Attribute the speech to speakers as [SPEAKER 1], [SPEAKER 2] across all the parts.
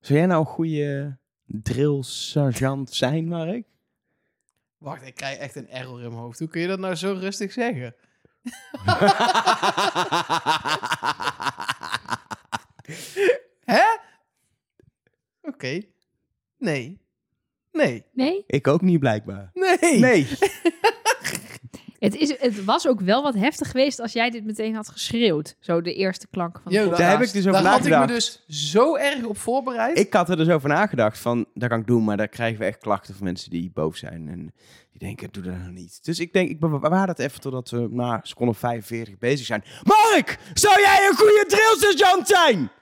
[SPEAKER 1] Zou jij nou een goede drill-sergeant zijn, Mark?
[SPEAKER 2] Wacht, ik krijg echt een error in mijn hoofd. Hoe kun je dat nou zo rustig zeggen? Hè? Oké. Nee. Nee.
[SPEAKER 3] Nee,
[SPEAKER 1] ik ook niet, blijkbaar.
[SPEAKER 2] Nee.
[SPEAKER 1] Nee.
[SPEAKER 3] het, is, het was ook wel wat heftig geweest als jij dit meteen had geschreeuwd. Zo de eerste klank van...
[SPEAKER 2] Yo,
[SPEAKER 3] de
[SPEAKER 2] daar
[SPEAKER 1] heb ik dus over
[SPEAKER 2] Daar had ik me
[SPEAKER 1] nagedacht.
[SPEAKER 2] dus zo erg op voorbereid.
[SPEAKER 1] Ik had er dus over nagedacht van, dat kan ik doen, maar daar krijgen we echt klachten van mensen die boos zijn. En die denken, doe dat nou niet. Dus ik denk, ik bewaar dat even totdat we na seconde 45 bezig zijn. Mark, zou jij een goede drill-sergeant zijn?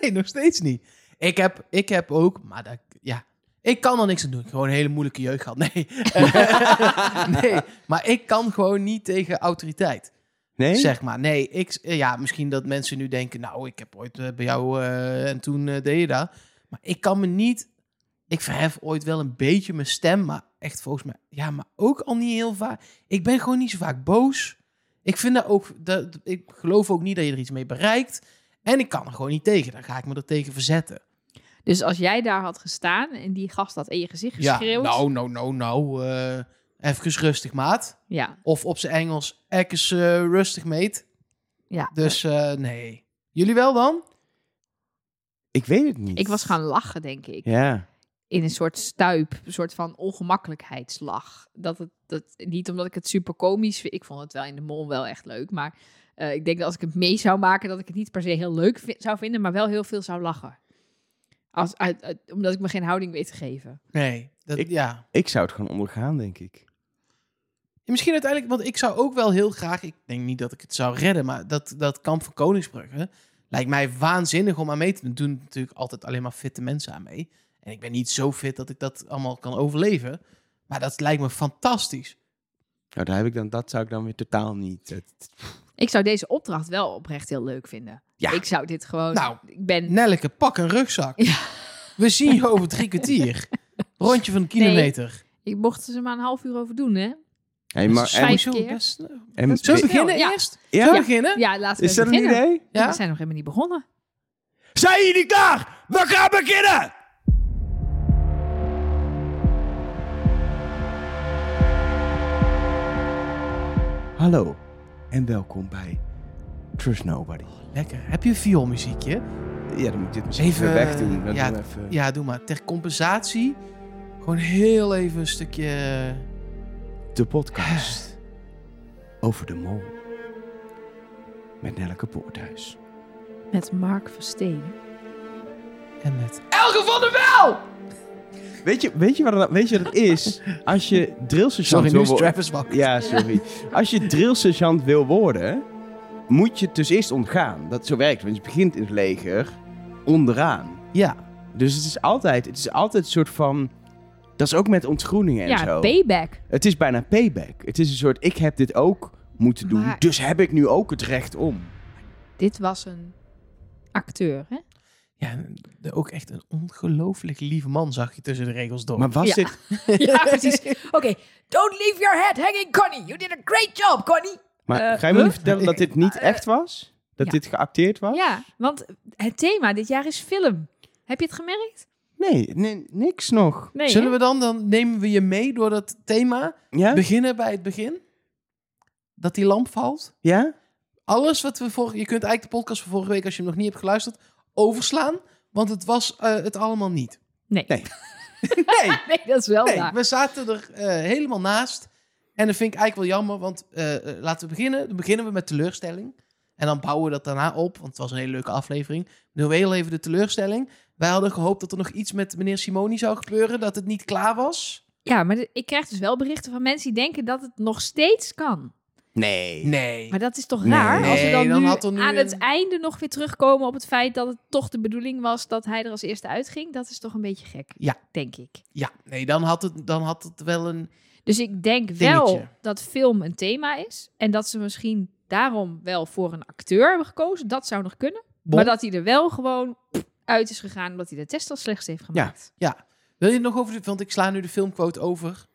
[SPEAKER 2] Nee, nog steeds niet. Ik heb, ik heb ook, maar dat, ja, ik kan er niks aan doen. Ik heb Gewoon een hele moeilijke jeugd gehad. Nee. nee, maar ik kan gewoon niet tegen autoriteit.
[SPEAKER 1] Nee?
[SPEAKER 2] Zeg maar, nee. Ik, eh, ja, misschien dat mensen nu denken, nou, ik heb ooit eh, bij jou eh, en toen eh, deed je dat. Maar ik kan me niet, ik verhef ooit wel een beetje mijn stem, maar echt volgens mij, ja, maar ook al niet heel vaak. Ik ben gewoon niet zo vaak boos. Ik vind dat ook, dat, ik geloof ook niet dat je er iets mee bereikt. En ik kan er gewoon niet tegen. Dan ga ik me er tegen verzetten.
[SPEAKER 3] Dus als jij daar had gestaan en die gast had in je gezicht geschreeuwd...
[SPEAKER 2] Ja, nou, nou, nou, nou. eh even rustig, maat.
[SPEAKER 3] ja,
[SPEAKER 2] Of op zijn Engels, even rustig, meet.
[SPEAKER 3] ja.
[SPEAKER 2] Dus eh, nee. Jullie wel dan?
[SPEAKER 1] Ik weet het niet.
[SPEAKER 3] Ik was gaan lachen, denk ik.
[SPEAKER 1] Ja.
[SPEAKER 3] in een soort stuip, een soort van ongemakkelijkheidslach. Dat het, dat, niet omdat ik het super komisch vind. Ik vond het wel in de mol wel echt leuk. Maar eh, ik denk dat als ik het mee zou maken, dat ik het niet per se heel leuk vi- zou vinden, maar wel heel veel zou lachen. Als, uit, uit- omdat ik me geen houding weet te geven.
[SPEAKER 2] Nee. Dat,
[SPEAKER 1] Ik-
[SPEAKER 2] Ja.
[SPEAKER 1] Ik zou het gewoon ondergaan, denk ik.
[SPEAKER 2] Misschien uiteindelijk, want ik zou ook wel heel graag... Ik denk niet dat ik het zou redden, maar dat, dat kamp van Koningsbrugge... lijkt mij waanzinnig om aan mee te doen. Er doen natuurlijk altijd alleen maar fitte mensen aan mee. En ik ben niet zo fit dat ik dat allemaal kan overleven. Maar dat lijkt me fantastisch.
[SPEAKER 1] Nou, daar heb ik dan, dat zou ik dan weer totaal niet. eh, Het-
[SPEAKER 3] Ik zou deze opdracht wel oprecht heel leuk vinden.
[SPEAKER 1] Ja.
[SPEAKER 3] Ik zou dit gewoon.
[SPEAKER 2] Nou,
[SPEAKER 3] ik ben.
[SPEAKER 2] Nelleke, pak een rugzak.
[SPEAKER 3] Ja.
[SPEAKER 2] We zien je over drie kwartier. Rondje van een kilometer.
[SPEAKER 3] Ik mocht ze maar een half uur over doen, hè?
[SPEAKER 1] Hey,
[SPEAKER 3] Dus
[SPEAKER 1] maar, en,
[SPEAKER 3] vijf
[SPEAKER 2] Zo,
[SPEAKER 3] keer.
[SPEAKER 2] best-
[SPEAKER 1] en,
[SPEAKER 2] Zullen we
[SPEAKER 3] Snel,
[SPEAKER 2] beginnen
[SPEAKER 3] ja.
[SPEAKER 2] eerst?
[SPEAKER 1] Ja?
[SPEAKER 2] Zullen we beginnen?
[SPEAKER 3] Ja, laten we
[SPEAKER 1] is dat
[SPEAKER 3] beginnen.
[SPEAKER 1] een idee?
[SPEAKER 2] Ja?
[SPEAKER 3] We zijn nog helemaal niet begonnen.
[SPEAKER 1] Zijn jullie klaar? We gaan beginnen! Hallo en welkom bij Trust Nobody.
[SPEAKER 2] Lekker. Heb je vioolmuziekje?
[SPEAKER 1] Ja, dan moet ik dit misschien
[SPEAKER 2] Even, eh,
[SPEAKER 1] even wegdoen. Dan
[SPEAKER 2] ja,
[SPEAKER 1] doen we even.
[SPEAKER 2] Ja, doe maar. Ter compensatie gewoon heel even een stukje... eh,
[SPEAKER 1] De podcast over de mol met Nelleke Poorthuis.
[SPEAKER 3] Met Mark Versteen.
[SPEAKER 2] En met... Elke van der Wel!
[SPEAKER 1] Weet je, weet je wat dat, weet je wat het is? Als je drillsergeant
[SPEAKER 2] Sorry, nu
[SPEAKER 1] wil
[SPEAKER 2] is
[SPEAKER 1] worden...
[SPEAKER 2] Travis wakker.
[SPEAKER 1] Ja, sorry. Als je drillsergeant wil worden, moet je het dus eerst ontgaan. Dat zo werkt, het, want je begint in het leger onderaan.
[SPEAKER 2] Ja.
[SPEAKER 1] Dus het is altijd, het is altijd een soort van... Dat is ook met ontgroeningen en
[SPEAKER 3] Ja,
[SPEAKER 1] zo.
[SPEAKER 3] payback.
[SPEAKER 1] het is bijna payback. Het is een soort, ik heb dit ook moeten doen,
[SPEAKER 3] Maar-
[SPEAKER 1] dus heb ik nu ook het recht om.
[SPEAKER 3] Dit was een acteur, hè?
[SPEAKER 2] Ja, en de- ook echt een ongelooflijk lieve man zag je tussen de regels door.
[SPEAKER 1] Maar was
[SPEAKER 3] Ja.
[SPEAKER 1] dit...
[SPEAKER 3] Ja, precies. Oké. Don't leave your head hanging, Connie. You did a great job, Connie.
[SPEAKER 1] Maar
[SPEAKER 3] Eh,
[SPEAKER 1] ga je me
[SPEAKER 3] huh?
[SPEAKER 1] niet vertellen dat dit niet echt was? Dat
[SPEAKER 3] ja.
[SPEAKER 1] dit geacteerd was?
[SPEAKER 3] Ja, want het thema dit jaar is film. Heb je het gemerkt?
[SPEAKER 1] Nee, nee, niks nog.
[SPEAKER 3] Nee.
[SPEAKER 2] Zullen we dan, dan nemen we je mee door dat thema.
[SPEAKER 1] Ja?
[SPEAKER 2] Beginnen bij het begin. Dat die lamp valt.
[SPEAKER 1] Ja?
[SPEAKER 2] alles wat we vorige... Je kunt eigenlijk de podcast van vorige week, als je hem nog niet hebt geluisterd, overslaan. Want het was eh, het allemaal niet.
[SPEAKER 3] Nee.
[SPEAKER 1] Nee.
[SPEAKER 3] Nee.
[SPEAKER 2] Nee,
[SPEAKER 3] dat is wel
[SPEAKER 2] nee
[SPEAKER 3] waar.
[SPEAKER 2] we zaten er eh, helemaal naast. En dat vind ik eigenlijk wel jammer, want eh, eh, laten we beginnen. Dan beginnen we met teleurstelling. En dan bouwen we dat daarna op, want het was een hele leuke aflevering. Nu heel even de teleurstelling. Wij hadden gehoopt dat er nog iets met meneer Simoni zou gebeuren, dat het niet klaar was.
[SPEAKER 3] Ja, maar de- ik krijg dus wel berichten van mensen die denken dat het nog steeds kan.
[SPEAKER 1] Nee.
[SPEAKER 2] Nee.
[SPEAKER 3] Maar dat is toch
[SPEAKER 1] Nee.
[SPEAKER 3] raar? als we
[SPEAKER 2] Nee,
[SPEAKER 3] dan,
[SPEAKER 2] dan
[SPEAKER 3] nu
[SPEAKER 2] had er nu
[SPEAKER 3] aan het
[SPEAKER 2] een-
[SPEAKER 3] einde nog weer terugkomen op het feit dat het toch de bedoeling was dat hij er als eerste uitging. Dat is toch een beetje gek,
[SPEAKER 2] Ja.
[SPEAKER 3] denk ik.
[SPEAKER 2] Ja, nee, dan had het, dan had het wel een...
[SPEAKER 3] Dus ik denk wel
[SPEAKER 2] Dingetje.
[SPEAKER 3] dat film een thema is. En dat ze misschien daarom wel voor een acteur hebben gekozen. Dat zou nog kunnen.
[SPEAKER 2] Bon.
[SPEAKER 3] Maar dat hij er wel gewoon pff, uit is gegaan omdat hij de test al slechts heeft gemaakt.
[SPEAKER 2] Wil je het nog over... de- Want ik sla nu de filmquote over.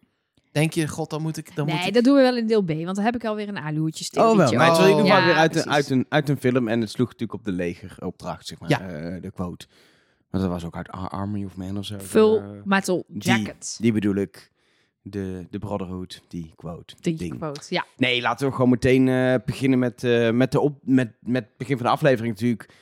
[SPEAKER 2] Denk je, god, dan moet ik... Dan moet
[SPEAKER 3] nee,
[SPEAKER 2] ik...
[SPEAKER 3] dat doen we wel in deel B. Want dan heb ik alweer een aluhoedjes
[SPEAKER 1] Oh wel, maar het was in ieder geval
[SPEAKER 3] Ja,
[SPEAKER 1] weer uit een,
[SPEAKER 3] precies.
[SPEAKER 1] uit, een, uit een film en het sloeg natuurlijk op de legeropdracht, zeg maar,
[SPEAKER 2] Ja.
[SPEAKER 1] eh, de quote. Maar Want dat was ook uit Ar- Army of Man of zo.
[SPEAKER 3] Full
[SPEAKER 1] Eh,
[SPEAKER 3] metal jacket.
[SPEAKER 1] Die bedoel ik. De, de Brotherhood, die quote.
[SPEAKER 3] Die,
[SPEAKER 1] ding.
[SPEAKER 3] quote. Ja,
[SPEAKER 1] Nee, laten we gewoon meteen eh, beginnen met, eh, met, de op, met, met het begin van de aflevering natuurlijk.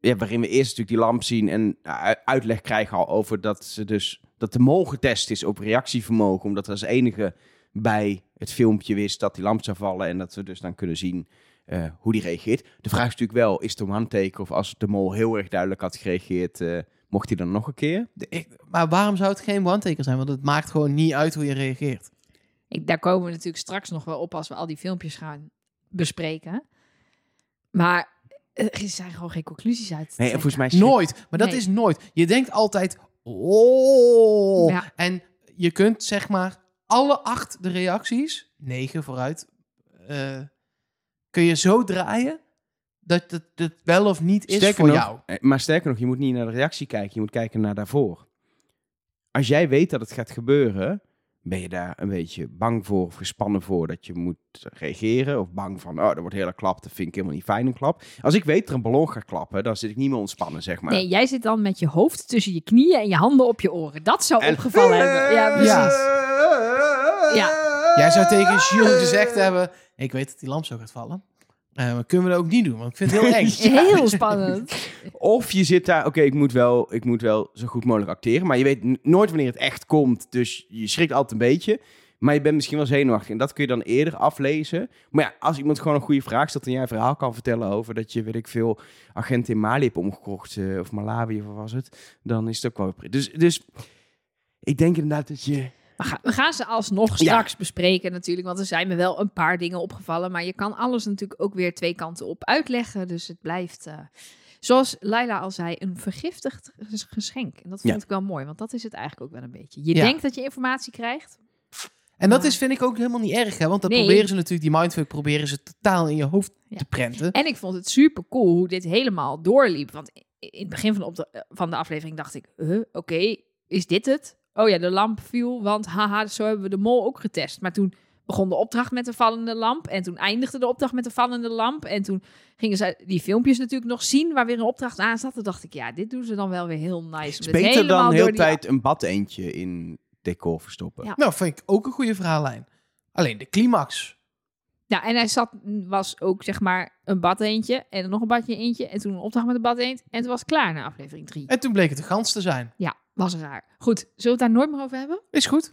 [SPEAKER 1] Ja, waarin we eerst natuurlijk die lamp zien en eh, u- uitleg krijgen al over dat ze dus dat de mol getest is op reactievermogen. Omdat er als enige bij het filmpje wist dat die lamp zou vallen. En dat we dus dan kunnen zien eh, hoe die reageert. De vraag is natuurlijk wel, is het om handteken of als de mol heel erg duidelijk had gereageerd, eh, mocht hij dan nog een keer?
[SPEAKER 2] De- ik- maar waarom zou het geen one-taker zijn? Want het maakt gewoon niet uit hoe je reageert.
[SPEAKER 3] ik, daar komen we natuurlijk straks nog wel op als we al die filmpjes gaan bespreken. Maar eh, er zijn gewoon geen conclusies uit. te
[SPEAKER 1] Nee, en
[SPEAKER 3] trekken.
[SPEAKER 1] volgens mij...
[SPEAKER 2] Nooit. Maar dat
[SPEAKER 3] Nee.
[SPEAKER 2] is nooit. Je denkt altijd, oh.
[SPEAKER 3] Ja.
[SPEAKER 2] En je kunt zeg maar alle acht de reacties, negen vooruit, eh, kun je zo draaien dat het, het wel of niet is
[SPEAKER 1] Sterker
[SPEAKER 2] voor
[SPEAKER 1] nog-
[SPEAKER 2] jou.
[SPEAKER 1] Eh, Maar sterker nog, je moet niet naar de reactie kijken, je moet kijken naar daarvoor. Als jij weet dat het gaat gebeuren, ben je daar een beetje bang voor of gespannen voor dat je moet reageren. Of bang van, oh, dat wordt een hele klap, dat vind ik helemaal niet fijn, een klap. Als ik weet dat er een ballon gaat klappen, dan zit ik niet meer ontspannen, zeg maar.
[SPEAKER 3] Nee, jij zit dan met je hoofd tussen je knieën en je handen op je oren. Dat zou
[SPEAKER 1] En-
[SPEAKER 3] opgevallen hebben. Ja, precies.
[SPEAKER 2] Ja. Jij zou tegen Jules gezegd hebben, ik weet dat die lamp zo gaat vallen. Eh, maar kunnen we dat ook niet doen, want ik vind het heel eng.
[SPEAKER 3] Heel spannend.
[SPEAKER 1] Of je zit daar, oké, ik, moet wel- ik moet wel zo goed mogelijk acteren. Maar je weet n- nooit wanneer het echt komt. Dus je schrikt altijd een beetje. Maar je bent misschien wel zenuwachtig. En dat kun je dan eerder aflezen. Maar ja, als iemand gewoon een goede vraag stelt en jij een verhaal kan vertellen over dat je, weet ik veel, agenten in Mali hebt omgekocht. eh, of Malawi of wat was het. Dan is het ook wel weer pri- Dus, dus ik denk inderdaad dat je.
[SPEAKER 3] We gaan, we gaan ze alsnog straks bespreken natuurlijk. Want er zijn me wel een paar dingen opgevallen. Maar je kan alles natuurlijk ook weer twee kanten op uitleggen. Dus het blijft, eh, zoals Laila al zei, een vergiftigd ges- geschenk. En dat vond
[SPEAKER 1] Ja.
[SPEAKER 3] ik wel mooi. Want dat is het eigenlijk ook wel een beetje. Je
[SPEAKER 2] Ja.
[SPEAKER 3] denkt dat je informatie krijgt.
[SPEAKER 2] En dat is, vind ik ook helemaal niet erg, hè? want dat
[SPEAKER 3] Nee.
[SPEAKER 2] proberen ze natuurlijk, die mindfuck proberen ze totaal in je hoofd
[SPEAKER 3] Ja.
[SPEAKER 2] te prenten.
[SPEAKER 3] En ik vond het super cool hoe dit helemaal doorliep. Want in het begin van de, opdra- eh, van de aflevering dacht ik, huh, oké, is dit het? Oh ja, de lamp viel, want haha, zo hebben we de mol ook getest. Maar toen begon de opdracht met de vallende lamp. En toen eindigde de opdracht met de vallende lamp. En toen gingen ze die filmpjes natuurlijk nog zien waar weer een opdracht aan zat. Toen dacht ik, ja, dit doen ze dan wel weer heel nice.
[SPEAKER 1] Het
[SPEAKER 3] Om
[SPEAKER 1] is
[SPEAKER 3] dit
[SPEAKER 1] beter
[SPEAKER 3] helemaal
[SPEAKER 1] dan heel
[SPEAKER 3] door
[SPEAKER 1] de
[SPEAKER 3] die-
[SPEAKER 1] tijd een bad eentje in decor verstoppen.
[SPEAKER 3] Ja.
[SPEAKER 2] Nou, vind ik ook een goede verhaallijn. Alleen de climax.
[SPEAKER 3] Ja, en hij zat, was ook zeg maar een bad eentje en nog een badje eentje. En toen een opdracht met een bad eend. En toen was het klaar na aflevering 3.
[SPEAKER 2] En toen bleek het een gans te zijn.
[SPEAKER 3] Ja, was raar. Goed, zullen we het daar nooit meer over hebben?
[SPEAKER 2] Is goed.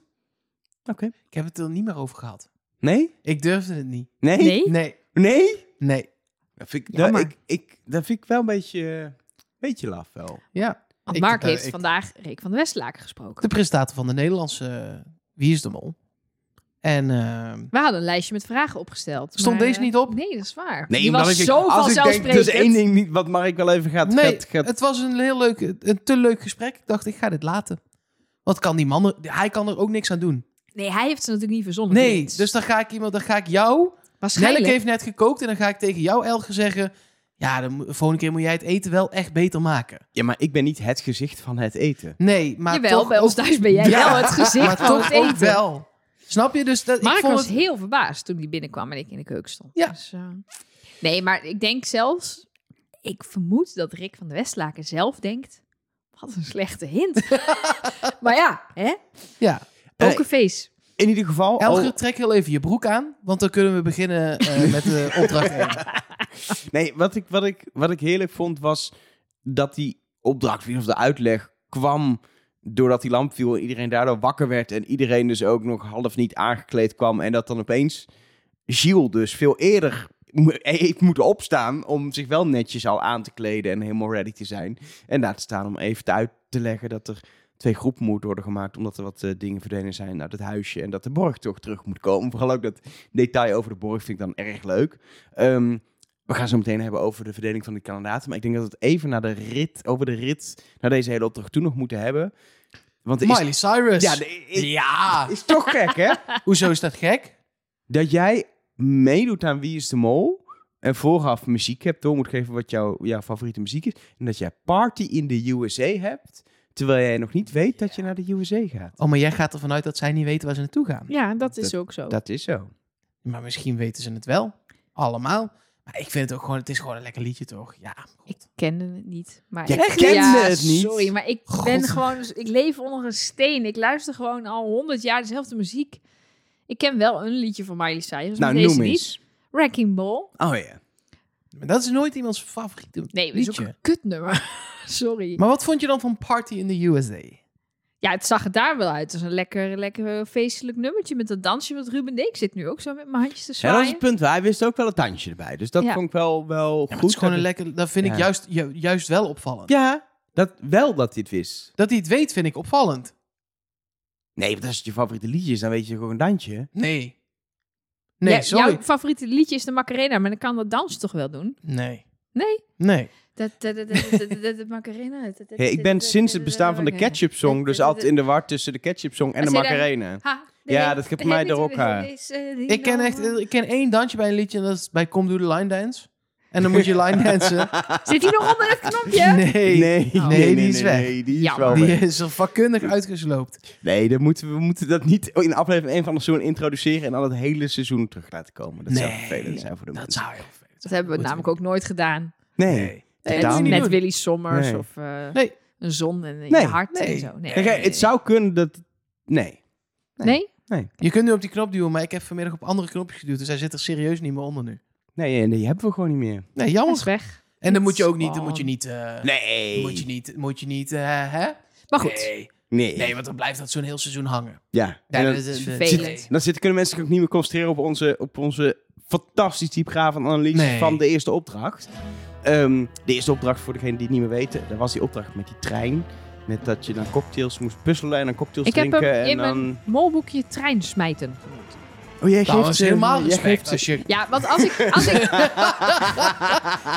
[SPEAKER 1] Oké.
[SPEAKER 2] Ik heb het er niet meer over gehad.
[SPEAKER 1] Nee?
[SPEAKER 2] Ik durfde het niet.
[SPEAKER 1] Nee?
[SPEAKER 3] Nee?
[SPEAKER 2] Nee.
[SPEAKER 1] Nee?
[SPEAKER 2] Nee.
[SPEAKER 1] Dat vind ik,
[SPEAKER 3] Jammer.
[SPEAKER 1] dat, ik, ik, dat vind ik wel een beetje. eh, beetje laf wel.
[SPEAKER 2] Ja.
[SPEAKER 3] Want
[SPEAKER 2] Ik-
[SPEAKER 3] Mark
[SPEAKER 2] eh,
[SPEAKER 3] heeft
[SPEAKER 2] ik-
[SPEAKER 3] vandaag Reek van de Westlaken gesproken.
[SPEAKER 2] De presentator van de Nederlandse eh, Wie is de Mol. En ehm,
[SPEAKER 3] We hadden een lijstje met vragen opgesteld.
[SPEAKER 2] Stond
[SPEAKER 3] maar,
[SPEAKER 2] deze
[SPEAKER 3] eh,
[SPEAKER 2] niet op?
[SPEAKER 3] Nee, dat is waar.
[SPEAKER 1] Nee,
[SPEAKER 3] Die
[SPEAKER 1] omdat
[SPEAKER 3] was
[SPEAKER 1] ik,
[SPEAKER 3] zo
[SPEAKER 1] als ik denk,
[SPEAKER 3] vanzelfsprekend.
[SPEAKER 1] dus één ding niet wat Mark wel even gaat...
[SPEAKER 2] nee,
[SPEAKER 1] gaat, gaat-
[SPEAKER 2] het was een heel leuk, een te leuk gesprek. Ik dacht, ik ga dit laten. Want kan die man, er- hij kan er ook niks aan doen.
[SPEAKER 3] Nee, hij heeft ze natuurlijk niet verzonnen.
[SPEAKER 2] Nee,
[SPEAKER 3] Jens.
[SPEAKER 2] dus dan ga ik iemand, dan ga ik jou.
[SPEAKER 3] waarschijnlijk.
[SPEAKER 2] Nelleke heeft net gekookt en dan ga ik tegen jou Elge zeggen. Ja, de mo- volgende keer moet jij het eten wel echt beter maken.
[SPEAKER 1] Ja, maar ik ben niet het gezicht van het eten.
[SPEAKER 2] Nee, maar
[SPEAKER 3] Jawel,
[SPEAKER 2] toch
[SPEAKER 3] bij
[SPEAKER 2] ook-
[SPEAKER 3] ons thuis ben jij
[SPEAKER 2] Ja,
[SPEAKER 3] wel het gezicht
[SPEAKER 2] maar
[SPEAKER 3] van
[SPEAKER 2] toch
[SPEAKER 3] het
[SPEAKER 2] ook
[SPEAKER 3] eten.
[SPEAKER 2] wel. Snap je? Dus dat,
[SPEAKER 3] Mark
[SPEAKER 2] ik vond
[SPEAKER 3] was
[SPEAKER 2] het...
[SPEAKER 3] heel verbaasd toen hij binnenkwam en ik in de keuken stond.
[SPEAKER 2] Ja.
[SPEAKER 3] Dus, eh, nee, maar ik denk zelfs... Ik vermoed dat Rick van de Westlaken zelf denkt... Wat een slechte hint. maar ja, hè?
[SPEAKER 2] Ja.
[SPEAKER 3] Pokerface.
[SPEAKER 1] In ieder geval...
[SPEAKER 2] Elger,
[SPEAKER 1] al-
[SPEAKER 2] trek heel even je broek aan, want dan kunnen we beginnen eh, met de opdracht één.
[SPEAKER 1] nee, wat ik, wat, ik, wat ik heerlijk vond was dat die opdracht, of de uitleg, kwam doordat die lamp viel en iedereen daardoor wakker werd en iedereen dus ook nog half niet aangekleed kwam en dat dan opeens Gilles dus veel eerder mo- heeft moeten opstaan om zich wel netjes al aan te kleden en helemaal ready te zijn. En daar te staan om even te uit te leggen dat er twee groepen moeten worden gemaakt omdat er wat eh, dingen verdwenen zijn uit het huisje en dat de borg toch terug moet komen. Vooral ook dat detail over de borg vind ik dan erg leuk. Ehm, we gaan zo meteen hebben over de verdeling van de kandidaten. Maar ik denk dat we het even naar de rit, over de rit, naar deze hele opdracht toe nog moeten hebben. Want er is,
[SPEAKER 2] Miley Cyrus.
[SPEAKER 1] ja, er is,
[SPEAKER 2] Ja.
[SPEAKER 1] is toch gek, hè?
[SPEAKER 2] Hoezo is dat gek?
[SPEAKER 1] Dat jij meedoet aan Wie is de Mol en vooraf muziek hebt door moet geven wat jouw, jouw favoriete muziek is. En dat jij Party in de USA hebt, terwijl jij nog niet weet dat je naar de USA gaat.
[SPEAKER 2] Oh, maar jij gaat ervan uit dat zij niet weten waar ze naartoe gaan.
[SPEAKER 3] Ja, dat is ook zo.
[SPEAKER 1] Dat is zo.
[SPEAKER 2] Maar misschien weten ze het wel. Allemaal. Maar ik vind het ook gewoon, het is gewoon een lekker liedje toch? Ja,
[SPEAKER 3] Ik kende het niet. Maar
[SPEAKER 1] Je
[SPEAKER 3] ik,
[SPEAKER 1] kende het niet?
[SPEAKER 3] Sorry, maar ik
[SPEAKER 2] God.
[SPEAKER 3] ben gewoon... Ik leef onder een steen. Ik luister gewoon al honderd jaar dezelfde muziek. Ik ken wel een liedje van Miley Cyrus,
[SPEAKER 1] Nou,
[SPEAKER 3] maar Dus deze
[SPEAKER 1] noem
[SPEAKER 3] niet.
[SPEAKER 1] eens.
[SPEAKER 3] Wrecking Ball.
[SPEAKER 1] Oh ja.
[SPEAKER 2] maar dat is nooit iemands favoriete
[SPEAKER 3] Nee, dat is ook
[SPEAKER 2] liedje.
[SPEAKER 3] een kutnummer. sorry.
[SPEAKER 2] Maar wat vond je dan van Party in the USA?
[SPEAKER 3] Ja, het zag er daar wel uit. Het was een lekker, lekker eh, feestelijk nummertje met dat dansje. Want Ruben Dijk zit nu ook zo met mijn handjes te
[SPEAKER 1] Ja, dat is
[SPEAKER 3] zwaaien.
[SPEAKER 1] het punt. Hij wist ook wel een tandje erbij. Dus dat
[SPEAKER 3] Ja.
[SPEAKER 1] vond ik wel, wel
[SPEAKER 2] Ja, maar
[SPEAKER 1] goed.
[SPEAKER 2] het is gewoon
[SPEAKER 1] dat
[SPEAKER 2] een lekker, dat vind
[SPEAKER 1] Ja.
[SPEAKER 2] ik juist, ju- juist wel opvallend.
[SPEAKER 1] Ja, dat, wel dat hij het wist.
[SPEAKER 2] Dat hij het weet vind ik opvallend.
[SPEAKER 1] Nee, want als het je favoriete liedje is, dan weet je gewoon een dansje.
[SPEAKER 2] Nee. Nee,
[SPEAKER 3] Ja,
[SPEAKER 2] sorry.
[SPEAKER 3] Jouw favoriete liedje is de Macarena, maar dan kan dat dansje toch wel doen?
[SPEAKER 2] Nee.
[SPEAKER 3] Nee?
[SPEAKER 2] Nee.
[SPEAKER 3] Dat, dat, dat, dat, dat, dat, dat Macarena.
[SPEAKER 1] Hé, ik ben sinds het bestaan van de ketchup song dus altijd in de war tussen de ketchup song en de
[SPEAKER 3] Als je dan-
[SPEAKER 1] macarena.
[SPEAKER 3] Ha,
[SPEAKER 1] Ja, dat geeft mij er ook aan.
[SPEAKER 3] eh,
[SPEAKER 2] Ik ken echt, eh, ik ken één dansje bij een liedje en dat is bij Come Do The Line Dance. En dan moet je line dansen.
[SPEAKER 3] Zit hij nog onder het knopje?
[SPEAKER 2] Nee.
[SPEAKER 3] nee,
[SPEAKER 2] die is weg.
[SPEAKER 1] Nee, die is
[SPEAKER 3] Jammer.
[SPEAKER 1] wel
[SPEAKER 2] Die
[SPEAKER 1] weg.
[SPEAKER 2] is er vakkundig uitgesloopt.
[SPEAKER 1] Nee, dat moeten we, we moeten dat niet in aflevering 1 van het seizoen introduceren en dan het hele seizoen terug laten komen. Dat zou
[SPEAKER 2] Nee,
[SPEAKER 1] vervelend zijn voor de
[SPEAKER 2] Dat
[SPEAKER 1] mensen.
[SPEAKER 2] zou heel vervelend
[SPEAKER 3] Dat
[SPEAKER 2] zijn.
[SPEAKER 3] hebben we namelijk ook nooit gedaan.
[SPEAKER 1] Nee.
[SPEAKER 2] Nee.
[SPEAKER 3] Met,
[SPEAKER 1] dat moet je
[SPEAKER 3] met
[SPEAKER 1] niet doen.
[SPEAKER 3] Willy Sommers
[SPEAKER 1] Nee.
[SPEAKER 3] of eh,
[SPEAKER 2] Nee.
[SPEAKER 3] een zon en in
[SPEAKER 1] Nee,
[SPEAKER 3] je hart
[SPEAKER 2] nee.
[SPEAKER 3] en zo. Nee?
[SPEAKER 1] Kijk, hè, het zou kunnen dat... Nee.
[SPEAKER 3] Nee?
[SPEAKER 2] Je kunt nu op die knop duwen, maar ik heb vanmiddag op andere knopjes geduwd. Dus hij zit er serieus niet meer onder nu.
[SPEAKER 1] Nee, en die hebben we gewoon niet meer.
[SPEAKER 2] Nee,
[SPEAKER 3] Hij
[SPEAKER 2] jammer.
[SPEAKER 3] is weg.
[SPEAKER 2] En dan moet je ook niet, dan
[SPEAKER 3] Spawn.
[SPEAKER 2] moet je niet, eh,
[SPEAKER 1] Nee.
[SPEAKER 2] moet je niet, moet je niet, eh, hè?
[SPEAKER 3] Maar goed.
[SPEAKER 2] Nee.
[SPEAKER 1] Nee.
[SPEAKER 2] nee, want dan blijft dat zo'n heel seizoen hangen.
[SPEAKER 1] Ja.
[SPEAKER 2] Ja,
[SPEAKER 1] En
[SPEAKER 2] dat
[SPEAKER 1] dan-
[SPEAKER 2] is- eh, dat-
[SPEAKER 3] vervelend.
[SPEAKER 1] Dan zitten, kunnen mensen zich ook niet meer concentreren op onze, op onze fantastisch diepgravende analyse
[SPEAKER 2] Nee.
[SPEAKER 1] van de eerste opdracht. Ehm, de eerste opdracht, voor degenen die het niet meer weten, dat was die opdracht met die trein. Met dat je dan cocktails moest puzzelen en dan cocktails
[SPEAKER 3] Ik heb
[SPEAKER 1] drinken.
[SPEAKER 3] hem
[SPEAKER 1] en
[SPEAKER 3] in
[SPEAKER 1] dan...
[SPEAKER 3] mijn molboekje trein smijten genoemd.
[SPEAKER 1] Oh, jij
[SPEAKER 2] Dat is
[SPEAKER 1] eh,
[SPEAKER 2] helemaal
[SPEAKER 1] jij
[SPEAKER 2] respect.
[SPEAKER 1] geeft-
[SPEAKER 2] Als je...
[SPEAKER 3] Ja, want als ik, als ik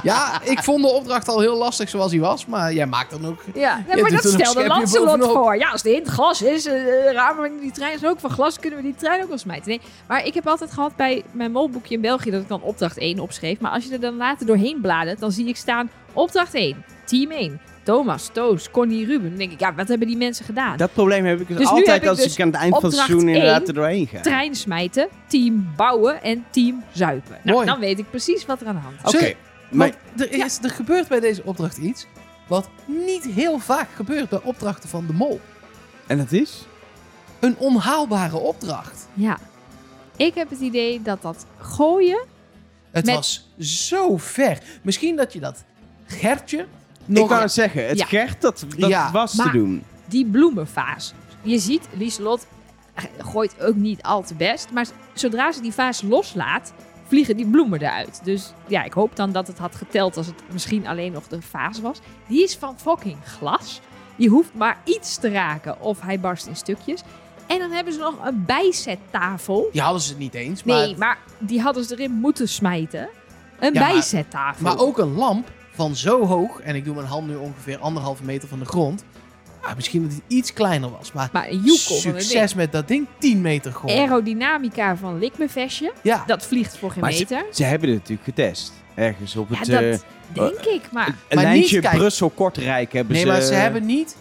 [SPEAKER 2] Ja, ik vond de opdracht al heel lastig zoals hij was, maar jij maakt dan ook...
[SPEAKER 3] Ja, nee,
[SPEAKER 2] Je
[SPEAKER 3] maar
[SPEAKER 2] doet
[SPEAKER 3] dat
[SPEAKER 2] er nog
[SPEAKER 3] stelde
[SPEAKER 2] schepje
[SPEAKER 3] Lancelot
[SPEAKER 2] bovenop.
[SPEAKER 3] voor. Ja, als de hint glas is, eh, de ramen van die trein is ook van glas, kunnen we die trein ook wel smijten. Nee, maar ik heb altijd gehad bij mijn molboekje in België dat ik dan opdracht 1 opschreef. Maar als je er dan later doorheen bladert, dan zie ik staan opdracht 1, team 1, Thomas, Toos, Connie, Ruben. Dan denk ik, ja, wat hebben die mensen gedaan?
[SPEAKER 1] Dat probleem heb ik dus,
[SPEAKER 3] Dus nu
[SPEAKER 1] altijd
[SPEAKER 3] heb ik
[SPEAKER 1] als
[SPEAKER 3] dus
[SPEAKER 1] ik aan het eind van het
[SPEAKER 3] opdracht
[SPEAKER 1] seizoen
[SPEAKER 3] één,
[SPEAKER 1] inderdaad er doorheen ga.
[SPEAKER 3] Trein smijten, team bouwen en team zuipen. Nou,
[SPEAKER 2] Mooi.
[SPEAKER 3] dan weet ik precies wat er aan de hand is.
[SPEAKER 1] Oké,
[SPEAKER 2] Zul-
[SPEAKER 1] maar-
[SPEAKER 2] Want er, is, er gebeurt bij deze opdracht iets wat niet heel vaak gebeurt bij opdrachten van de mol.
[SPEAKER 1] En dat is?
[SPEAKER 2] Een onhaalbare opdracht.
[SPEAKER 3] Ja. Ik heb het idee dat dat gooien
[SPEAKER 2] Het
[SPEAKER 3] Met-
[SPEAKER 2] was zo ver. Misschien dat je dat Gertje
[SPEAKER 1] ik
[SPEAKER 2] nog...
[SPEAKER 1] kan het zeggen, het
[SPEAKER 3] Ja.
[SPEAKER 1] Gert, dat, dat
[SPEAKER 2] Ja,
[SPEAKER 1] was te
[SPEAKER 3] maar-
[SPEAKER 1] doen.
[SPEAKER 3] die bloemenvaas. Je ziet, Lieselot eh, gooit ook niet al te best. Maar zodra ze die vaas loslaat, vliegen die bloemen eruit. Dus ja, ik hoop dan dat het had geteld als het misschien alleen nog de vaas was. Die is van fucking glas. Die hoeft maar iets te raken of hij barst in stukjes. En dan hebben ze nog een bijzettafel.
[SPEAKER 2] Die hadden ze het niet eens, maar,
[SPEAKER 3] Nee, maar die hadden ze erin moeten smijten. Een
[SPEAKER 2] Ja, maar-
[SPEAKER 3] bijzettafel.
[SPEAKER 2] maar ook een lamp van zo hoog. En ik doe mijn hand nu ongeveer anderhalve meter van de grond. Ah, misschien dat het iets kleiner was, maar...
[SPEAKER 3] maar een joekel van een ding.
[SPEAKER 2] Succes met dat ding, 10 meter gooien.
[SPEAKER 3] Aerodynamica van Likmevesje.
[SPEAKER 2] Ja,
[SPEAKER 3] Dat vliegt voor geen
[SPEAKER 1] Maar
[SPEAKER 3] meter.
[SPEAKER 1] Ze hebben het natuurlijk getest. Ergens op het...
[SPEAKER 3] Ja,
[SPEAKER 1] eh,
[SPEAKER 3] dat ah. denk ik, maar...
[SPEAKER 1] Een
[SPEAKER 2] Maar niet
[SPEAKER 1] lijntje
[SPEAKER 2] kijken.
[SPEAKER 1] Brussel-Kortrijk hebben
[SPEAKER 2] nee,
[SPEAKER 1] ze...
[SPEAKER 2] maar ze hebben niet.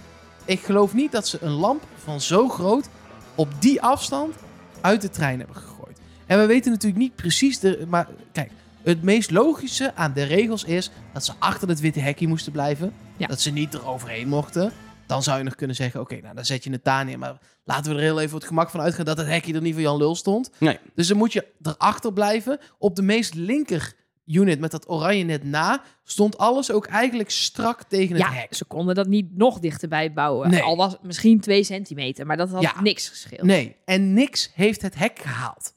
[SPEAKER 2] Ik geloof niet dat ze een lamp van zo groot op die afstand uit de trein hebben gegooid. En we weten natuurlijk niet precies de. Maar kijk, het meest logische aan de regels is dat ze achter het witte hekje moesten blijven.
[SPEAKER 3] Ja.
[SPEAKER 2] Dat ze niet eroverheen mochten. Dan zou je nog kunnen zeggen: oké, nou dan zet je het daar neer. Maar laten we er heel even het gemak van uitgaan dat het hekje er niet van Jan Lul stond.
[SPEAKER 1] Nee.
[SPEAKER 2] Dus dan moet je erachter blijven. Op de meest linker unit met dat oranje net na stond alles ook eigenlijk strak tegen het
[SPEAKER 3] Ja,
[SPEAKER 2] hek.
[SPEAKER 3] ze konden dat niet nog dichterbij bouwen.
[SPEAKER 2] Nee.
[SPEAKER 3] Al was het misschien twee centimeter, maar dat had
[SPEAKER 2] Ja.
[SPEAKER 3] niks gescheeld.
[SPEAKER 2] Nee, en niks heeft het hek gehaald.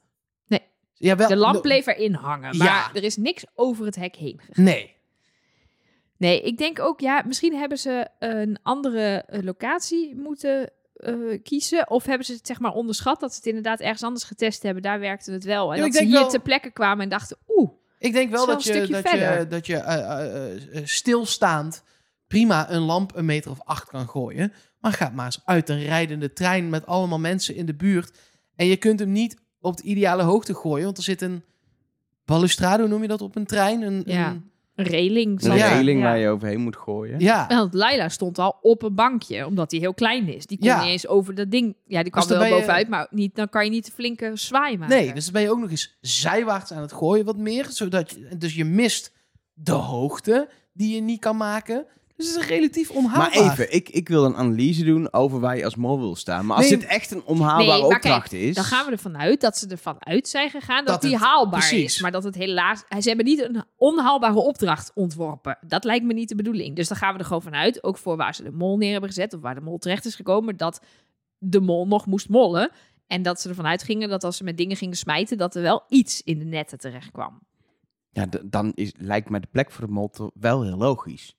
[SPEAKER 3] Nee.
[SPEAKER 2] Jawel,
[SPEAKER 3] De lamp
[SPEAKER 2] no-
[SPEAKER 3] bleef erin hangen, maar
[SPEAKER 2] Ja.
[SPEAKER 3] er is niks over het hek heen gegaan.
[SPEAKER 2] Nee.
[SPEAKER 3] Nee, ik denk ook, ja, misschien hebben ze een andere eh, locatie moeten eh, kiezen. Of hebben ze het zeg maar onderschat dat ze het inderdaad ergens anders getest hebben. Daar werkte het wel. En
[SPEAKER 2] Ja, ik
[SPEAKER 3] dat ze
[SPEAKER 2] denk
[SPEAKER 3] hier
[SPEAKER 2] wel-
[SPEAKER 3] ter plekke kwamen en dachten, oeh,
[SPEAKER 2] Ik denk wel
[SPEAKER 3] Zo
[SPEAKER 2] dat
[SPEAKER 3] een
[SPEAKER 2] je,
[SPEAKER 3] stukje
[SPEAKER 2] dat je,
[SPEAKER 3] verder.
[SPEAKER 2] dat je eh, eh, eh, eh, stilstaand prima een lamp een meter of acht kan gooien. Maar ga maar eens uit een rijdende trein met allemaal mensen in de buurt. En je kunt hem niet op de ideale hoogte gooien, want er zit een balustrade, hoe noem je dat, op een trein. Een,
[SPEAKER 3] Ja.
[SPEAKER 2] een-
[SPEAKER 3] Een reling.
[SPEAKER 1] Een
[SPEAKER 3] zat er.
[SPEAKER 2] Ja.
[SPEAKER 1] reling
[SPEAKER 3] Ja.
[SPEAKER 1] waar je overheen moet gooien.
[SPEAKER 2] Ja,
[SPEAKER 3] Want Laila stond al op een bankje, omdat hij heel klein is. Die kon
[SPEAKER 2] Ja.
[SPEAKER 3] niet eens over dat ding. Ja, die kwam
[SPEAKER 2] Dus dan
[SPEAKER 3] wel
[SPEAKER 2] ben je-
[SPEAKER 3] bovenuit, maar niet, dan kan je niet de flinke zwaai maken.
[SPEAKER 2] nee, dus dan ben je ook nog eens zijwaarts aan het gooien wat meer. Zodat je, dus je mist de hoogte die je niet kan maken. Dus het is relatief
[SPEAKER 1] Maar
[SPEAKER 2] onhaalbaar.
[SPEAKER 1] even, ik, ik wil een analyse doen over waar je als mol wil staan. Maar als
[SPEAKER 2] Nee,
[SPEAKER 1] dit echt een onhaalbare
[SPEAKER 3] Nee, maar
[SPEAKER 1] opdracht is...
[SPEAKER 3] Dan gaan we ervan uit dat ze ervan uit zijn gegaan dat,
[SPEAKER 2] Dat
[SPEAKER 3] die
[SPEAKER 2] het-
[SPEAKER 3] haalbaar
[SPEAKER 2] precies.
[SPEAKER 3] is. Maar dat het helaas... Ze hebben niet een onhaalbare opdracht ontworpen. Dat lijkt me niet de bedoeling. Dus dan gaan we er gewoon vanuit, ook voor waar ze de mol neer hebben gezet... of waar de mol terecht is gekomen, dat de mol nog moest mollen. En dat ze ervan uitgingen dat als ze met dingen gingen smijten... dat er wel iets in de netten terecht kwam.
[SPEAKER 1] Ja, d- dan is, lijkt me de plek voor de mol toch wel heel logisch.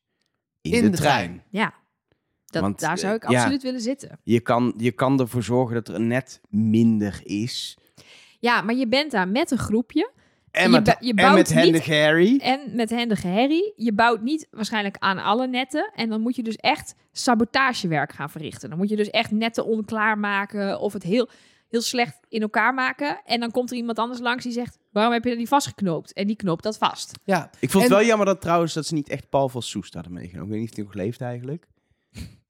[SPEAKER 1] In, de, trein.
[SPEAKER 3] Ja, dat,
[SPEAKER 1] Want,
[SPEAKER 3] daar zou
[SPEAKER 1] eh,
[SPEAKER 3] ik
[SPEAKER 1] ja.
[SPEAKER 3] absoluut willen zitten.
[SPEAKER 1] Je, kan, je kan ervoor zorgen dat er net minder is.
[SPEAKER 3] Ja, maar je bent daar met een groepje
[SPEAKER 1] En
[SPEAKER 3] Je
[SPEAKER 1] met,
[SPEAKER 3] bou- je
[SPEAKER 1] en
[SPEAKER 3] bouwt
[SPEAKER 1] met
[SPEAKER 3] niet-
[SPEAKER 1] Hendrik Harry.
[SPEAKER 3] en met hendige herrie. Je bouwt niet waarschijnlijk aan alle netten. En dan moet je dus echt sabotagewerk gaan verrichten. Dan moet je dus echt netten onklaar maken of het heel, heel slecht in elkaar maken. En dan komt er iemand anders langs die zegt, waarom heb je dat niet vastgeknoopt? En die knoopt dat vast.
[SPEAKER 2] Ja,
[SPEAKER 1] Ik vond het
[SPEAKER 2] En-
[SPEAKER 1] wel jammer dat trouwens dat ze niet echt Paul van Soest hadden meegenomen. Ik weet niet of hij nog leeft eigenlijk.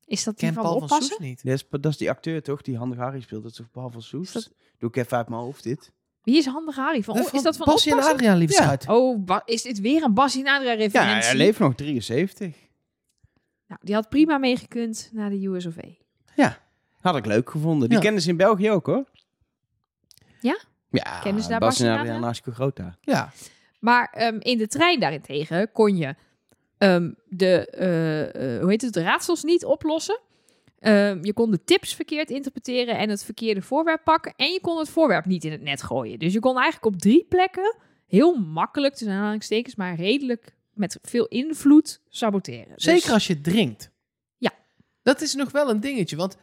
[SPEAKER 3] Is dat die
[SPEAKER 2] ken
[SPEAKER 3] van
[SPEAKER 2] Paul van
[SPEAKER 3] oppassen?
[SPEAKER 2] Soes niet.
[SPEAKER 1] Dat is, dat is die acteur toch, die Handig Harry speelt. Dat is toch Paul van Soest?
[SPEAKER 3] Is dat-
[SPEAKER 1] Doe ik even uit mijn hoofd dit.
[SPEAKER 3] Wie is handige Harry? Van,
[SPEAKER 2] Dat
[SPEAKER 3] is dat van
[SPEAKER 2] Bassie en
[SPEAKER 3] oppassen?
[SPEAKER 2] Adriaan, lieve
[SPEAKER 1] Ja.
[SPEAKER 2] schat.
[SPEAKER 3] Oh, Ba- is dit weer een Bassie en Adria
[SPEAKER 1] Ja,
[SPEAKER 3] referentie?
[SPEAKER 1] hij leeft nog 73.
[SPEAKER 3] nou, die had prima meegekund naar de USOV.
[SPEAKER 1] Had ik leuk gevonden. Die
[SPEAKER 2] Ja.
[SPEAKER 1] kennen ze in België ook hoor.
[SPEAKER 3] Ja?
[SPEAKER 1] Ja,
[SPEAKER 3] Kennen ze daar
[SPEAKER 1] Bas en
[SPEAKER 3] Barcelona?
[SPEAKER 1] Adriaan Naasco Grota.
[SPEAKER 2] Ja,
[SPEAKER 3] Maar ehm, in de trein daarentegen kon je ehm, de, eh, eh, hoe heet het, de raadsels niet oplossen. Ehm, je kon de tips verkeerd interpreteren en het verkeerde voorwerp pakken. En je kon het voorwerp niet in het net gooien. Dus je kon eigenlijk op drie plekken heel makkelijk, tussen aanhalingstekens, maar redelijk met veel invloed saboteren. Dus-
[SPEAKER 2] zeker als je drinkt.
[SPEAKER 3] Ja.
[SPEAKER 2] Dat is nog wel een dingetje, want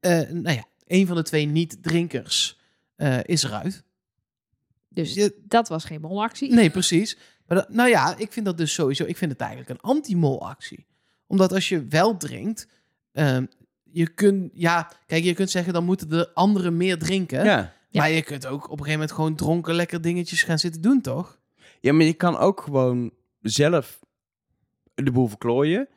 [SPEAKER 2] eh, nou ja, een van de twee niet-drinkers eh, is eruit.
[SPEAKER 3] Dus
[SPEAKER 2] Je-
[SPEAKER 3] dat was geen molactie.
[SPEAKER 2] Nee, precies. Maar dat- nou ja, ik vind dat dus sowieso. Ik vind het eigenlijk een anti-mol-actie. Omdat als je wel drinkt, ehm, je kunt, ja, kijk, je kunt zeggen dan moeten de anderen meer drinken.
[SPEAKER 1] Ja.
[SPEAKER 3] Ja.
[SPEAKER 2] Maar je kunt ook op een gegeven moment gewoon dronken lekker dingetjes gaan zitten doen, toch?
[SPEAKER 1] ja, maar je kan ook gewoon zelf de boel verklooien.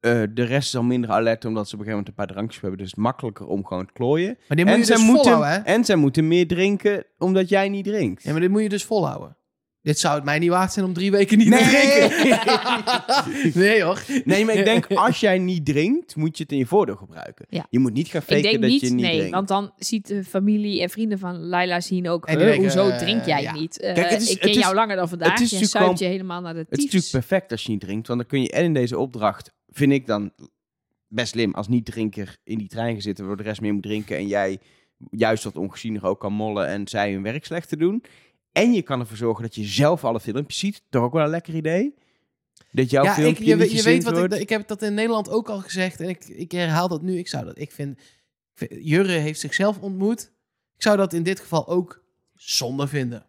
[SPEAKER 1] Eh, de rest is al minder alert omdat ze op een gegeven moment een paar drankjes hebben. Dus het is makkelijker om gewoon te klooien.
[SPEAKER 2] Maar dit moet je
[SPEAKER 1] zij
[SPEAKER 2] dus
[SPEAKER 1] moeten,
[SPEAKER 2] volhouden, hè?
[SPEAKER 1] en zij moeten meer drinken omdat jij niet drinkt.
[SPEAKER 2] Ja, maar dit moet je dus volhouden. Dit zou het mij niet waard zijn om drie weken niet
[SPEAKER 1] Nee.
[SPEAKER 2] te drinken. nee hoor.
[SPEAKER 1] Nee, maar ik denk als jij niet drinkt, moet je het in je voordeel gebruiken.
[SPEAKER 3] Ja.
[SPEAKER 1] Je moet niet gaan
[SPEAKER 3] Ik
[SPEAKER 1] faken
[SPEAKER 3] denk
[SPEAKER 1] dat
[SPEAKER 3] niet,
[SPEAKER 1] je niet
[SPEAKER 3] nee,
[SPEAKER 1] drinkt.
[SPEAKER 3] want dan ziet de familie en vrienden van Laila zien ook,
[SPEAKER 2] En die
[SPEAKER 3] "Huh,
[SPEAKER 2] denken,
[SPEAKER 3] hoezo
[SPEAKER 2] eh,
[SPEAKER 3] drink jij
[SPEAKER 2] ja.
[SPEAKER 3] niet? Eh,
[SPEAKER 1] Kijk, het is-
[SPEAKER 3] ik ken
[SPEAKER 1] het is-
[SPEAKER 3] jou langer dan vandaag,
[SPEAKER 1] is
[SPEAKER 3] je
[SPEAKER 1] natuurlijk
[SPEAKER 3] zuipt
[SPEAKER 1] gewoon-
[SPEAKER 3] je helemaal naar de
[SPEAKER 1] Het is
[SPEAKER 3] tyfus.
[SPEAKER 1] natuurlijk perfect als je niet drinkt, want dan kun je en in deze opdracht, vind ik dan best slim, als niet-drinker in die trein gaan zitten, waar de rest meer moet drinken en jij juist wat ongeziener ook kan mollen en zij hun werk slecht te doen. En je kan ervoor zorgen dat je zelf alle filmpjes ziet, toch ook wel een lekker idee. Dat jouw
[SPEAKER 2] ja, ik,
[SPEAKER 1] filmpje
[SPEAKER 2] je,
[SPEAKER 1] niet
[SPEAKER 2] je weet
[SPEAKER 1] gezien
[SPEAKER 2] wat ik,
[SPEAKER 1] wordt.
[SPEAKER 2] ik heb dat in Nederland ook al gezegd en ik, ik herhaal dat nu. Ik zou dat, ik vind, ik vind- Jurre heeft zichzelf ontmoet. Ik zou dat in dit geval ook zonde vinden.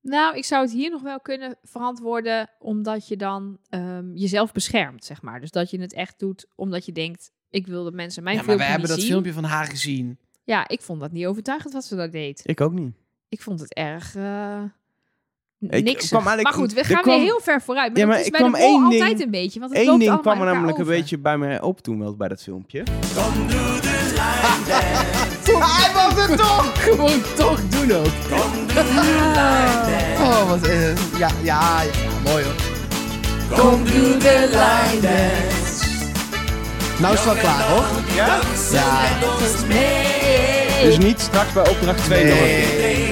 [SPEAKER 3] Nou, ik zou het hier nog wel kunnen verantwoorden, omdat je dan ehm, jezelf beschermt, zeg maar. Dus dat je het echt doet omdat je denkt, ik wil dat mensen mijn
[SPEAKER 2] ja, maar we
[SPEAKER 3] filmpje
[SPEAKER 2] hebben dat
[SPEAKER 3] niet zien.
[SPEAKER 2] filmpje van haar gezien.
[SPEAKER 3] Ja, ik vond dat niet overtuigend wat ze dat deed.
[SPEAKER 1] Ik ook niet.
[SPEAKER 3] Ik vond het erg... eh
[SPEAKER 1] kwam
[SPEAKER 3] Niks.
[SPEAKER 1] eigenlijk-
[SPEAKER 3] Maar goed, we
[SPEAKER 1] er
[SPEAKER 3] gaan
[SPEAKER 1] kwam-
[SPEAKER 3] weer heel ver vooruit. Maar
[SPEAKER 1] Ja,
[SPEAKER 3] dat
[SPEAKER 1] maar
[SPEAKER 3] is
[SPEAKER 1] er
[SPEAKER 3] bij de
[SPEAKER 1] kwam
[SPEAKER 3] mol
[SPEAKER 1] één
[SPEAKER 3] altijd
[SPEAKER 1] ding-
[SPEAKER 3] een beetje. Want het
[SPEAKER 1] Eén
[SPEAKER 3] loopt
[SPEAKER 1] ding
[SPEAKER 3] allemaal
[SPEAKER 1] kwam er
[SPEAKER 3] elkaar
[SPEAKER 1] namelijk
[SPEAKER 3] over.
[SPEAKER 1] een beetje bij mij op toen wel bij dat filmpje.
[SPEAKER 2] Hij was het toch! Gewoon toch doen ook. Oh, wat... eh, ja, ja, ja, mooi hoor. Kom doe de line Nou is het wel klaar hoor. Ja? Ja.
[SPEAKER 1] Dus niet straks bij opdracht 2 nog een keer.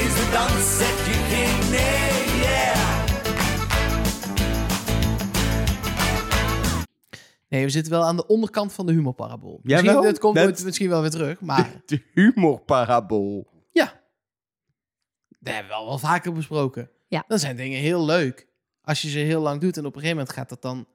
[SPEAKER 2] Nee, we zitten wel aan de onderkant van de humorparabool.
[SPEAKER 1] Ja,
[SPEAKER 2] misschien,
[SPEAKER 1] wel?
[SPEAKER 2] het komt
[SPEAKER 1] Dat-
[SPEAKER 2] ooit misschien wel weer terug, maar
[SPEAKER 1] De humorparabool.
[SPEAKER 2] ja. Dat hebben we al wel vaker besproken.
[SPEAKER 3] Ja.
[SPEAKER 2] Dan zijn dingen heel leuk. Als je ze heel lang doet en op een gegeven moment gaat dat dan...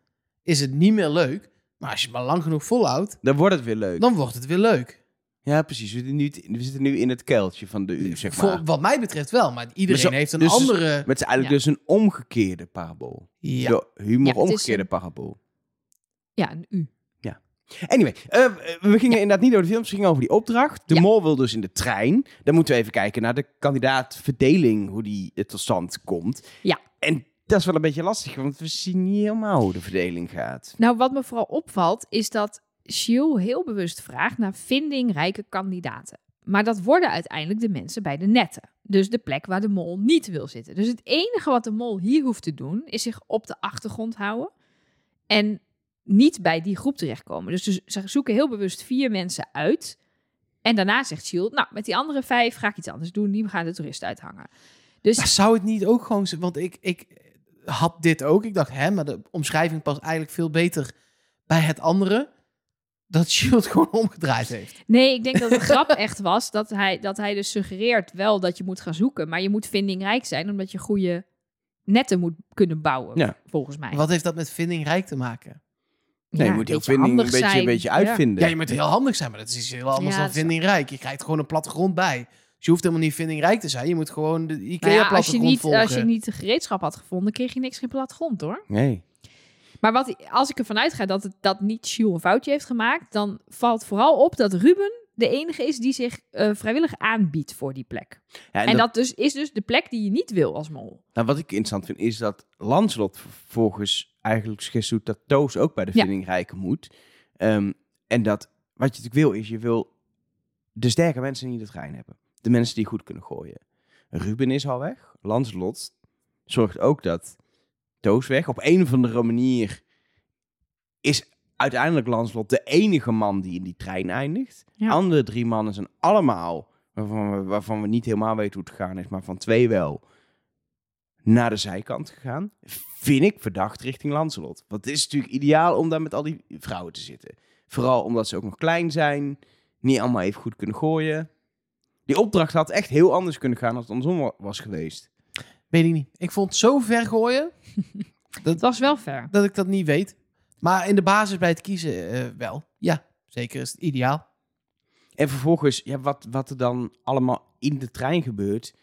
[SPEAKER 2] is het niet meer leuk. Maar als je het maar lang genoeg volhoudt,
[SPEAKER 1] Dan wordt het weer leuk.
[SPEAKER 2] dan wordt het weer leuk.
[SPEAKER 1] Ja, precies. We zitten nu, we zitten nu in het kuiltje van de U, zeg maar.
[SPEAKER 2] Voor, wat mij betreft wel, maar iedereen
[SPEAKER 1] Maar zo-
[SPEAKER 2] heeft een
[SPEAKER 1] dus-
[SPEAKER 2] andere...
[SPEAKER 1] Maar het is eigenlijk dus een omgekeerde parabool.
[SPEAKER 2] Ja.
[SPEAKER 1] De humor
[SPEAKER 3] Ja, het is
[SPEAKER 1] omgekeerde parabool.
[SPEAKER 3] Ja, een U.
[SPEAKER 1] Anyway, eh, we gingen inderdaad niet over de films, we gingen over die opdracht. De
[SPEAKER 3] Ja.
[SPEAKER 1] mol wil dus in de trein. Dan moeten we even kijken naar de kandidaatverdeling, hoe die eh, tot stand komt.
[SPEAKER 3] Ja.
[SPEAKER 1] En Dat is wel een beetje lastig, want we zien niet helemaal hoe de verdeling gaat.
[SPEAKER 3] Nou, wat me vooral opvalt, is dat Shiel heel bewust vraagt naar vindingrijke kandidaten. Maar dat worden uiteindelijk de mensen bij de netten. Dus de plek waar de mol niet wil zitten. Dus het enige wat de mol hier hoeft te doen, is zich op de achtergrond houden. En niet bij die groep terechtkomen. Dus ze- ze zoeken heel bewust vier mensen uit. En daarna zegt Shield, nou, met die andere vijf ga ik iets anders doen. Die gaan de toeristen uithangen. Dus
[SPEAKER 2] Maar zou het niet ook gewoon... zo- Want ik, ik had dit ook. Ik dacht, hè, maar de omschrijving past eigenlijk veel beter bij het andere. Dat Shield gewoon omgedraaid heeft.
[SPEAKER 3] Nee, ik denk dat de grap echt was dat hij, dat hij dus suggereert wel dat je moet gaan zoeken. Maar je moet vindingrijk zijn, omdat je goede netten moet kunnen bouwen,
[SPEAKER 1] Ja.
[SPEAKER 3] volgens mij.
[SPEAKER 2] Wat heeft dat met vindingrijk te maken?
[SPEAKER 1] Nee,
[SPEAKER 3] Ja,
[SPEAKER 1] je moet heel
[SPEAKER 3] beetje
[SPEAKER 1] vinding een
[SPEAKER 3] handig
[SPEAKER 1] beetje, een
[SPEAKER 3] zijn.
[SPEAKER 1] beetje
[SPEAKER 3] Ja.
[SPEAKER 1] uitvinden.
[SPEAKER 2] Ja, je moet heel handig zijn, maar dat is iets heel anders
[SPEAKER 3] Ja,
[SPEAKER 2] dan
[SPEAKER 3] dat is-
[SPEAKER 2] vindingrijk. Je krijgt gewoon een plattegrond bij. Dus je hoeft helemaal niet vindingrijk te zijn. Je moet gewoon de
[SPEAKER 3] Nou ja, als, je
[SPEAKER 2] IKEA-plattegrond
[SPEAKER 3] niet,
[SPEAKER 2] volgen.
[SPEAKER 3] als je niet de gereedschap had gevonden, kreeg je niks geen platgrond hoor.
[SPEAKER 1] Nee.
[SPEAKER 3] Maar wat, als ik ervan uitga dat, het, dat niet Sjoel een foutje heeft gemaakt, dan valt vooral op dat Ruben de enige is die zich eh, vrijwillig aanbiedt voor die plek.
[SPEAKER 1] Ja,
[SPEAKER 3] En,
[SPEAKER 1] dat-
[SPEAKER 3] dat, dus, is dus de plek die je niet wil als mol.
[SPEAKER 1] Nou, wat ik interessant vind, is dat Lancelot vervolgens eigenlijk suggestie doet dat Toos ook bij de
[SPEAKER 3] Ja.
[SPEAKER 1] vindingrijken moet. Ehm, en dat, wat je natuurlijk wil, is je wil de sterke mensen niet het trein hebben. De mensen die goed kunnen gooien. Ruben is al weg. Lancelot zorgt ook dat Toos weg. Op een of andere manier is uiteindelijk Lancelot de enige man die in die trein eindigt.
[SPEAKER 3] Ja.
[SPEAKER 1] Andere drie mannen zijn allemaal, waarvan we, waarvan we niet helemaal weten hoe het gegaan is, maar van twee wel, naar de zijkant gegaan. Vind ik verdacht richting Lancelot. Want het is natuurlijk ideaal om daar met al die vrouwen te zitten. Vooral omdat ze ook nog klein zijn, niet allemaal even goed kunnen gooien. Die opdracht had echt heel anders kunnen gaan als het andersom wa- was geweest.
[SPEAKER 2] Weet ik niet. Ik vond het zo ver gooien
[SPEAKER 3] Het was wel ver.
[SPEAKER 2] dat ik dat niet weet. Maar in de basis bij het kiezen eh, wel. Ja, zeker is het ideaal.
[SPEAKER 1] En vervolgens, ja, wat, wat er dan allemaal in de trein gebeurt,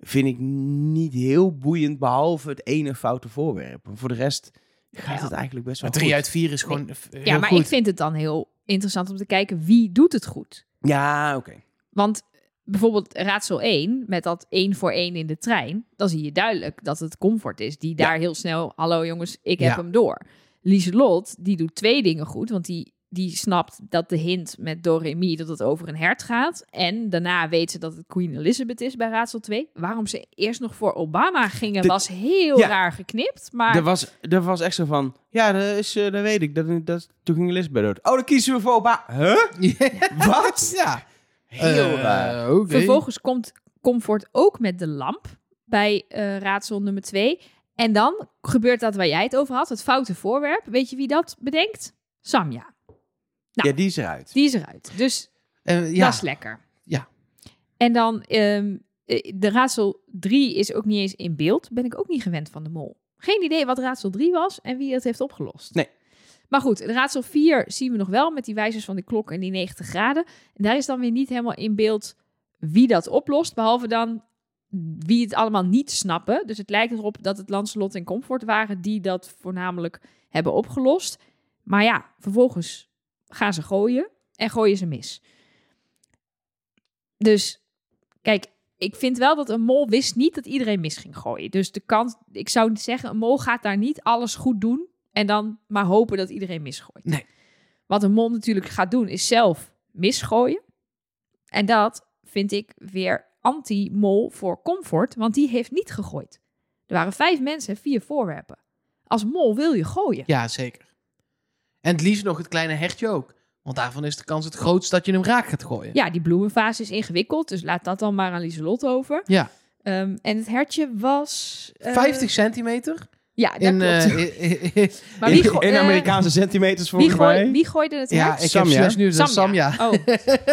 [SPEAKER 1] vind ik niet heel boeiend, behalve het ene foute voorwerp. Maar voor de rest gaat
[SPEAKER 3] Ja.
[SPEAKER 1] het eigenlijk best wel
[SPEAKER 2] Maar drie
[SPEAKER 1] goed.
[SPEAKER 2] uit vier is gewoon eh, heel
[SPEAKER 3] Ja, maar
[SPEAKER 2] goed.
[SPEAKER 3] ik vind het dan heel interessant om te kijken wie doet het goed.
[SPEAKER 1] Ja, oké.
[SPEAKER 3] Want bijvoorbeeld raadsel 1, met dat één voor één in de trein, dan zie je duidelijk dat het comfort is. Die daar heel snel, hallo jongens, ik heb
[SPEAKER 2] Ja.
[SPEAKER 3] hem door. Lieselot, die doet twee dingen goed, want die, die snapt dat de hint met Doremi dat het over een hert gaat. En daarna weet ze dat het Queen Elizabeth is bij raadsel 2. Waarom ze eerst nog voor Obama gingen,
[SPEAKER 1] De-
[SPEAKER 3] was heel
[SPEAKER 1] Ja.
[SPEAKER 3] raar geknipt. Maar
[SPEAKER 1] Er, was, er was echt zo van, ja, dat, is, eh, dat weet ik. Dat, dat, toen ging Elizabeth dood. Oh, dan kiezen we voor Oba. Huh? Wat? nou.
[SPEAKER 2] ja.
[SPEAKER 1] Heel
[SPEAKER 2] Eh,
[SPEAKER 1] raar.
[SPEAKER 2] oké.
[SPEAKER 3] Vervolgens komt Comfort ook met de lamp bij eh, raadsel nummer 2. En dan gebeurt dat waar jij het over had, het foute voorwerp. Weet je wie dat bedenkt? Samja. Nou.
[SPEAKER 1] Ja, die is eruit.
[SPEAKER 3] Die is eruit. Dus
[SPEAKER 2] Eh, ja.
[SPEAKER 3] dat is lekker.
[SPEAKER 2] Ja.
[SPEAKER 3] En dan, ehm, eh, de raadsel 3 is ook niet eens in beeld. Ben ik ook niet gewend van de mol. Geen idee wat raadsel 3 was en wie het heeft opgelost.
[SPEAKER 1] Nee.
[SPEAKER 3] Maar goed, in raadsel 4 zien we nog wel met die wijzers van de klok en die 90 graden. En daar is dan weer niet helemaal in beeld wie dat oplost. Behalve dan wie het allemaal niet snappen. Dus het lijkt erop dat het Lancelot en Comfort waren die dat voornamelijk hebben opgelost. Maar ja, vervolgens gaan ze gooien en gooien ze mis. Dus kijk, ik vind wel dat een mol wist niet dat iedereen mis ging gooien. Dus de kans, ik zou niet zeggen, een mol gaat daar niet alles goed doen en dan maar hopen dat iedereen misgooit.
[SPEAKER 2] Nee.
[SPEAKER 3] Wat een mol natuurlijk gaat doen is zelf misgooien. En dat vind ik weer anti-mol voor comfort, want die heeft niet gegooid. Er waren vijf mensen en vier voorwerpen. Als mol wil je gooien.
[SPEAKER 2] ja, zeker. En het liefst nog het kleine hertje ook. Want daarvan is de kans het grootst dat je hem raak gaat gooien.
[SPEAKER 3] Ja, die bloemenfase is ingewikkeld, dus laat dat dan maar aan Lieselot over.
[SPEAKER 2] Ja.
[SPEAKER 3] Ehm, en het hertje was... eh,
[SPEAKER 2] 50 centimeter.
[SPEAKER 3] Ja, dat
[SPEAKER 2] In,
[SPEAKER 3] klopt.
[SPEAKER 2] eh,
[SPEAKER 3] maar
[SPEAKER 1] in,
[SPEAKER 3] wie go-
[SPEAKER 1] in
[SPEAKER 3] eh,
[SPEAKER 1] Amerikaanse centimeters
[SPEAKER 3] wie,
[SPEAKER 1] volgens
[SPEAKER 3] gooi,
[SPEAKER 1] mij.
[SPEAKER 3] wie gooide het
[SPEAKER 2] ja,
[SPEAKER 3] hertje?
[SPEAKER 2] ik
[SPEAKER 1] Samja.
[SPEAKER 2] heb slechts nu de Samja.
[SPEAKER 3] Oh,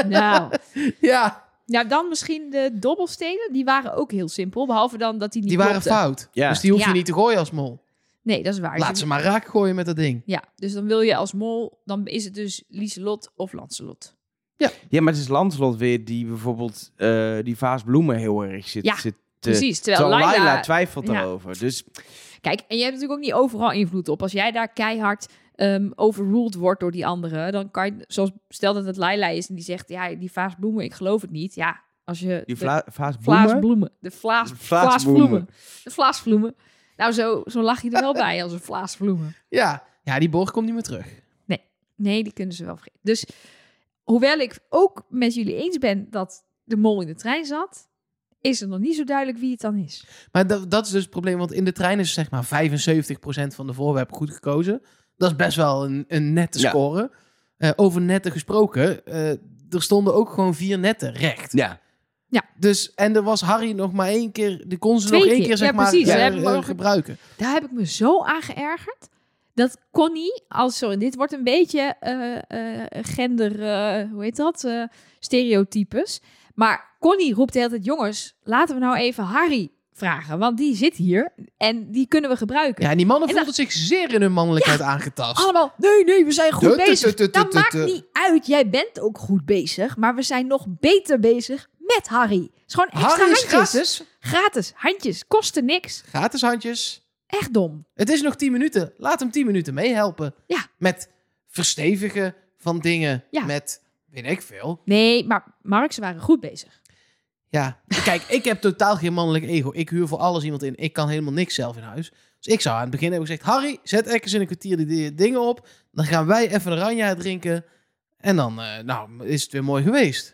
[SPEAKER 3] nou.
[SPEAKER 2] Ja,
[SPEAKER 3] nou, dan misschien de dobbelstenen. Die waren ook heel simpel, behalve dan dat die niet
[SPEAKER 2] die waren
[SPEAKER 3] klopten.
[SPEAKER 2] fout.
[SPEAKER 1] Ja.
[SPEAKER 2] Dus die hoef je
[SPEAKER 3] Ja.
[SPEAKER 2] niet te gooien als mol.
[SPEAKER 3] Nee, dat is waar.
[SPEAKER 2] Laat ze maar raak gooien met dat ding.
[SPEAKER 3] Ja, dus dan wil je als mol, dan is het dus Lieselot of Lancelot.
[SPEAKER 1] Ja, maar het is Lancelot weer die bijvoorbeeld eh, die vaas bloemen heel erg zit,
[SPEAKER 3] Ja,
[SPEAKER 1] zit te...
[SPEAKER 3] Precies, terwijl
[SPEAKER 1] Terwijl
[SPEAKER 3] Laila...
[SPEAKER 1] Laila twijfelt
[SPEAKER 3] Ja.
[SPEAKER 1] daarover. Dus
[SPEAKER 3] Kijk, en je hebt natuurlijk ook niet overal invloed op. Als jij daar keihard ehm, overruled wordt door die anderen, dan kan je, zoals stel dat het Laila is en die zegt, ja, die vaas bloemen, ik geloof het niet. Ja, als je
[SPEAKER 1] die
[SPEAKER 3] de
[SPEAKER 1] vla- vaas
[SPEAKER 3] Vlaas
[SPEAKER 1] bloemen...
[SPEAKER 3] bloemen. De Vlaas,
[SPEAKER 1] De
[SPEAKER 3] Vlaas,
[SPEAKER 1] Vlaas
[SPEAKER 3] bloemen.
[SPEAKER 1] bloemen.
[SPEAKER 3] De Vlaas bloemen. Nou, zo, zo lag je er wel bij als een vlaas bloemen.
[SPEAKER 2] Ja. ja, die borg komt niet meer terug.
[SPEAKER 3] Nee, die kunnen ze wel vergeten. Dus hoewel ik ook met jullie eens ben dat de mol in de trein zat, is het nog niet zo duidelijk wie het dan is.
[SPEAKER 2] Maar dat, dat is dus het probleem, want in de trein is zeg maar 75% van de voorwerpen goed gekozen. Dat is best wel een, een nette
[SPEAKER 1] Ja.
[SPEAKER 2] score. Eh, over netten gesproken, eh, er stonden ook gewoon vier netten recht.
[SPEAKER 1] Ja.
[SPEAKER 2] Dus, en er was Harry nog maar één keer, die kon ze
[SPEAKER 3] Twee
[SPEAKER 2] nog één
[SPEAKER 3] keer.
[SPEAKER 2] keer zeg
[SPEAKER 3] Ja,
[SPEAKER 2] maar
[SPEAKER 3] precies.
[SPEAKER 2] eh,
[SPEAKER 3] Ze hebben
[SPEAKER 2] eh,
[SPEAKER 3] nog-
[SPEAKER 2] gebruiken.
[SPEAKER 3] Daar heb ik me zo aan geërgerd. Dat Connie, als zo, en dit wordt een beetje eh, eh, gender, eh, hoe heet dat? Eh, stereotypes. Maar Connie roept de hele tijd: jongens, laten we nou even Harry vragen. Want die zit hier en die kunnen we gebruiken.
[SPEAKER 2] Ja, en die mannen
[SPEAKER 3] En
[SPEAKER 2] voelden zich zeer in hun mannelijkheid aangetast.
[SPEAKER 3] Allemaal, nee, nee, we zijn goed
[SPEAKER 2] Tut, tut,
[SPEAKER 3] bezig.
[SPEAKER 2] tut, tut,
[SPEAKER 3] dat
[SPEAKER 2] tut,
[SPEAKER 3] maakt
[SPEAKER 2] tut.
[SPEAKER 3] niet uit. Jij bent ook goed bezig. Maar we zijn nog beter bezig met Harry. Het is gewoon extra
[SPEAKER 2] Harry is
[SPEAKER 3] handjes.
[SPEAKER 2] gratis.
[SPEAKER 3] Gratis, handjes. Kosten niks.
[SPEAKER 2] Gratis handjes.
[SPEAKER 3] Echt dom.
[SPEAKER 2] Het is nog 10 minuten. Laat hem 10 minuten meehelpen.
[SPEAKER 3] Ja.
[SPEAKER 2] Met verstevigen van dingen.
[SPEAKER 3] Ja.
[SPEAKER 2] Met, weet ik veel.
[SPEAKER 3] Nee, maar Mark, ze waren goed bezig.
[SPEAKER 2] Ja. Kijk, ik heb totaal geen mannelijk ego. Ik huur voor alles iemand in. Ik kan helemaal niks zelf in huis. Dus ik zou aan het begin hebben gezegd... Harry, zet ergens in een kwartier die, die dingen op. Dan gaan wij even een ranja drinken. En dan, eh, nou, is het weer mooi geweest.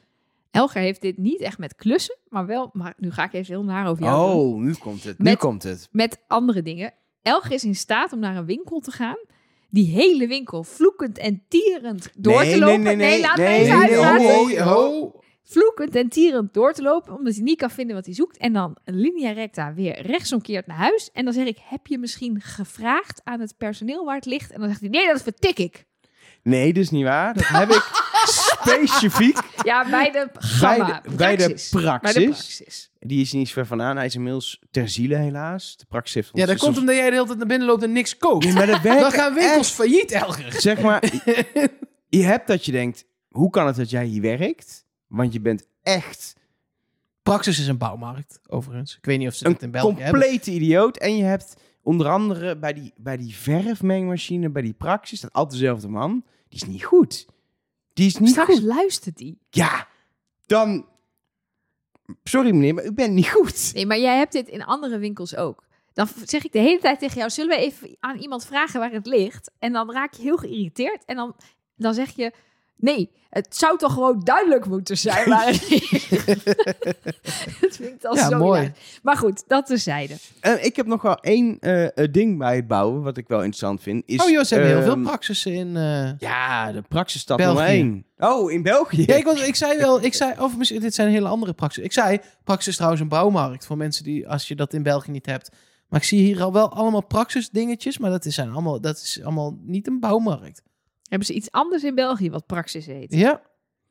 [SPEAKER 3] Elger heeft dit niet echt met klussen, maar wel... Maar nu ga ik even heel naar over jou. doen.
[SPEAKER 1] Oh, nu komt het. Nu
[SPEAKER 3] Met-
[SPEAKER 1] komt het.
[SPEAKER 3] Met andere dingen. Elger is in staat om naar een winkel te gaan. Die hele winkel vloekend en tierend door
[SPEAKER 1] Nee,
[SPEAKER 3] te
[SPEAKER 1] nee,
[SPEAKER 3] lopen.
[SPEAKER 1] nee, nee,
[SPEAKER 3] laat
[SPEAKER 1] nee,
[SPEAKER 3] me
[SPEAKER 1] nee,
[SPEAKER 3] even
[SPEAKER 1] nee,
[SPEAKER 3] uitpraten.
[SPEAKER 1] ho, ho,
[SPEAKER 3] vloekend en tierend door te lopen, omdat hij niet kan vinden wat hij zoekt. En dan een linea recta weer rechtsomkeert naar huis. En dan zeg ik, heb je misschien gevraagd aan het personeel waar het ligt? En dan zegt hij, nee, dat vertik ik.
[SPEAKER 1] Nee, dat is niet waar. Dat heb ik specifiek.
[SPEAKER 3] Ja, bij de gamma.
[SPEAKER 1] de- bij de
[SPEAKER 3] Bij
[SPEAKER 1] praxis.
[SPEAKER 3] de praxis.
[SPEAKER 1] Die is er niet zo ver vandaan. Hij is inmiddels ter ziele helaas. De praxis heeft ons
[SPEAKER 2] Ja, dat komt
[SPEAKER 1] soms-
[SPEAKER 2] omdat jij de hele tijd naar binnen loopt en niks koopt.
[SPEAKER 1] Nee, maar dat werkt
[SPEAKER 2] Dan gaan winkels
[SPEAKER 1] echt.
[SPEAKER 2] failliet, Elger.
[SPEAKER 1] Zeg maar, je hebt dat je denkt, hoe kan het dat jij hier werkt? Want je bent echt
[SPEAKER 2] Praxis is een bouwmarkt, overigens. Ik weet niet of ze
[SPEAKER 1] een
[SPEAKER 2] dat in België hebben.
[SPEAKER 1] complete idioot. En je hebt onder andere bij die, bij die verfmengmachine, bij die praxis, dat altijd dezelfde man. Die is niet goed. Die is niet
[SPEAKER 3] Straks
[SPEAKER 1] goed.
[SPEAKER 3] luistert hij.
[SPEAKER 1] Ja, dan... Sorry meneer, maar u bent niet goed.
[SPEAKER 3] Nee, maar jij hebt dit in andere winkels ook. Dan v- zeg ik de hele tijd tegen jou, zullen we even aan iemand vragen waar het ligt? En dan raak je heel geïrriteerd. En dan, dan zeg je, nee, het zou toch gewoon duidelijk moeten zijn waar het ligt? dat vind ik dan
[SPEAKER 2] Ja,
[SPEAKER 3] zo
[SPEAKER 2] mooi.
[SPEAKER 3] hilarisch. Maar goed, dat tezijde.
[SPEAKER 1] Eh, ik heb nog wel één eh, eh, ding bij het bouwen, wat ik wel interessant vind. Is,
[SPEAKER 2] oh joh, ze hebben heel veel
[SPEAKER 1] ehm,
[SPEAKER 2] praxissen in... eh,
[SPEAKER 1] Ja, de praxisstad
[SPEAKER 2] België.
[SPEAKER 1] nummer één. Oh, in België?
[SPEAKER 2] Ja, ik, was- ik zei wel, ik zei, of misschien, dit zijn hele andere praxis. Ik zei, praxis is trouwens een bouwmarkt voor mensen die, als je dat in België niet hebt. Maar ik zie hier al wel allemaal praxis dingetjes, maar dat is, zijn allemaal, dat is allemaal niet een bouwmarkt.
[SPEAKER 3] Hebben ze iets anders in België wat praxis heet?
[SPEAKER 2] Ja,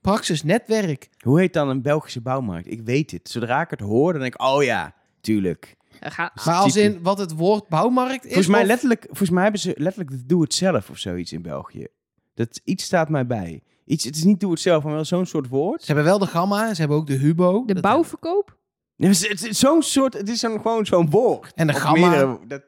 [SPEAKER 2] praxis netwerk.
[SPEAKER 1] Hoe heet dan een Belgische bouwmarkt? Ik weet het. Zodra ik het hoor, dan denk ik, oh ja, tuurlijk.
[SPEAKER 3] We gaan-
[SPEAKER 2] Maar als in wat het woord bouwmarkt is.
[SPEAKER 1] Volgens mij,
[SPEAKER 2] of-
[SPEAKER 1] letterlijk, volgens mij hebben ze letterlijk de doe het zelf of zoiets in België. Dat iets staat mij bij. Iets, het is niet doe het zelf, maar wel zo'n soort woord.
[SPEAKER 2] Ze hebben wel de gamma, ze hebben ook de hubo.
[SPEAKER 3] de
[SPEAKER 2] Dat-
[SPEAKER 3] bouwverkoop?
[SPEAKER 1] Ja, het is- het is zo'n soort, het is zo'n- gewoon zo'n woord.
[SPEAKER 2] En de
[SPEAKER 1] Of
[SPEAKER 2] gamma.
[SPEAKER 1] meerdere- dat...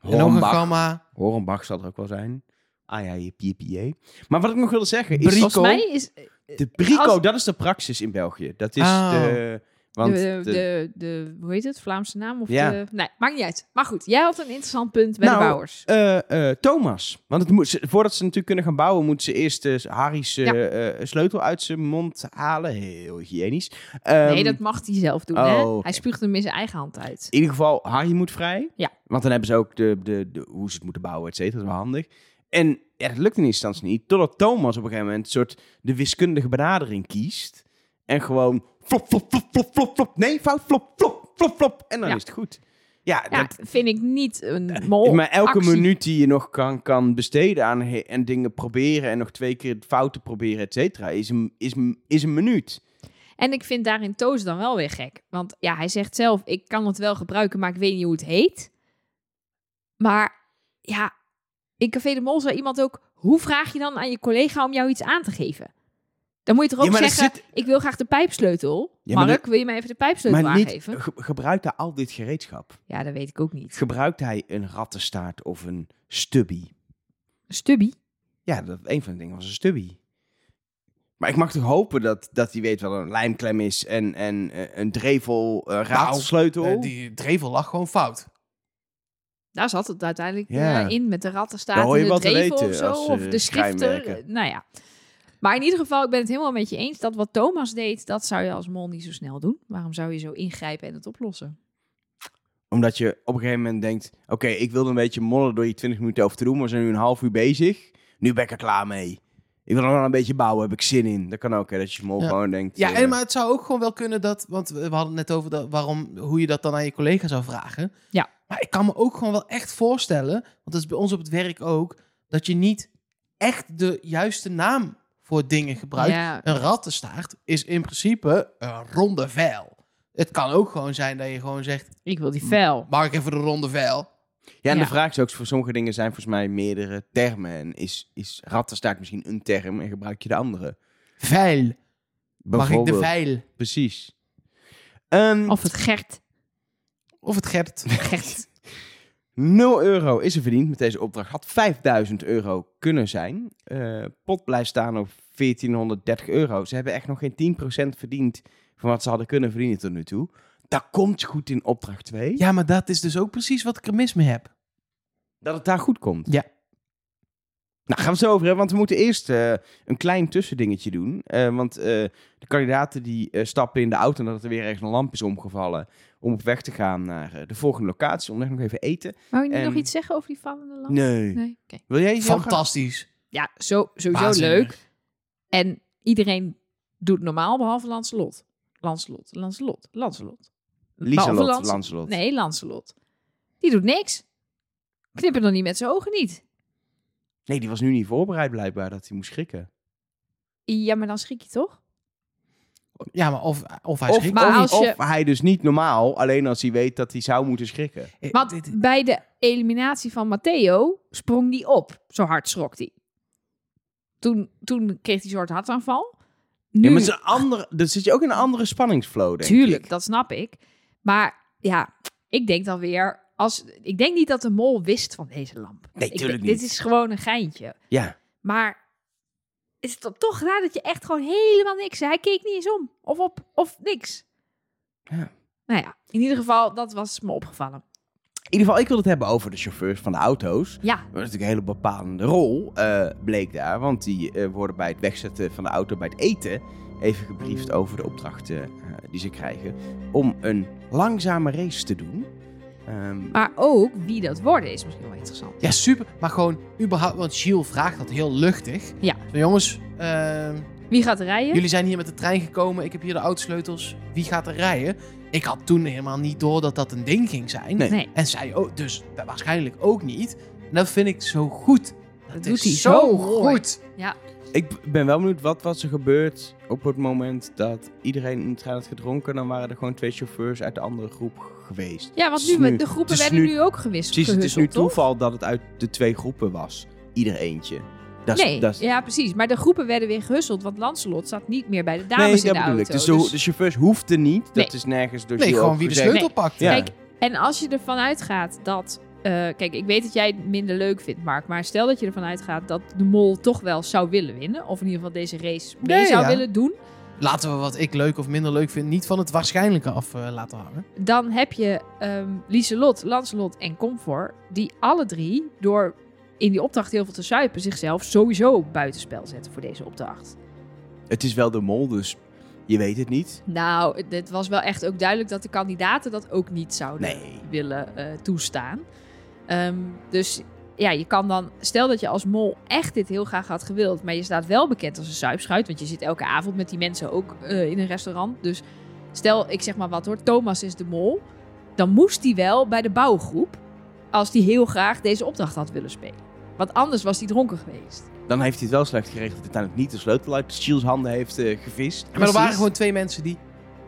[SPEAKER 2] En nog een
[SPEAKER 1] Hornbach.
[SPEAKER 2] gamma.
[SPEAKER 1] Hornbach zal er ook wel zijn. Ah ja, je PPA. Maar wat ik nog wilde zeggen is...
[SPEAKER 2] Brico.
[SPEAKER 3] Volgens mij is eh,
[SPEAKER 1] De brico,
[SPEAKER 3] Als-
[SPEAKER 1] dat is de praxis in België. Dat is
[SPEAKER 2] Ah.
[SPEAKER 1] de... Want
[SPEAKER 3] de,
[SPEAKER 1] de-
[SPEAKER 3] de, de, hoe heet het, Vlaamse naam? Of
[SPEAKER 1] Ja.
[SPEAKER 3] de, nee, maakt niet uit. Maar goed, jij had een interessant punt bij
[SPEAKER 1] Nou,
[SPEAKER 3] de bouwers.
[SPEAKER 1] eh, eh, Thomas. Want het moet, ze- voordat ze natuurlijk kunnen gaan bouwen, moeten ze eerst eh, Harry's eh,
[SPEAKER 3] Ja.
[SPEAKER 1] eh, sleutel uit zijn mond halen. Heel hygiënisch. Ehm,
[SPEAKER 3] nee, dat mag hij zelf doen.
[SPEAKER 1] oh,
[SPEAKER 3] hè?
[SPEAKER 1] oké.
[SPEAKER 3] Hij spuugt hem in zijn eigen hand uit.
[SPEAKER 1] In ieder geval, Harry moet vrij.
[SPEAKER 3] Ja.
[SPEAKER 1] Want dan hebben ze ook de, de, de, hoe ze het moeten bouwen, et cetera. Dat is wel handig. En ja, dat lukt in eerste instantie niet. Totdat Thomas op een gegeven moment een soort de wiskundige benadering kiest. En gewoon flop, flop, flop, flop, flop, flop. Nee, fout, flop, flop, flop, flop. En dan
[SPEAKER 3] Ja.
[SPEAKER 1] is het goed. Ja,
[SPEAKER 3] Ja,
[SPEAKER 1] dat,
[SPEAKER 3] vind ik niet een mol.
[SPEAKER 1] maar elke
[SPEAKER 3] Oh, actie.
[SPEAKER 1] minuut die je nog kan, kan besteden aan he- en dingen proberen en nog twee keer fouten proberen, et cetera, is een, is, een- is een minuut.
[SPEAKER 3] En ik vind daarin Toos dan wel weer gek. Want ja, hij zegt zelf, ik kan het wel gebruiken, maar ik weet niet hoe het heet. Maar ja, in Café de Mol zei iemand ook... Hoe vraag je dan aan je collega om jou iets aan te geven? Dan moet je toch
[SPEAKER 1] Ja,
[SPEAKER 3] ook
[SPEAKER 1] maar er
[SPEAKER 3] zeggen, ik wil graag de pijpsleutel.
[SPEAKER 1] Ja, maar
[SPEAKER 3] Mark, wil je mij even de pijpsleutel
[SPEAKER 1] Maar niet,
[SPEAKER 3] aangeven?
[SPEAKER 1] ge- gebruikt hij al dit gereedschap?
[SPEAKER 3] Ja, dat weet ik ook niet.
[SPEAKER 1] Gebruikt hij een rattenstaart of een stubby?
[SPEAKER 3] Stubby?
[SPEAKER 1] Ja, dat, een van de dingen was een stubby. Maar ik mag toch hopen dat, dat hij weet wat een lijmklem is en, en eh, een drevel, eh, raadsleutel.
[SPEAKER 2] Eh, die drevel lag gewoon fout.
[SPEAKER 3] Daar zat het uiteindelijk
[SPEAKER 1] Ja.
[SPEAKER 3] eh, in met de
[SPEAKER 1] Daar
[SPEAKER 3] rattenstaat
[SPEAKER 1] hoor
[SPEAKER 3] en
[SPEAKER 1] je
[SPEAKER 3] de
[SPEAKER 1] wel te
[SPEAKER 3] dreven
[SPEAKER 1] weten
[SPEAKER 3] of zo.
[SPEAKER 1] als, eh,
[SPEAKER 3] of de schifter.
[SPEAKER 1] schrijnwerker.
[SPEAKER 3] eh, Nou ja. Maar in ieder geval, ik ben het helemaal met je eens dat wat Thomas deed, dat zou je als mol niet zo snel doen. Waarom zou je zo ingrijpen en het oplossen?
[SPEAKER 1] Omdat je op een gegeven moment denkt... Oké, ik wilde een beetje mollen door je 20 minuten over te doen. maar We zijn nu een half uur bezig. Nu ben ik er klaar mee. Ik wil nog wel een beetje bouwen. Heb ik zin in. Dat kan ook, hè. Dat je mol
[SPEAKER 2] Ja.
[SPEAKER 1] gewoon denkt...
[SPEAKER 2] Ja,
[SPEAKER 1] eh,
[SPEAKER 2] en, maar het zou ook gewoon wel kunnen dat... Want we we hadden het net over dat, waarom, hoe je dat dan aan je collega zou vragen.
[SPEAKER 3] Ja.
[SPEAKER 2] Maar ik kan me ook gewoon wel echt voorstellen... Want dat is bij ons op het werk ook... Dat je niet echt de juiste naam voor dingen gebruikt.
[SPEAKER 3] Ja,
[SPEAKER 2] Een rattenstaart is in principe een ronde vijl. Het kan ook gewoon zijn dat je gewoon zegt...
[SPEAKER 3] ik wil die fel.
[SPEAKER 2] Mag ik even de ronde vijl?
[SPEAKER 1] Ja, en
[SPEAKER 3] Ja.
[SPEAKER 1] de vraag is ook, voor sommige dingen zijn volgens mij meerdere termen. En is, is rattenstaart misschien een term en gebruik je de andere?
[SPEAKER 2] Vijl. Mag ik de
[SPEAKER 1] Bijvoorbeeld.
[SPEAKER 2] vijl?
[SPEAKER 1] Precies. Ehm,
[SPEAKER 3] Of het gert.
[SPEAKER 2] Of het Gert.
[SPEAKER 3] Gert.
[SPEAKER 1] 0 euro is er verdiend met deze opdracht. Had 5000 euro kunnen zijn. Eh, pot blijft staan op 1430 euro. Ze hebben echt nog geen 10% verdiend van wat ze hadden kunnen verdienen tot nu toe. Dat komt goed in opdracht 2.
[SPEAKER 2] Ja, maar dat is dus ook precies wat ik er mis mee heb.
[SPEAKER 1] Dat het daar goed komt.
[SPEAKER 2] Ja.
[SPEAKER 1] Nou, gaan we het zo over hebben, want we moeten eerst eh, een klein tussendingetje doen. Eh, want eh, de kandidaten die eh, stappen in de auto nadat er weer ergens een lamp is omgevallen... om op weg te gaan naar eh, de volgende locatie, om echt nog even eten.
[SPEAKER 3] Wou je nu
[SPEAKER 1] En-
[SPEAKER 3] nog iets zeggen over die vallende lamp?
[SPEAKER 1] Nee.
[SPEAKER 3] Nee? Oké.
[SPEAKER 1] Wil jij iets heel graag-
[SPEAKER 2] Fantastisch.
[SPEAKER 3] Ja, zo, sowieso
[SPEAKER 2] Waanzinnig.
[SPEAKER 3] leuk. En iedereen doet normaal behalve Lancelot. Lancelot, Lancelot, Lancelot.
[SPEAKER 2] Nou,
[SPEAKER 3] Behalve
[SPEAKER 1] Lieselot,
[SPEAKER 3] Lance-
[SPEAKER 1] Lancelot.
[SPEAKER 3] Nee, Lancelot. Die doet niks. Knippen nog niet met zijn ogen niet.
[SPEAKER 1] Nee, die was nu niet voorbereid blijkbaar dat hij moest schrikken.
[SPEAKER 3] Ja, maar dan schrik je toch?
[SPEAKER 2] Ja, maar of, of hij
[SPEAKER 1] Of,
[SPEAKER 2] schrikt.
[SPEAKER 3] maar
[SPEAKER 1] of-
[SPEAKER 3] als je-
[SPEAKER 1] of hij dus niet normaal, alleen als hij weet dat hij zou moeten schrikken.
[SPEAKER 2] Eh,
[SPEAKER 3] Want
[SPEAKER 2] dit-
[SPEAKER 3] bij de eliminatie van Matteo sprong die op. Zo hard schrok hij. Toen, toen kreeg hij een soort hartaanval. Nu,
[SPEAKER 1] Ja, maar het is een andere, dan zit je ook in een andere spanningsflow, denk
[SPEAKER 3] Tuurlijk,
[SPEAKER 1] ik.
[SPEAKER 3] dat snap ik. Maar ja, ik denk dan weer... Als, ik denk niet dat de mol wist van deze lamp.
[SPEAKER 1] Nee,
[SPEAKER 3] Ik
[SPEAKER 1] tuurlijk
[SPEAKER 3] denk,
[SPEAKER 1] niet.
[SPEAKER 3] Dit is gewoon een geintje.
[SPEAKER 1] Ja,
[SPEAKER 3] Maar is het dan toch raar dat je echt gewoon helemaal niks... Hij keek niet eens om. Of op, of niks.
[SPEAKER 1] Ja.
[SPEAKER 3] Nou ja, in ieder geval, dat was me opgevallen.
[SPEAKER 1] in ieder geval, ik wil het hebben over de chauffeurs van de auto's.
[SPEAKER 3] Ja,
[SPEAKER 1] Dat is natuurlijk een hele bepalende rol, eh, bleek daar. Want die eh, worden bij het wegzetten van de auto, bij het eten, even gebriefd over de opdrachten eh, die ze krijgen. Om een langzame race te doen. Ehm,
[SPEAKER 3] maar ook wie dat worden is misschien wel interessant.
[SPEAKER 2] Ja, super. Maar gewoon überhaupt, want Gilles vraagt dat heel luchtig.
[SPEAKER 3] Ja.
[SPEAKER 2] Zo, jongens, ehm,
[SPEAKER 3] Wie gaat er rijden?
[SPEAKER 2] jullie zijn hier met de trein gekomen. Ik heb hier de autosleutels. Wie gaat er rijden? Ik had toen helemaal niet door dat dat een ding ging zijn.
[SPEAKER 1] Nee.
[SPEAKER 3] Nee,
[SPEAKER 2] En zij ook, dus wa- waarschijnlijk ook niet. En dat vind ik zo goed. Dat,
[SPEAKER 3] doet
[SPEAKER 2] is
[SPEAKER 3] hij
[SPEAKER 2] zo
[SPEAKER 3] zo mooi.
[SPEAKER 2] goed.
[SPEAKER 1] Ik b- ben wel benieuwd wat was er gebeurd op het moment dat iedereen in de trein had gedronken. Dan waren er gewoon twee chauffeurs uit de andere groep geweest.
[SPEAKER 3] ja, want
[SPEAKER 1] Het is
[SPEAKER 3] nu,
[SPEAKER 1] nu-
[SPEAKER 3] de groepen
[SPEAKER 1] het is
[SPEAKER 3] werden nu,
[SPEAKER 1] nu-
[SPEAKER 3] ook gewisseld.
[SPEAKER 1] Precies, het is nu
[SPEAKER 3] gehusseld, toch?
[SPEAKER 1] toeval dat het uit de twee groepen was. Ieder eentje. Dat is-
[SPEAKER 3] Nee,
[SPEAKER 1] dat is-
[SPEAKER 3] ja, precies. Maar de groepen werden weer gehusteld, want Lancelot zat niet meer bij de
[SPEAKER 1] nee,
[SPEAKER 3] dames
[SPEAKER 1] dat
[SPEAKER 3] in de
[SPEAKER 1] bedoel
[SPEAKER 3] auto.
[SPEAKER 1] ik. Dus de, ho-
[SPEAKER 3] dus-
[SPEAKER 1] de chauffeurs hoefden niet. Dat
[SPEAKER 3] Nee.
[SPEAKER 1] is nergens door
[SPEAKER 2] Nee,
[SPEAKER 1] Gio
[SPEAKER 2] gewoon
[SPEAKER 1] ook
[SPEAKER 2] wie de
[SPEAKER 1] gezegd.
[SPEAKER 2] sleutel pakt.
[SPEAKER 1] Ja.
[SPEAKER 3] Kijk, en als je ervan uitgaat dat... eh, kijk, ik weet dat jij het minder leuk vindt, Mark. Maar stel dat je ervan uitgaat dat de mol toch wel zou willen winnen. Of in ieder geval deze race mee
[SPEAKER 2] Nee,
[SPEAKER 3] zou
[SPEAKER 2] ja.
[SPEAKER 3] willen doen.
[SPEAKER 2] Laten we wat ik leuk of minder leuk vind niet van het waarschijnlijke af eh, laten hangen.
[SPEAKER 3] Dan heb je ehm Lieselot, Lancelot en Comfort. Die alle drie, door in die opdracht heel veel te suipen... zichzelf sowieso buitenspel zetten voor deze opdracht.
[SPEAKER 1] Het is wel de mol, dus je weet het niet.
[SPEAKER 3] Nou, het was wel echt ook duidelijk dat de kandidaten dat ook niet zouden
[SPEAKER 1] Nee.
[SPEAKER 3] willen eh, toestaan. Ehm, dus ja, je kan dan, stel dat je als mol echt dit heel graag had gewild, maar je staat wel bekend als een suipschuit, want je zit elke avond met die mensen ook eh, in een restaurant. Dus stel, ik zeg maar wat hoor, Thomas is de mol, dan moest hij wel bij de bouwgroep, als hij heel graag deze opdracht had willen spelen. Want anders was hij dronken geweest.
[SPEAKER 1] Dan heeft hij het wel slecht geregeld dat hij uiteindelijk niet de sleutel uit Shields handen heeft eh, gevist.
[SPEAKER 2] Maar er waren gewoon twee mensen die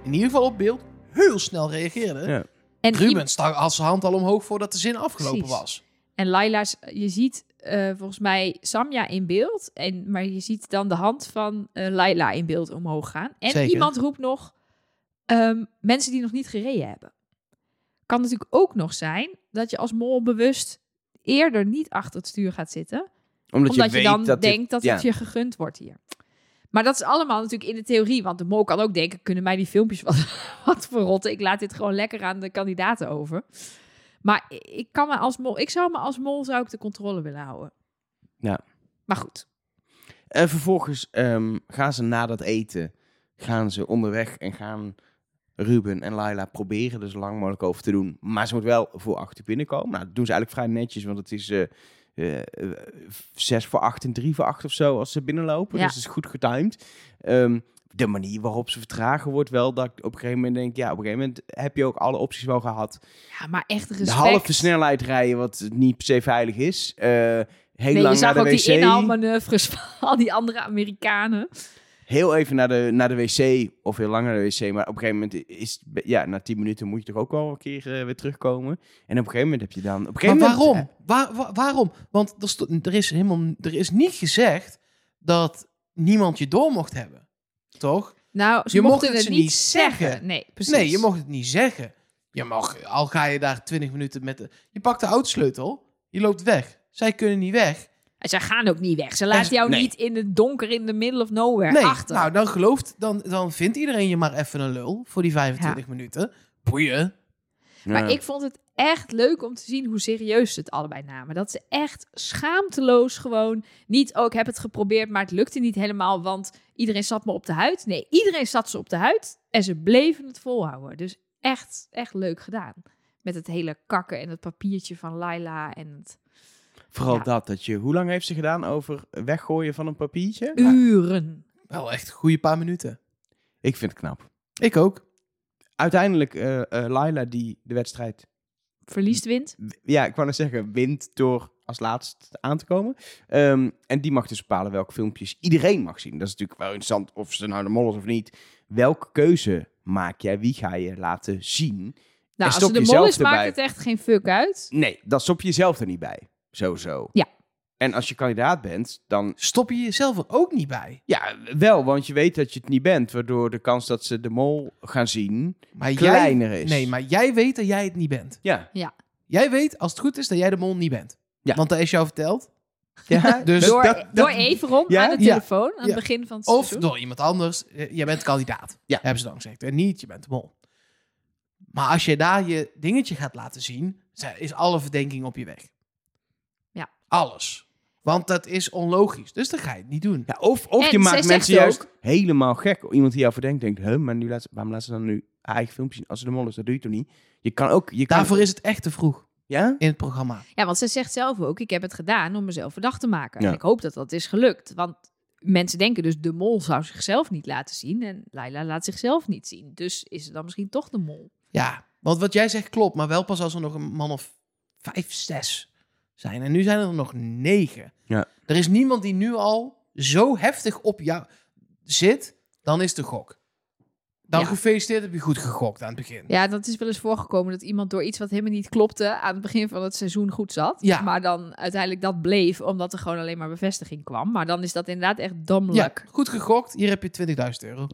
[SPEAKER 2] in ieder geval op beeld heel snel reageerden.
[SPEAKER 1] Ja.
[SPEAKER 3] En
[SPEAKER 2] Ruben stak als zijn hand al omhoog voordat de zin afgelopen
[SPEAKER 3] Precies.
[SPEAKER 2] was.
[SPEAKER 3] En Laila's, je ziet eh, volgens mij Samja in beeld. En, maar je ziet dan de hand van eh Laila in beeld omhoog gaan. En
[SPEAKER 2] Zeker.
[SPEAKER 3] iemand roept nog ehm, mensen die nog niet gereden hebben. Kan natuurlijk ook nog zijn dat je als mol bewust eerder niet achter het stuur gaat zitten.
[SPEAKER 1] Omdat,
[SPEAKER 3] omdat
[SPEAKER 1] je,
[SPEAKER 3] je,
[SPEAKER 1] weet
[SPEAKER 3] dan
[SPEAKER 1] dat dit-
[SPEAKER 3] denkt dat
[SPEAKER 1] ja.
[SPEAKER 3] het je gegund wordt hier. Maar dat is allemaal natuurlijk in de theorie. Want de mol kan ook denken, kunnen mij die filmpjes wat, wat verrotten? Ik laat dit gewoon lekker aan de kandidaten over. Maar i- ik, kan me als mol, ik zou me als mol zou ik de controle willen houden.
[SPEAKER 1] Ja.
[SPEAKER 3] Maar goed.
[SPEAKER 1] En Eh, vervolgens ehm, gaan ze na dat eten, gaan ze onderweg en gaan Ruben en Laila proberen er zo lang mogelijk over te doen. Maar ze moet wel voor acht uur binnenkomen. Nou, dat doen ze eigenlijk vrij netjes, want het is eh eh, eh, zes voor acht en drie voor acht of zo als ze binnenlopen.
[SPEAKER 3] Ja.
[SPEAKER 1] Dus het is goed getimed. Ehm, de manier waarop ze vertragen wordt wel dat ik op een gegeven moment denk, ja, op een gegeven moment heb je ook alle opties wel gehad.
[SPEAKER 3] Ja, maar echt respect.
[SPEAKER 1] De halve snelheid rijden, wat niet per se veilig is. Eh, heel
[SPEAKER 3] Nee, je
[SPEAKER 1] lang
[SPEAKER 3] zag
[SPEAKER 1] naar
[SPEAKER 3] ook
[SPEAKER 1] de wc.
[SPEAKER 3] die inhaalmanoeuvres van al die andere Amerikanen.
[SPEAKER 1] heel even naar de, naar de wc, of heel lang naar de wc, maar op een gegeven moment is, ja, na 10 minuten moet je toch ook wel een keer eh, weer terugkomen. En op een gegeven moment heb je dan... Op een
[SPEAKER 2] Maar
[SPEAKER 1] gegeven moment,
[SPEAKER 2] waarom? Waar, wa- waarom? Want er, sto- er, is helemaal, er is niet gezegd dat niemand je door mocht hebben. Toch?
[SPEAKER 3] Nou, ze
[SPEAKER 2] Je mocht
[SPEAKER 3] mochten
[SPEAKER 2] het
[SPEAKER 3] het,
[SPEAKER 2] ze
[SPEAKER 3] niet
[SPEAKER 2] niet
[SPEAKER 3] zeggen.
[SPEAKER 2] zeggen.
[SPEAKER 3] Nee, precies.
[SPEAKER 2] Nee, je mocht het niet zeggen. Je mag, al ga je daar 20 minuten met de... Je pakt de autosleutel, je loopt weg. Zij kunnen niet weg.
[SPEAKER 3] En Zij gaan ook niet weg. Ze laten jou
[SPEAKER 1] nee.
[SPEAKER 3] niet in het donker in de middle of nowhere
[SPEAKER 2] Nee,
[SPEAKER 3] achter.
[SPEAKER 2] nou dan gelooft, dan, dan vindt iedereen je maar even een lul voor die 25 minuten. Boeien.
[SPEAKER 1] eh,
[SPEAKER 3] Maar ik vond het echt leuk om te zien hoe serieus ze het allebei namen. Dat ze echt schaamteloos gewoon niet ook heb het geprobeerd, maar het lukte niet helemaal, want iedereen zat me op de huid. Nee, iedereen zat ze op de huid en ze bleven het volhouden. Dus echt, echt leuk gedaan. Met het hele kakken en het papiertje van Laila en het
[SPEAKER 1] Vooral
[SPEAKER 3] ja.
[SPEAKER 1] dat, dat je... Hoe lang heeft ze gedaan over weggooien van een papiertje? Nou,
[SPEAKER 3] uren.
[SPEAKER 2] Wel echt een goede paar minuten.
[SPEAKER 1] Ik vind het knap.
[SPEAKER 2] Ik ook.
[SPEAKER 1] Uiteindelijk, eh eh, Laila die de wedstrijd...
[SPEAKER 3] Verliest wint. Nou,
[SPEAKER 1] Ja, ik wou net zeggen, wint door als laatst aan te komen. Ehm, en die mag dus bepalen welke filmpjes iedereen mag zien. Dat is natuurlijk wel interessant, of ze nou de mol is of niet. Welke keuze maak jij? Wie ga je laten zien?
[SPEAKER 3] Nou, als
[SPEAKER 1] stop
[SPEAKER 3] ze de mol
[SPEAKER 1] jezelf
[SPEAKER 3] is, maakt
[SPEAKER 1] erbij.
[SPEAKER 3] het echt geen fuck uit.
[SPEAKER 1] Nee, dat stop je jezelf er niet bij. Sowieso.
[SPEAKER 3] Ja.
[SPEAKER 1] En als je kandidaat bent, dan
[SPEAKER 2] Stop je jezelf er ook niet bij.
[SPEAKER 1] ja, wel, want je weet dat je het niet bent. Waardoor de kans dat ze de mol gaan zien
[SPEAKER 2] Maar jij,
[SPEAKER 1] kleiner is.
[SPEAKER 2] nee, maar jij weet dat jij het niet bent.
[SPEAKER 1] Ja.
[SPEAKER 2] Jij weet, als het goed is, dat jij de mol niet bent.
[SPEAKER 1] Ja.
[SPEAKER 2] Want dat is jou verteld.
[SPEAKER 1] ja.
[SPEAKER 2] Dus
[SPEAKER 3] door
[SPEAKER 2] dat- dat-
[SPEAKER 3] door Everon
[SPEAKER 1] Ja?
[SPEAKER 3] aan de
[SPEAKER 2] Ja.
[SPEAKER 3] telefoon aan
[SPEAKER 2] Ja.
[SPEAKER 3] het begin van het
[SPEAKER 2] Of
[SPEAKER 3] seizoen.
[SPEAKER 2] door iemand anders. Eh, Jij bent kandidaat.
[SPEAKER 1] Ja.
[SPEAKER 2] Hebben ze dan gezegd. En niet, je bent de mol. Maar als je daar je dingetje gaat laten zien, zij- is alle verdenking op je weg.
[SPEAKER 3] Ja.
[SPEAKER 2] Alles. Want dat is onlogisch. Dus dat ga je het niet doen.
[SPEAKER 1] Ja, of of
[SPEAKER 3] En
[SPEAKER 1] je
[SPEAKER 3] zij
[SPEAKER 1] maakt
[SPEAKER 3] zegt
[SPEAKER 1] mensen
[SPEAKER 3] ook-
[SPEAKER 1] juist helemaal gek. Iemand die jou verdenkt, denkt, huh, maar nu laat, ze- waarom laat ze dan nu haar eigen filmpje zien? Als ze de mol is, dat doe je toch niet? Je kan ook... Je kan,
[SPEAKER 2] Daarvoor is het echt te vroeg
[SPEAKER 1] Ja?
[SPEAKER 2] in het programma.
[SPEAKER 3] Ja, want ze zegt zelf ook: ik heb het gedaan om mezelf verdacht te maken.
[SPEAKER 1] Ja.
[SPEAKER 3] Ik hoop dat dat is gelukt. Want mensen denken dus: de mol zou zichzelf niet laten zien. En Laila laat zichzelf niet zien. Dus is ze dan misschien toch de mol?
[SPEAKER 2] Ja, want wat jij zegt klopt, maar wel pas als er nog een man of vijf, zes zijn. En nu zijn er nog negen.
[SPEAKER 1] Ja.
[SPEAKER 2] Er is niemand die nu al zo heftig op jou zit, dan is de gok. Dan
[SPEAKER 3] Ja.
[SPEAKER 2] gefeliciteerd, heb je goed gegokt aan het begin.
[SPEAKER 3] Ja, dat is wel eens voorgekomen dat iemand door iets wat helemaal niet klopte. aan het begin van het seizoen goed zat.
[SPEAKER 2] Ja.
[SPEAKER 3] Maar dan uiteindelijk dat bleef, omdat er gewoon alleen maar bevestiging kwam. Maar dan is dat inderdaad echt dom
[SPEAKER 2] Ja,
[SPEAKER 3] luck.
[SPEAKER 2] goed gegokt, hier heb je 20.000 euro.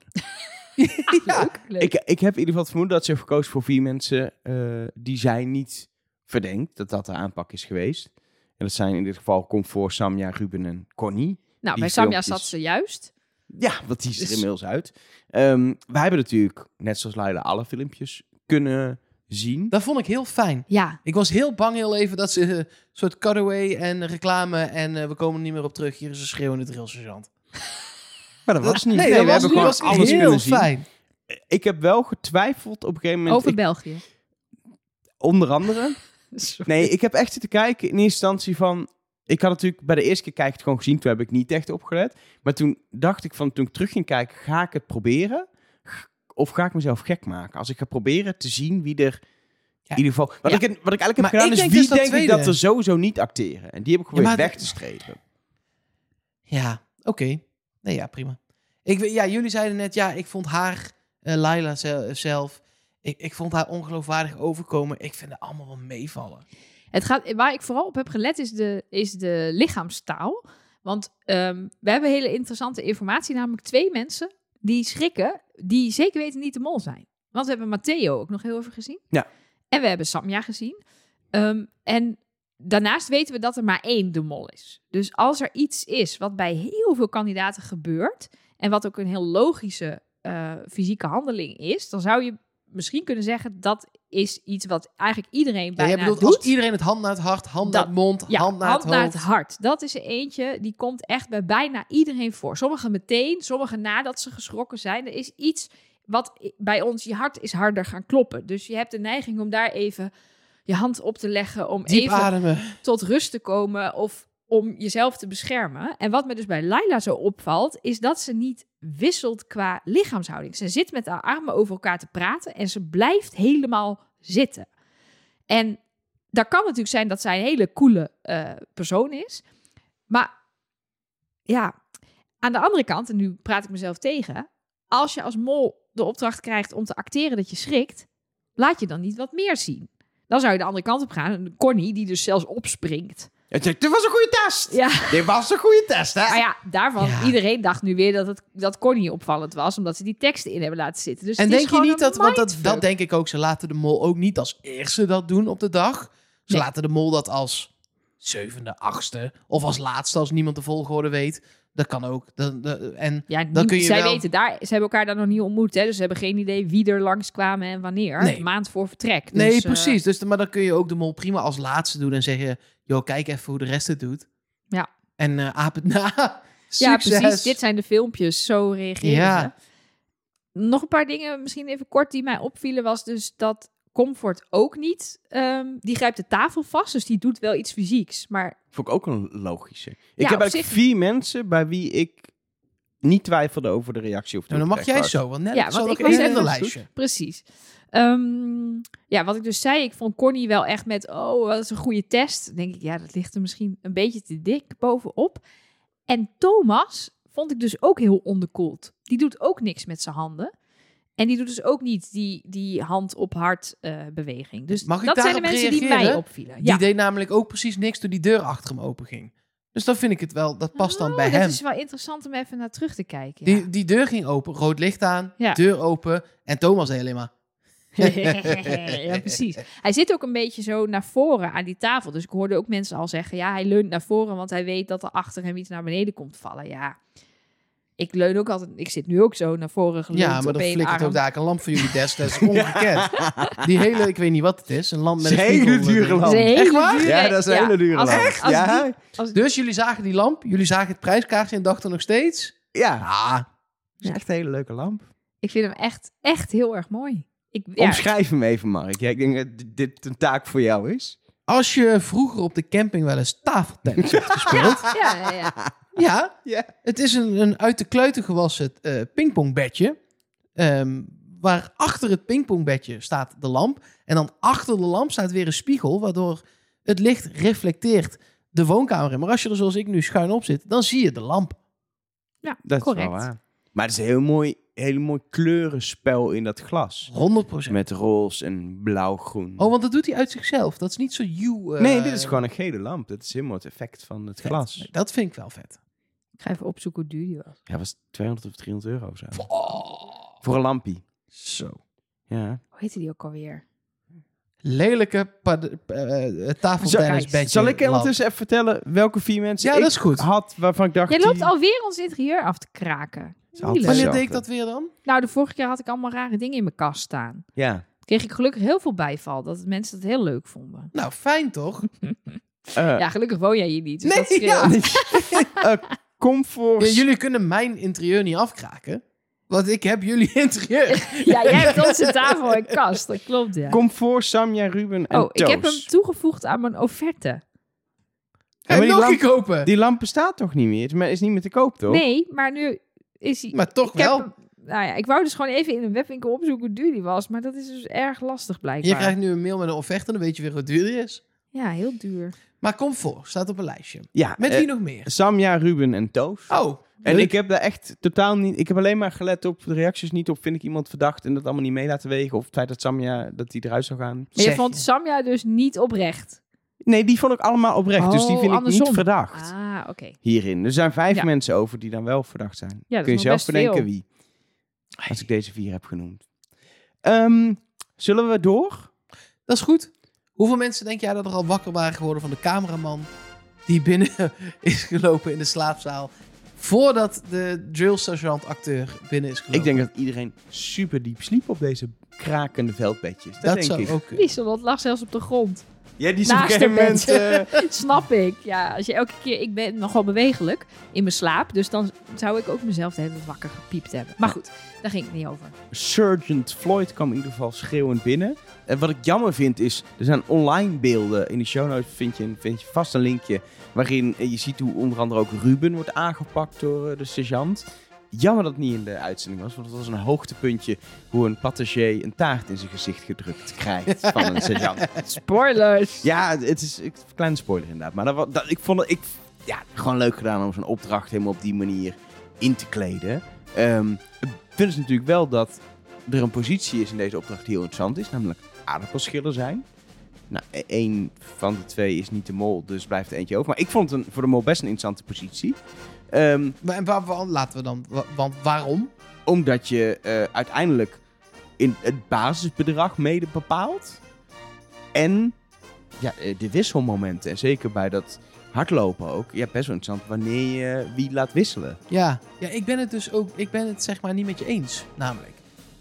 [SPEAKER 3] Ah, leuk, leuk.
[SPEAKER 1] Ik, ik heb in ieder geval het vermoeden dat ze heeft gekozen voor vier mensen eh, die zij niet verdenkt. Dat dat de aanpak is geweest. En dat zijn in dit geval Comfort, Samja, Ruben en Connie.
[SPEAKER 3] nou,
[SPEAKER 1] die
[SPEAKER 3] bij Samja
[SPEAKER 1] filmpjes.
[SPEAKER 3] zat ze juist.
[SPEAKER 1] Ja, want die is er
[SPEAKER 3] Dus-
[SPEAKER 1] inmiddels uit. Ehm, wij hebben natuurlijk, net zoals Laila, alle filmpjes kunnen zien.
[SPEAKER 2] Dat vond ik heel fijn.
[SPEAKER 3] Ja,
[SPEAKER 2] Ik was heel bang heel even dat ze eh, een soort cutaway en reclame en eh, we komen er niet meer op terug. Hier is een schreeuwende drillsergeant.
[SPEAKER 1] Maar dat was niet.
[SPEAKER 2] Nee,
[SPEAKER 1] Nee,
[SPEAKER 2] dat
[SPEAKER 1] we
[SPEAKER 2] was,
[SPEAKER 1] hebben gewoon
[SPEAKER 2] was
[SPEAKER 1] alles
[SPEAKER 2] heel
[SPEAKER 1] kunnen zien.
[SPEAKER 2] fijn.
[SPEAKER 1] Ik heb wel getwijfeld op een gegeven moment.
[SPEAKER 3] over
[SPEAKER 1] ik-
[SPEAKER 3] België.
[SPEAKER 1] onder andere. Nee, ik heb echt zitten kijken in eerste instantie van... Ik had natuurlijk bij de eerste keer kijken het gewoon gezien. Toen heb ik niet echt opgelet. Maar toen dacht ik van, toen ik terug ging kijken, ga ik het proberen? G- Of ga ik mezelf gek maken? Als ik ga proberen te zien wie er... In
[SPEAKER 2] Ja.
[SPEAKER 1] ieder geval, wat,
[SPEAKER 2] Ja.
[SPEAKER 1] ik, wat ik eigenlijk heb
[SPEAKER 2] Maar
[SPEAKER 1] gedaan
[SPEAKER 2] ik
[SPEAKER 1] is,
[SPEAKER 2] denk
[SPEAKER 1] wie
[SPEAKER 2] dus dat
[SPEAKER 1] denk ik dat
[SPEAKER 2] tweede.
[SPEAKER 1] er sowieso niet acteren? En die heb ik
[SPEAKER 2] Ja,
[SPEAKER 1] geprobeerd
[SPEAKER 2] maar-
[SPEAKER 1] weg te strepen.
[SPEAKER 2] Ja, oké. Nee, ja, prima. Ik, we- ja, jullie zeiden net, ja, ik vond haar, eh, Laila ze- zelf, ik, ik vond haar ongeloofwaardig overkomen. Ik vind het allemaal wel meevallen.
[SPEAKER 3] Het gaat, waar ik vooral op heb gelet is de, is de lichaamstaal. Want ehm, we hebben hele interessante informatie, namelijk twee mensen die schrikken, die zeker weten niet de mol zijn. Want we hebben Matteo ook nog heel even gezien.
[SPEAKER 1] Ja.
[SPEAKER 3] En we hebben Samja gezien. Ehm, en daarnaast weten we dat er maar één de mol is. Dus als er iets is wat bij heel veel kandidaten gebeurt en wat ook een heel logische eh, fysieke handeling is, dan zou je misschien kunnen zeggen dat is iets wat eigenlijk iedereen
[SPEAKER 2] Ja, jij
[SPEAKER 3] bijna
[SPEAKER 2] bedoelt
[SPEAKER 3] doet.
[SPEAKER 2] als iedereen het hand naar het hart, hand
[SPEAKER 3] Dat-
[SPEAKER 2] naar het mond,
[SPEAKER 3] Ja,
[SPEAKER 2] hand naar het hoofd.
[SPEAKER 3] hart. Dat is er eentje die komt echt bij bijna iedereen voor. Sommigen meteen, sommigen nadat ze geschrokken zijn. Er is iets wat i- bij ons, je hart is harder gaan kloppen. Dus je hebt de neiging om daar even je hand op te leggen. Om
[SPEAKER 2] Diep
[SPEAKER 3] even
[SPEAKER 2] ademen.
[SPEAKER 3] tot rust te komen of om jezelf te beschermen. En wat me dus bij Laila zo opvalt, is dat ze niet wisselt qua lichaamshouding. Ze zit met haar armen over elkaar te praten en ze blijft helemaal zitten. En dat kan natuurlijk zijn dat zij een hele coole eh, persoon is. Maar ja, aan de andere kant, en nu praat ik mezelf tegen, als je als mol de opdracht krijgt om te acteren dat je schrikt, laat je dan niet wat meer zien. Dan zou je de andere kant op gaan. En Connie, die dus zelfs opspringt.
[SPEAKER 1] Het dit was een goede test.
[SPEAKER 3] Ja,
[SPEAKER 1] Dit was een goede test, hè?
[SPEAKER 3] maar ja, daarvan.
[SPEAKER 2] Ja.
[SPEAKER 3] Iedereen dacht nu weer dat, het, dat Connie opvallend was. Omdat ze die teksten in hebben laten zitten. Dus
[SPEAKER 2] En
[SPEAKER 3] het is
[SPEAKER 2] denk je
[SPEAKER 3] gewoon
[SPEAKER 2] niet
[SPEAKER 3] een
[SPEAKER 2] dat, want dat,
[SPEAKER 3] mindfuck.
[SPEAKER 2] dat denk ik ook, ze laten de mol ook niet als eerste dat doen op de dag. Ze
[SPEAKER 3] Nee.
[SPEAKER 2] laten de mol dat als zevende, achtste of als laatste als niemand de volgorde weet. Dat kan ook. Dat- dat- en
[SPEAKER 3] Ja, niet-
[SPEAKER 2] dan kun je
[SPEAKER 3] zij
[SPEAKER 2] wel-
[SPEAKER 3] weten daar. Ze hebben elkaar daar nog niet ontmoet. Hè, dus ze hebben geen idee wie er langskwamen en wanneer.
[SPEAKER 2] Nee.
[SPEAKER 3] Een maand voor vertrek. Dus,
[SPEAKER 2] nee,
[SPEAKER 3] eh,
[SPEAKER 2] precies. Dus, maar dan kun je ook de mol prima als laatste doen en zeggen, joh, kijk even hoe de rest het doet.
[SPEAKER 3] Ja.
[SPEAKER 2] En eh aap het na.
[SPEAKER 3] ja,
[SPEAKER 2] Succes.
[SPEAKER 3] precies. Dit zijn de filmpjes. Zo reageren
[SPEAKER 2] Ja.
[SPEAKER 3] ze. Nog een paar dingen, misschien even kort, die mij opvielen, was dus dat Comfort ook niet. ehm, die grijpt de tafel vast, dus die doet wel iets fysieks. Maar
[SPEAKER 1] Vond ik ook een logische. Ik
[SPEAKER 3] Ja,
[SPEAKER 1] heb
[SPEAKER 3] op
[SPEAKER 1] eigenlijk
[SPEAKER 3] zich-
[SPEAKER 1] vier mensen bij wie ik niet twijfelde over de reactie. Of
[SPEAKER 2] Nou, dan mag jij zo, want net
[SPEAKER 3] Ja,
[SPEAKER 2] ja,
[SPEAKER 3] want
[SPEAKER 2] ik
[SPEAKER 3] ik was
[SPEAKER 2] een
[SPEAKER 3] even-
[SPEAKER 2] lijstje.
[SPEAKER 3] Precies. Ehm, ja, wat ik dus zei, ik vond Connie wel echt met, oh, dat is een goede test. Dan denk ik, ja, dat ligt er misschien een beetje te dik bovenop. En Thomas vond ik dus ook heel onderkoeld. Die doet ook niks met zijn handen. En die doet dus ook niet die, die hand op hart eh, beweging. Dus
[SPEAKER 2] Mag ik
[SPEAKER 3] dat zijn de
[SPEAKER 2] daarop
[SPEAKER 3] mensen die mij
[SPEAKER 2] reageren?
[SPEAKER 3] opvielen.
[SPEAKER 2] Die deed namelijk ook precies niks toen die deur achter hem open ging. Dus dan vind ik het wel, dat past dan
[SPEAKER 3] Oh,
[SPEAKER 2] bij
[SPEAKER 3] dat
[SPEAKER 2] hem.
[SPEAKER 3] is wel interessant om even naar terug te kijken. ja.
[SPEAKER 2] Die, die deur ging open, rood licht aan,
[SPEAKER 3] Ja.
[SPEAKER 2] deur open. En Thomas deed alleen maar...
[SPEAKER 3] ja, precies. Hij zit ook een beetje zo naar voren aan die tafel. Dus ik hoorde ook mensen al zeggen: ja, hij leunt naar voren, want hij weet dat er achter hem iets naar beneden komt vallen. Ja, ik leun ook altijd. Ik zit nu ook zo naar voren geleund.
[SPEAKER 2] Ja, maar
[SPEAKER 3] op
[SPEAKER 2] dan
[SPEAKER 3] één
[SPEAKER 2] flikkert
[SPEAKER 3] arm.
[SPEAKER 2] ook daar een lamp voor jullie des. Dat is ongekend. Die hele, ik weet niet wat het is, een lamp met een
[SPEAKER 1] Is een hele
[SPEAKER 2] spiegel
[SPEAKER 1] dure
[SPEAKER 2] erin.
[SPEAKER 1] lamp.
[SPEAKER 3] Dat is een hele
[SPEAKER 2] Echt waar?
[SPEAKER 3] dure-
[SPEAKER 1] Ja, dat is een hele dure
[SPEAKER 3] als-
[SPEAKER 1] lamp.
[SPEAKER 3] als die-
[SPEAKER 1] Ja,
[SPEAKER 3] als-
[SPEAKER 2] Dus jullie zagen die lamp, jullie zagen het prijskaartje en dachten nog steeds...
[SPEAKER 1] ja.
[SPEAKER 2] Ah,
[SPEAKER 1] is echt een hele leuke lamp.
[SPEAKER 3] ik vind hem echt, echt heel erg mooi. Ik, ja,
[SPEAKER 1] Omschrijf hem even, Mark. Ja, ik denk dat dit- dit een taak voor jou is.
[SPEAKER 2] als je vroeger op de camping wel eens tafeltennis hebt gespeeld...
[SPEAKER 3] ja, ja, ja.
[SPEAKER 2] Ja,
[SPEAKER 1] Ja.
[SPEAKER 2] het is een, een uit de kluiten gewassen eh, pingpongbedje. Ehm, waar achter het pingpongbedje staat de lamp. En dan achter de lamp staat weer een spiegel, waardoor het licht reflecteert de woonkamer in. Maar als je er zoals ik nu schuin op zit, dan zie je de lamp.
[SPEAKER 3] Ja,
[SPEAKER 1] Dat
[SPEAKER 3] correct.
[SPEAKER 1] is wel waar. Maar het is een heel mooi, heel mooi kleurenspel in dat glas.
[SPEAKER 2] 100%.
[SPEAKER 1] Met roze en blauw-groen.
[SPEAKER 2] Oh, want dat doet hij uit zichzelf. Dat is niet zo you. eh,
[SPEAKER 1] nee, dit is gewoon een gele lamp. Dat is helemaal het effect van het
[SPEAKER 2] vet.
[SPEAKER 1] glas.
[SPEAKER 2] Nee, dat vind ik wel vet.
[SPEAKER 3] Ik ga even opzoeken hoe duur die was.
[SPEAKER 1] Ja, was 200 of 300 euro of zo. Voor een lampie.
[SPEAKER 2] Zo.
[SPEAKER 1] Ja.
[SPEAKER 3] Hoe heette die ook alweer?
[SPEAKER 2] Lelijke pad- eh, tafeltennisbedje.
[SPEAKER 1] Zal ik
[SPEAKER 2] lamp.
[SPEAKER 1] ondertussen even vertellen welke vier mensen
[SPEAKER 2] Ja,
[SPEAKER 1] ik
[SPEAKER 2] dat is goed.
[SPEAKER 1] had waarvan ik dacht...
[SPEAKER 3] Jij loopt
[SPEAKER 1] die-
[SPEAKER 3] alweer ons interieur af te kraken.
[SPEAKER 1] is altijd
[SPEAKER 3] Heel leuk.
[SPEAKER 2] Wanneer
[SPEAKER 1] zo.
[SPEAKER 2] deed ik dat weer dan?
[SPEAKER 3] Nou, de vorige keer had ik allemaal rare dingen in mijn kast staan.
[SPEAKER 1] Ja.
[SPEAKER 3] kreeg ik gelukkig heel veel bijval. Dat mensen het heel leuk vonden.
[SPEAKER 2] Nou, fijn toch?
[SPEAKER 1] Eh,
[SPEAKER 3] Ja, gelukkig woon jij hier niet. Dus
[SPEAKER 2] Nee,
[SPEAKER 3] dat scheelt.
[SPEAKER 2] ja.
[SPEAKER 1] Comfort.
[SPEAKER 2] Ja, jullie kunnen mijn interieur niet afkraken. Want ik heb jullie interieur.
[SPEAKER 3] Ja, jij hebt onze tafel en kast. Dat klopt, ja.
[SPEAKER 1] Comfort, Samja, Ruben en
[SPEAKER 3] oh, ik heb hem
[SPEAKER 1] Toos.
[SPEAKER 3] toegevoegd aan mijn offerte.
[SPEAKER 2] Ga je
[SPEAKER 1] maar die
[SPEAKER 2] nog
[SPEAKER 1] lamp-
[SPEAKER 2] een kopen?
[SPEAKER 1] Die lamp bestaat toch niet meer? Het is niet meer te koop, toch?
[SPEAKER 3] Nee, maar nu is hij...
[SPEAKER 2] Maar toch
[SPEAKER 3] ik heb
[SPEAKER 2] wel.
[SPEAKER 3] hem- nou ja, ik wou dus gewoon even in een webwinkel opzoeken hoe duur die was. Maar dat is dus erg lastig blijkbaar.
[SPEAKER 2] Je krijgt nu een mail met een offerte. Dan weet je weer hoe duur die is.
[SPEAKER 3] Ja, heel duur.
[SPEAKER 2] Maar kom voor. Staat op een lijstje.
[SPEAKER 1] Ja.
[SPEAKER 2] Met
[SPEAKER 1] eh,
[SPEAKER 2] wie nog meer?
[SPEAKER 1] Samja, Ruben en Toos.
[SPEAKER 2] Oh.
[SPEAKER 1] En
[SPEAKER 2] leuk.
[SPEAKER 1] ik heb daar echt totaal niet... Ik heb alleen maar gelet op de reacties niet op... vind ik iemand verdacht en dat allemaal niet mee laten wegen... of het feit dat Samja dat die eruit zou gaan.
[SPEAKER 3] Maar je
[SPEAKER 2] Zeg
[SPEAKER 3] vond
[SPEAKER 2] je.
[SPEAKER 3] Samja dus niet oprecht.
[SPEAKER 1] Nee, die vond ik allemaal oprecht. dus die
[SPEAKER 3] Oh,
[SPEAKER 1] vind ik
[SPEAKER 3] andersom.
[SPEAKER 1] niet verdacht
[SPEAKER 3] Ah, oké.
[SPEAKER 1] hierin. Er zijn vijf
[SPEAKER 3] Ja.
[SPEAKER 1] mensen over die dan wel verdacht zijn.
[SPEAKER 3] dat
[SPEAKER 1] Kun je
[SPEAKER 3] is nog
[SPEAKER 1] zelf
[SPEAKER 3] best
[SPEAKER 1] bedenken
[SPEAKER 3] veel.
[SPEAKER 1] wie. Als ik deze vier heb genoemd. Ehm, zullen we door?
[SPEAKER 2] Dat is goed. Hoeveel mensen denk jij dat er al wakker waren geworden van de cameraman... die binnen is gelopen in de slaapzaal... voordat de drill sergeant acteur binnen is gelopen?
[SPEAKER 1] Ik denk dat iedereen super diep sliep op deze krakende veldbedjes. Dat,
[SPEAKER 2] Dat
[SPEAKER 1] denk
[SPEAKER 2] zou
[SPEAKER 1] ik.
[SPEAKER 2] ook kunnen.
[SPEAKER 3] Lieselot lag zelfs op de grond.
[SPEAKER 1] Ja, die is op een
[SPEAKER 3] Naast
[SPEAKER 1] gegeven
[SPEAKER 3] de
[SPEAKER 1] moment... eh,
[SPEAKER 3] Snap ik. Ja, als je elke keer. Ik ben nogal bewegelijk in mijn slaap. Dus dan zou ik ook mezelf de hele tijd wakker gepiept hebben. Maar goed, daar ging het niet over.
[SPEAKER 1] Sergeant Floyd kwam in ieder geval schreeuwend binnen. En wat ik jammer vind is, er zijn online beelden. In de show notes vind je, een- vind je vast een linkje waarin eh, je ziet hoe onder andere ook Ruben wordt aangepakt door eh, de sergeant. Jammer dat het niet in de uitzending was, want het was een hoogtepuntje hoe een passagier een taart in zijn gezicht gedrukt krijgt van een sergeant.
[SPEAKER 3] Spoilers!
[SPEAKER 1] Ja, het is een kleine spoiler inderdaad. Maar dat, wa- dat, ik vond het ik, ja, gewoon leuk gedaan om zo'n opdracht helemaal op die manier in te kleden. Ehm het punt is natuurlijk wel dat er een positie is in deze opdracht die heel interessant is. Namelijk aardappelschiller zijn. Nou, e- één van de twee is niet de mol, dus blijft er eentje over. Maar ik vond het een, voor de mol best een interessante positie. Ehm,
[SPEAKER 2] Maar, en waar, waar- laten we dan, wa- want waarom?
[SPEAKER 1] omdat je eh, uiteindelijk in het basisbedrag mede bepaalt. En ja, eh, de wisselmomenten. En zeker bij dat hardlopen ook. Ja, best wel interessant wanneer je wie laat wisselen.
[SPEAKER 2] Ja. ja, ik ben het dus ook, ik ben het zeg maar niet met je eens, namelijk.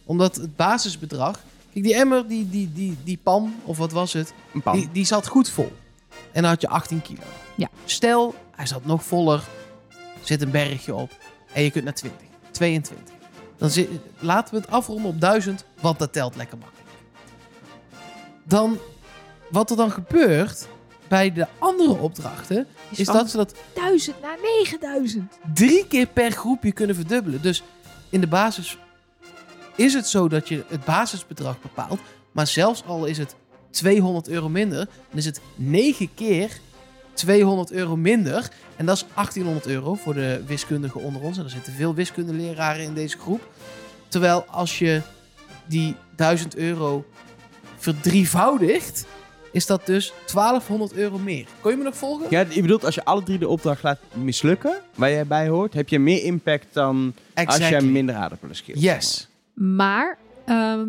[SPEAKER 2] Omdat het basisbedrag, kijk die emmer, die, die, die, die pan, of wat was het,
[SPEAKER 1] Een pan.
[SPEAKER 2] die, die zat goed vol. En dan had je 18 kilo.
[SPEAKER 3] Ja.
[SPEAKER 2] Stel, hij zat nog voller, zit een bergje op en je kunt naar 20, 22. Dan zit, laten we het afronden op 1000, want dat telt lekker makkelijk. Dan, wat er dan gebeurt bij de andere opdrachten,
[SPEAKER 3] Is,
[SPEAKER 2] is
[SPEAKER 3] van
[SPEAKER 2] dat ze dat
[SPEAKER 3] 1000 naar 9000.
[SPEAKER 2] drie keer per groepje kunnen verdubbelen. Dus in de basis is het zo dat je het basisbedrag bepaalt. Maar zelfs al is het 200 euro minder, dan is het 9 keer 200 euro minder. En dat is 1800 euro voor de wiskundigen onder ons. En er zitten veel wiskundeleraren in deze groep. Terwijl als je die 1000 euro verdrievoudigt, is dat dus 1200 euro meer. Kon je me nog volgen?
[SPEAKER 1] Ja, je bedoelt als je alle drie de opdracht laat mislukken, waar jij bij hoort, heb je meer impact dan als jij
[SPEAKER 2] Exactly.
[SPEAKER 1] minder aardappelen scheelt.
[SPEAKER 2] Yes.
[SPEAKER 3] Maar ehm,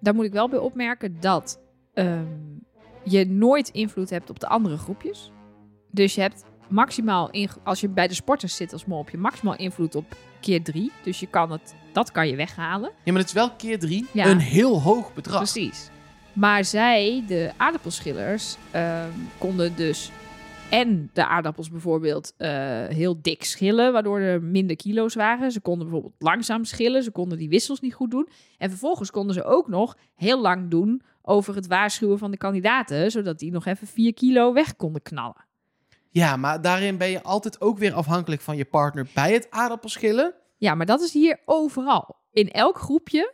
[SPEAKER 3] daar moet ik wel bij opmerken dat ehm, je nooit invloed hebt op de andere groepjes. Dus je hebt maximaal, in, als je bij de sporters zit als mol, heb je maximaal invloed op keer drie. Dus je kan het, dat kan je weghalen.
[SPEAKER 2] Ja, maar het is wel keer drie.
[SPEAKER 3] Ja.
[SPEAKER 2] Een heel hoog bedrag.
[SPEAKER 3] Precies. Maar zij, de aardappelschillers, ehm, konden dus en de aardappels bijvoorbeeld eh, heel dik schillen, waardoor er minder kilo's waren. Ze konden bijvoorbeeld langzaam schillen, ze konden die wissels niet goed doen. En vervolgens konden ze ook nog heel lang doen over het waarschuwen van de kandidaten, zodat die nog even 4 kilo weg konden knallen.
[SPEAKER 2] Ja, maar daarin ben je altijd ook weer afhankelijk van je partner bij het aardappelschillen.
[SPEAKER 3] Ja, maar dat is hier overal. In elk groepje,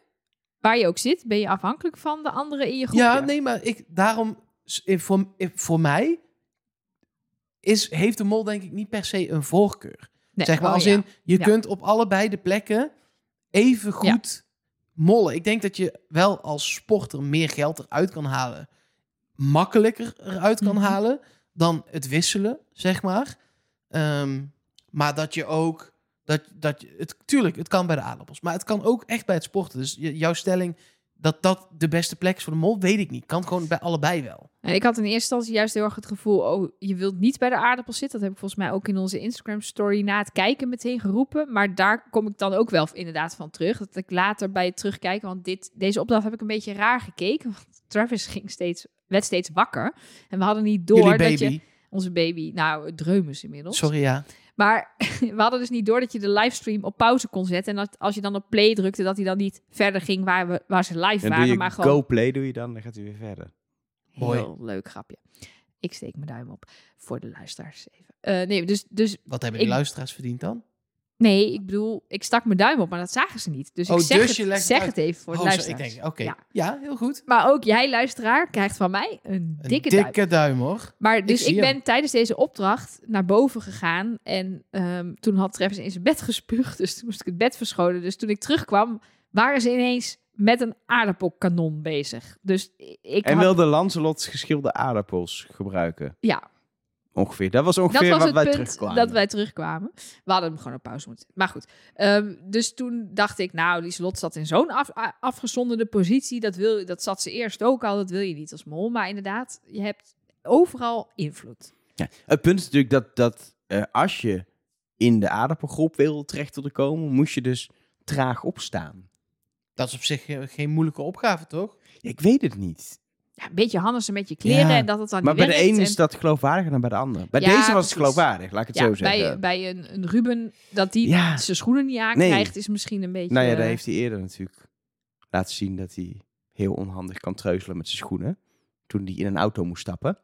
[SPEAKER 3] waar je ook zit, ben je afhankelijk van de anderen in je groepje.
[SPEAKER 2] Ja, nee, maar ik, daarom, s- eh, voor, eh, voor mij, is, heeft de mol denk ik niet per se een voorkeur.
[SPEAKER 3] Nee,
[SPEAKER 2] zeg maar
[SPEAKER 3] oh
[SPEAKER 2] als
[SPEAKER 3] ja.
[SPEAKER 2] in, je
[SPEAKER 3] Ja.
[SPEAKER 2] kunt op allebei de plekken even
[SPEAKER 3] Ja.
[SPEAKER 2] goed mollen. Ik denk dat je wel als sporter meer geld eruit kan halen. Makkelijker eruit kan
[SPEAKER 3] Mhm.
[SPEAKER 2] halen dan het wisselen, zeg maar. Ehm, maar dat je ook... Dat, dat, je- het, tuurlijk, het kan bij de aardappels. Maar het kan ook echt bij het sporten. Dus je- jouw stelling dat dat de beste plek is voor de mol, weet ik niet. Kan gewoon bij allebei wel.
[SPEAKER 3] En Eh, ik had in eerste instantie juist heel erg het gevoel, oh, je wilt niet bij de aardappels zitten. Dat heb ik volgens mij ook in onze Instagram story na het kijken meteen geroepen. Maar daar kom ik dan ook wel inderdaad van terug. Dat ik later bij het terugkijken, want dit, deze opdracht heb ik een beetje raar gekeken. Want Travis ging steeds, werd steeds wakker. En we hadden niet door
[SPEAKER 2] Jullie
[SPEAKER 3] dat
[SPEAKER 2] baby.
[SPEAKER 3] je... Onze baby, nou, dreumes inmiddels.
[SPEAKER 2] Sorry, ja.
[SPEAKER 3] Maar we hadden dus niet door dat je de livestream op pauze kon zetten. En dat als je dan op play drukte, dat hij dan niet verder ging waar, we, waar ze live
[SPEAKER 1] En doe
[SPEAKER 3] waren.
[SPEAKER 1] je
[SPEAKER 3] maar gewoon
[SPEAKER 1] go play doe je dan, dan gaat hij weer verder.
[SPEAKER 2] Mooi.
[SPEAKER 3] Heel leuk grapje. Ik steek mijn duim op voor de luisteraars even. Eh, nee, dus, dus
[SPEAKER 2] Wat hebben die
[SPEAKER 3] Ik-
[SPEAKER 2] luisteraars verdiend dan?
[SPEAKER 3] nee, ik bedoel, ik stak mijn duim op, maar dat zagen ze niet. Dus
[SPEAKER 2] Oh,
[SPEAKER 3] ik zeg,
[SPEAKER 2] dus
[SPEAKER 3] het,
[SPEAKER 2] je legt het
[SPEAKER 3] zeg
[SPEAKER 2] uit.
[SPEAKER 3] het even voor de
[SPEAKER 2] Oh, zo- ik
[SPEAKER 3] luisteraars.
[SPEAKER 2] denk, oké.
[SPEAKER 3] Ja.
[SPEAKER 2] Ja, heel goed.
[SPEAKER 3] Maar ook jij, luisteraar, krijgt van mij een
[SPEAKER 2] Een
[SPEAKER 3] dikke
[SPEAKER 2] dikke,
[SPEAKER 3] duim.
[SPEAKER 2] duim. hoor.
[SPEAKER 3] Maar dus
[SPEAKER 2] zie
[SPEAKER 3] ik, ben
[SPEAKER 2] hem.
[SPEAKER 3] tijdens deze opdracht naar boven gegaan. En ehm, toen had Travis in zijn bed gespuugd. Dus toen moest ik het bed verschonen. Dus toen ik terugkwam, waren ze ineens met een aardappelkanon bezig. Dus ik
[SPEAKER 1] En
[SPEAKER 3] had-
[SPEAKER 1] wilde Lancelot geschilde aardappels gebruiken.
[SPEAKER 3] Ja,
[SPEAKER 1] Ongeveer. Dat was
[SPEAKER 3] Dat
[SPEAKER 1] ongeveer
[SPEAKER 3] was
[SPEAKER 1] wat
[SPEAKER 3] het
[SPEAKER 1] wij
[SPEAKER 3] punt
[SPEAKER 1] terugkwamen.
[SPEAKER 3] dat wij terugkwamen. We hadden hem gewoon op pauze moeten. Maar goed, ehm, dus toen dacht ik, nou, Lieselot zat in zo'n af, a- afgezonderde positie. Dat, wil, dat zat ze eerst ook al, dat wil je niet als mol. Maar inderdaad, je hebt overal invloed.
[SPEAKER 1] Ja, het punt is natuurlijk dat, dat eh, als je in de aardappelgroep wil terecht wilde komen, moest je dus traag opstaan.
[SPEAKER 2] Dat is op zich geen, geen moeilijke opgave, toch?
[SPEAKER 1] Ik weet het niet.
[SPEAKER 3] Ja, een beetje handelsen met je kleren
[SPEAKER 2] Ja.
[SPEAKER 3] en dat het dan
[SPEAKER 1] Maar
[SPEAKER 3] niet
[SPEAKER 1] bij de
[SPEAKER 3] werkt
[SPEAKER 1] een
[SPEAKER 3] Ah, en-
[SPEAKER 1] is dat geloofwaardiger dan bij de ander. Bij
[SPEAKER 3] Ja,
[SPEAKER 1] deze was
[SPEAKER 3] precies.
[SPEAKER 1] het geloofwaardig, laat ik het
[SPEAKER 3] ja,
[SPEAKER 1] zo zeggen.
[SPEAKER 3] bij, bij een, een Ruben, dat die
[SPEAKER 1] Ja.
[SPEAKER 3] zijn schoenen niet
[SPEAKER 1] Nee.
[SPEAKER 3] aankrijgt, is misschien een beetje...
[SPEAKER 1] Nou ja, daar heeft hij eerder natuurlijk laten zien dat hij heel onhandig kan treuzelen met zijn schoenen. Toen hij in een auto moest stappen.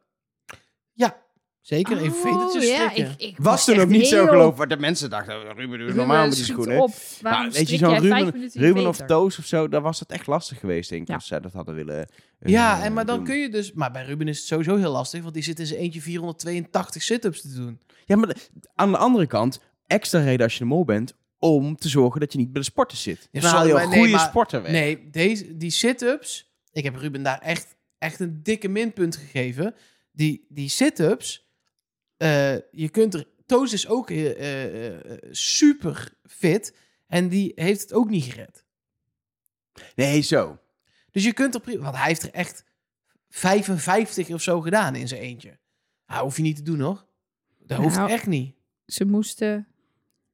[SPEAKER 2] Ja, zeker.
[SPEAKER 3] Oh,
[SPEAKER 2] Even vetertjes
[SPEAKER 3] ja,
[SPEAKER 2] strikken.
[SPEAKER 3] ik, ik
[SPEAKER 1] Was toen
[SPEAKER 3] echt
[SPEAKER 1] ook niet zo
[SPEAKER 3] heel-
[SPEAKER 1] geloofwaardig. De mensen dachten, "Oh, Ruben doet
[SPEAKER 3] Ruben,
[SPEAKER 1] normaal met die
[SPEAKER 3] schiet
[SPEAKER 1] schoenen.
[SPEAKER 3] Op.
[SPEAKER 1] Maar
[SPEAKER 3] Waarom
[SPEAKER 1] weet je,
[SPEAKER 3] strik
[SPEAKER 1] zo'n
[SPEAKER 3] jij vijf
[SPEAKER 1] Ruben,
[SPEAKER 3] minuten je
[SPEAKER 1] Ruben of
[SPEAKER 3] veter?
[SPEAKER 1] Toos of zo, dan was het echt lastig geweest, denk ik,
[SPEAKER 3] Ja.
[SPEAKER 1] als zij dat hadden willen eh,
[SPEAKER 2] Ja, en maar dan
[SPEAKER 1] doen.
[SPEAKER 2] kun je dus... Maar bij Ruben is het sowieso heel lastig, want die zit in zijn eentje 482 sit-ups te doen.
[SPEAKER 1] Ja, maar de- aan de andere kant, extra reden als je een mol bent, om te zorgen dat je niet bij de sporter zit.
[SPEAKER 2] Ja,
[SPEAKER 1] Dan haal je
[SPEAKER 2] sorry,
[SPEAKER 1] een
[SPEAKER 2] maar nee,
[SPEAKER 1] goede
[SPEAKER 2] maar-
[SPEAKER 1] sporter weg.
[SPEAKER 2] Nee, deze, die sit-ups... Ik heb Ruben daar echt, echt een dikke minpunt gegeven. Die, die sit-ups... eh, je kunt er... Toos is ook eh, eh, eh, super fit. En die heeft het ook niet gered.
[SPEAKER 1] Nee, zo.
[SPEAKER 2] Dus je kunt er... pri- Want hij heeft er echt 55 of zo gedaan in zijn eentje. Nou, hoef je niet te doen, hoor. Dat hoeft
[SPEAKER 3] Nou,
[SPEAKER 2] echt niet.
[SPEAKER 3] Ze moesten...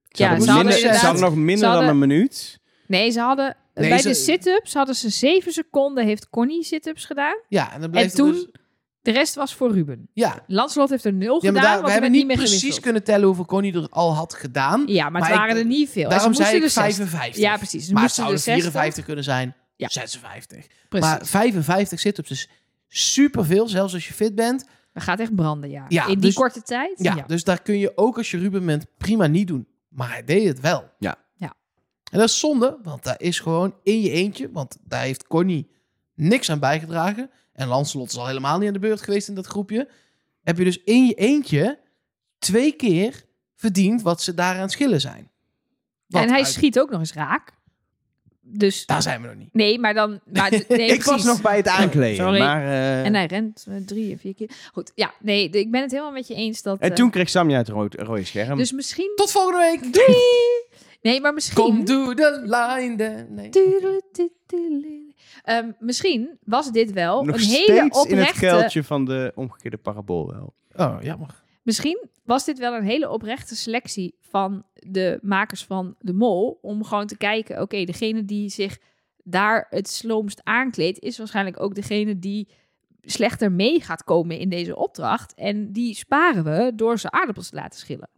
[SPEAKER 1] Ze
[SPEAKER 3] Ja,
[SPEAKER 1] hadden
[SPEAKER 3] ze hadden
[SPEAKER 1] minder- ze
[SPEAKER 3] inderdaad-
[SPEAKER 1] hadden nog minder
[SPEAKER 3] hadden-
[SPEAKER 1] dan een minuut.
[SPEAKER 3] Nee, ze hadden...
[SPEAKER 2] Nee,
[SPEAKER 3] bij
[SPEAKER 2] ze-
[SPEAKER 3] de sit-ups hadden ze zeven seconden, heeft Connie sit-ups gedaan.
[SPEAKER 2] Ja, en dan blijft
[SPEAKER 3] En
[SPEAKER 2] het
[SPEAKER 3] toen-
[SPEAKER 2] dus-
[SPEAKER 3] De rest was voor Ruben.
[SPEAKER 2] ja,
[SPEAKER 3] Lanslot heeft er nul
[SPEAKER 2] ja maar
[SPEAKER 3] gedaan,
[SPEAKER 2] daar, we
[SPEAKER 3] want er
[SPEAKER 2] hebben
[SPEAKER 3] werd
[SPEAKER 2] niet
[SPEAKER 3] niet meer
[SPEAKER 2] precies
[SPEAKER 3] gewisseld.
[SPEAKER 2] kunnen tellen hoeveel Connie er al had gedaan.
[SPEAKER 3] Ja, maar,
[SPEAKER 2] Maar
[SPEAKER 3] het waren
[SPEAKER 2] ik-
[SPEAKER 3] er niet veel. En ze
[SPEAKER 2] Daarom zei
[SPEAKER 3] moesten
[SPEAKER 2] ik
[SPEAKER 3] er 60.
[SPEAKER 2] 55.
[SPEAKER 3] Ja, precies. Ze
[SPEAKER 2] maar het
[SPEAKER 3] moesten
[SPEAKER 2] zouden
[SPEAKER 3] er 60.
[SPEAKER 2] 54 kunnen zijn,
[SPEAKER 3] Ja.
[SPEAKER 2] 56.
[SPEAKER 3] Precies.
[SPEAKER 2] Maar 55 sit-ups is dus superveel, zelfs als je fit bent.
[SPEAKER 3] Dat gaat echt branden, ja.
[SPEAKER 2] Ja,
[SPEAKER 3] In die
[SPEAKER 2] dus-
[SPEAKER 3] korte tijd?
[SPEAKER 2] Ja, Dus daar kun je ook als je Ruben bent prima niet doen. Maar hij deed het wel.
[SPEAKER 1] Ja.
[SPEAKER 3] Ja.
[SPEAKER 2] En dat is zonde, want daar is gewoon in je eentje, want daar heeft Connie niks aan bijgedragen. En Lancelot is al helemaal niet aan de beurt geweest in dat groepje. Heb je dus in je eentje twee keer verdiend wat ze daaraan schillen zijn. Want
[SPEAKER 3] en hij
[SPEAKER 2] uit-
[SPEAKER 3] schiet ook nog eens raak. Dus
[SPEAKER 2] Daar zijn we nog niet.
[SPEAKER 3] nee, maar dan. Maar, nee,
[SPEAKER 1] ik was
[SPEAKER 3] precies.
[SPEAKER 1] nog bij het aankleden,
[SPEAKER 3] Sorry.
[SPEAKER 1] maar... eh,
[SPEAKER 3] En hij rent eh, drie of vier keer. Goed, ja, nee, de- ik ben het helemaal met je eens dat.
[SPEAKER 1] En
[SPEAKER 3] eh,
[SPEAKER 1] toen kreeg Samja het rood, rode scherm.
[SPEAKER 3] dus misschien.
[SPEAKER 2] Tot volgende week.
[SPEAKER 3] Doei! Nee, maar misschien.
[SPEAKER 2] Kom, doe de line. De... Nee.
[SPEAKER 3] Doedeloedeloedele. Ehm, misschien was dit wel
[SPEAKER 1] Nog
[SPEAKER 3] een hele
[SPEAKER 1] steeds in het
[SPEAKER 3] oprechte.
[SPEAKER 1] kuiltje van de omgekeerde parabool wel.
[SPEAKER 2] Oh, jammer.
[SPEAKER 3] Misschien was dit wel een hele oprechte selectie van de makers van De Mol. Om gewoon te kijken, oké, degene die zich daar het sloomst aankleedt... is waarschijnlijk ook degene die slechter mee gaat komen in deze opdracht. En die sparen we door ze aardappels te laten schillen.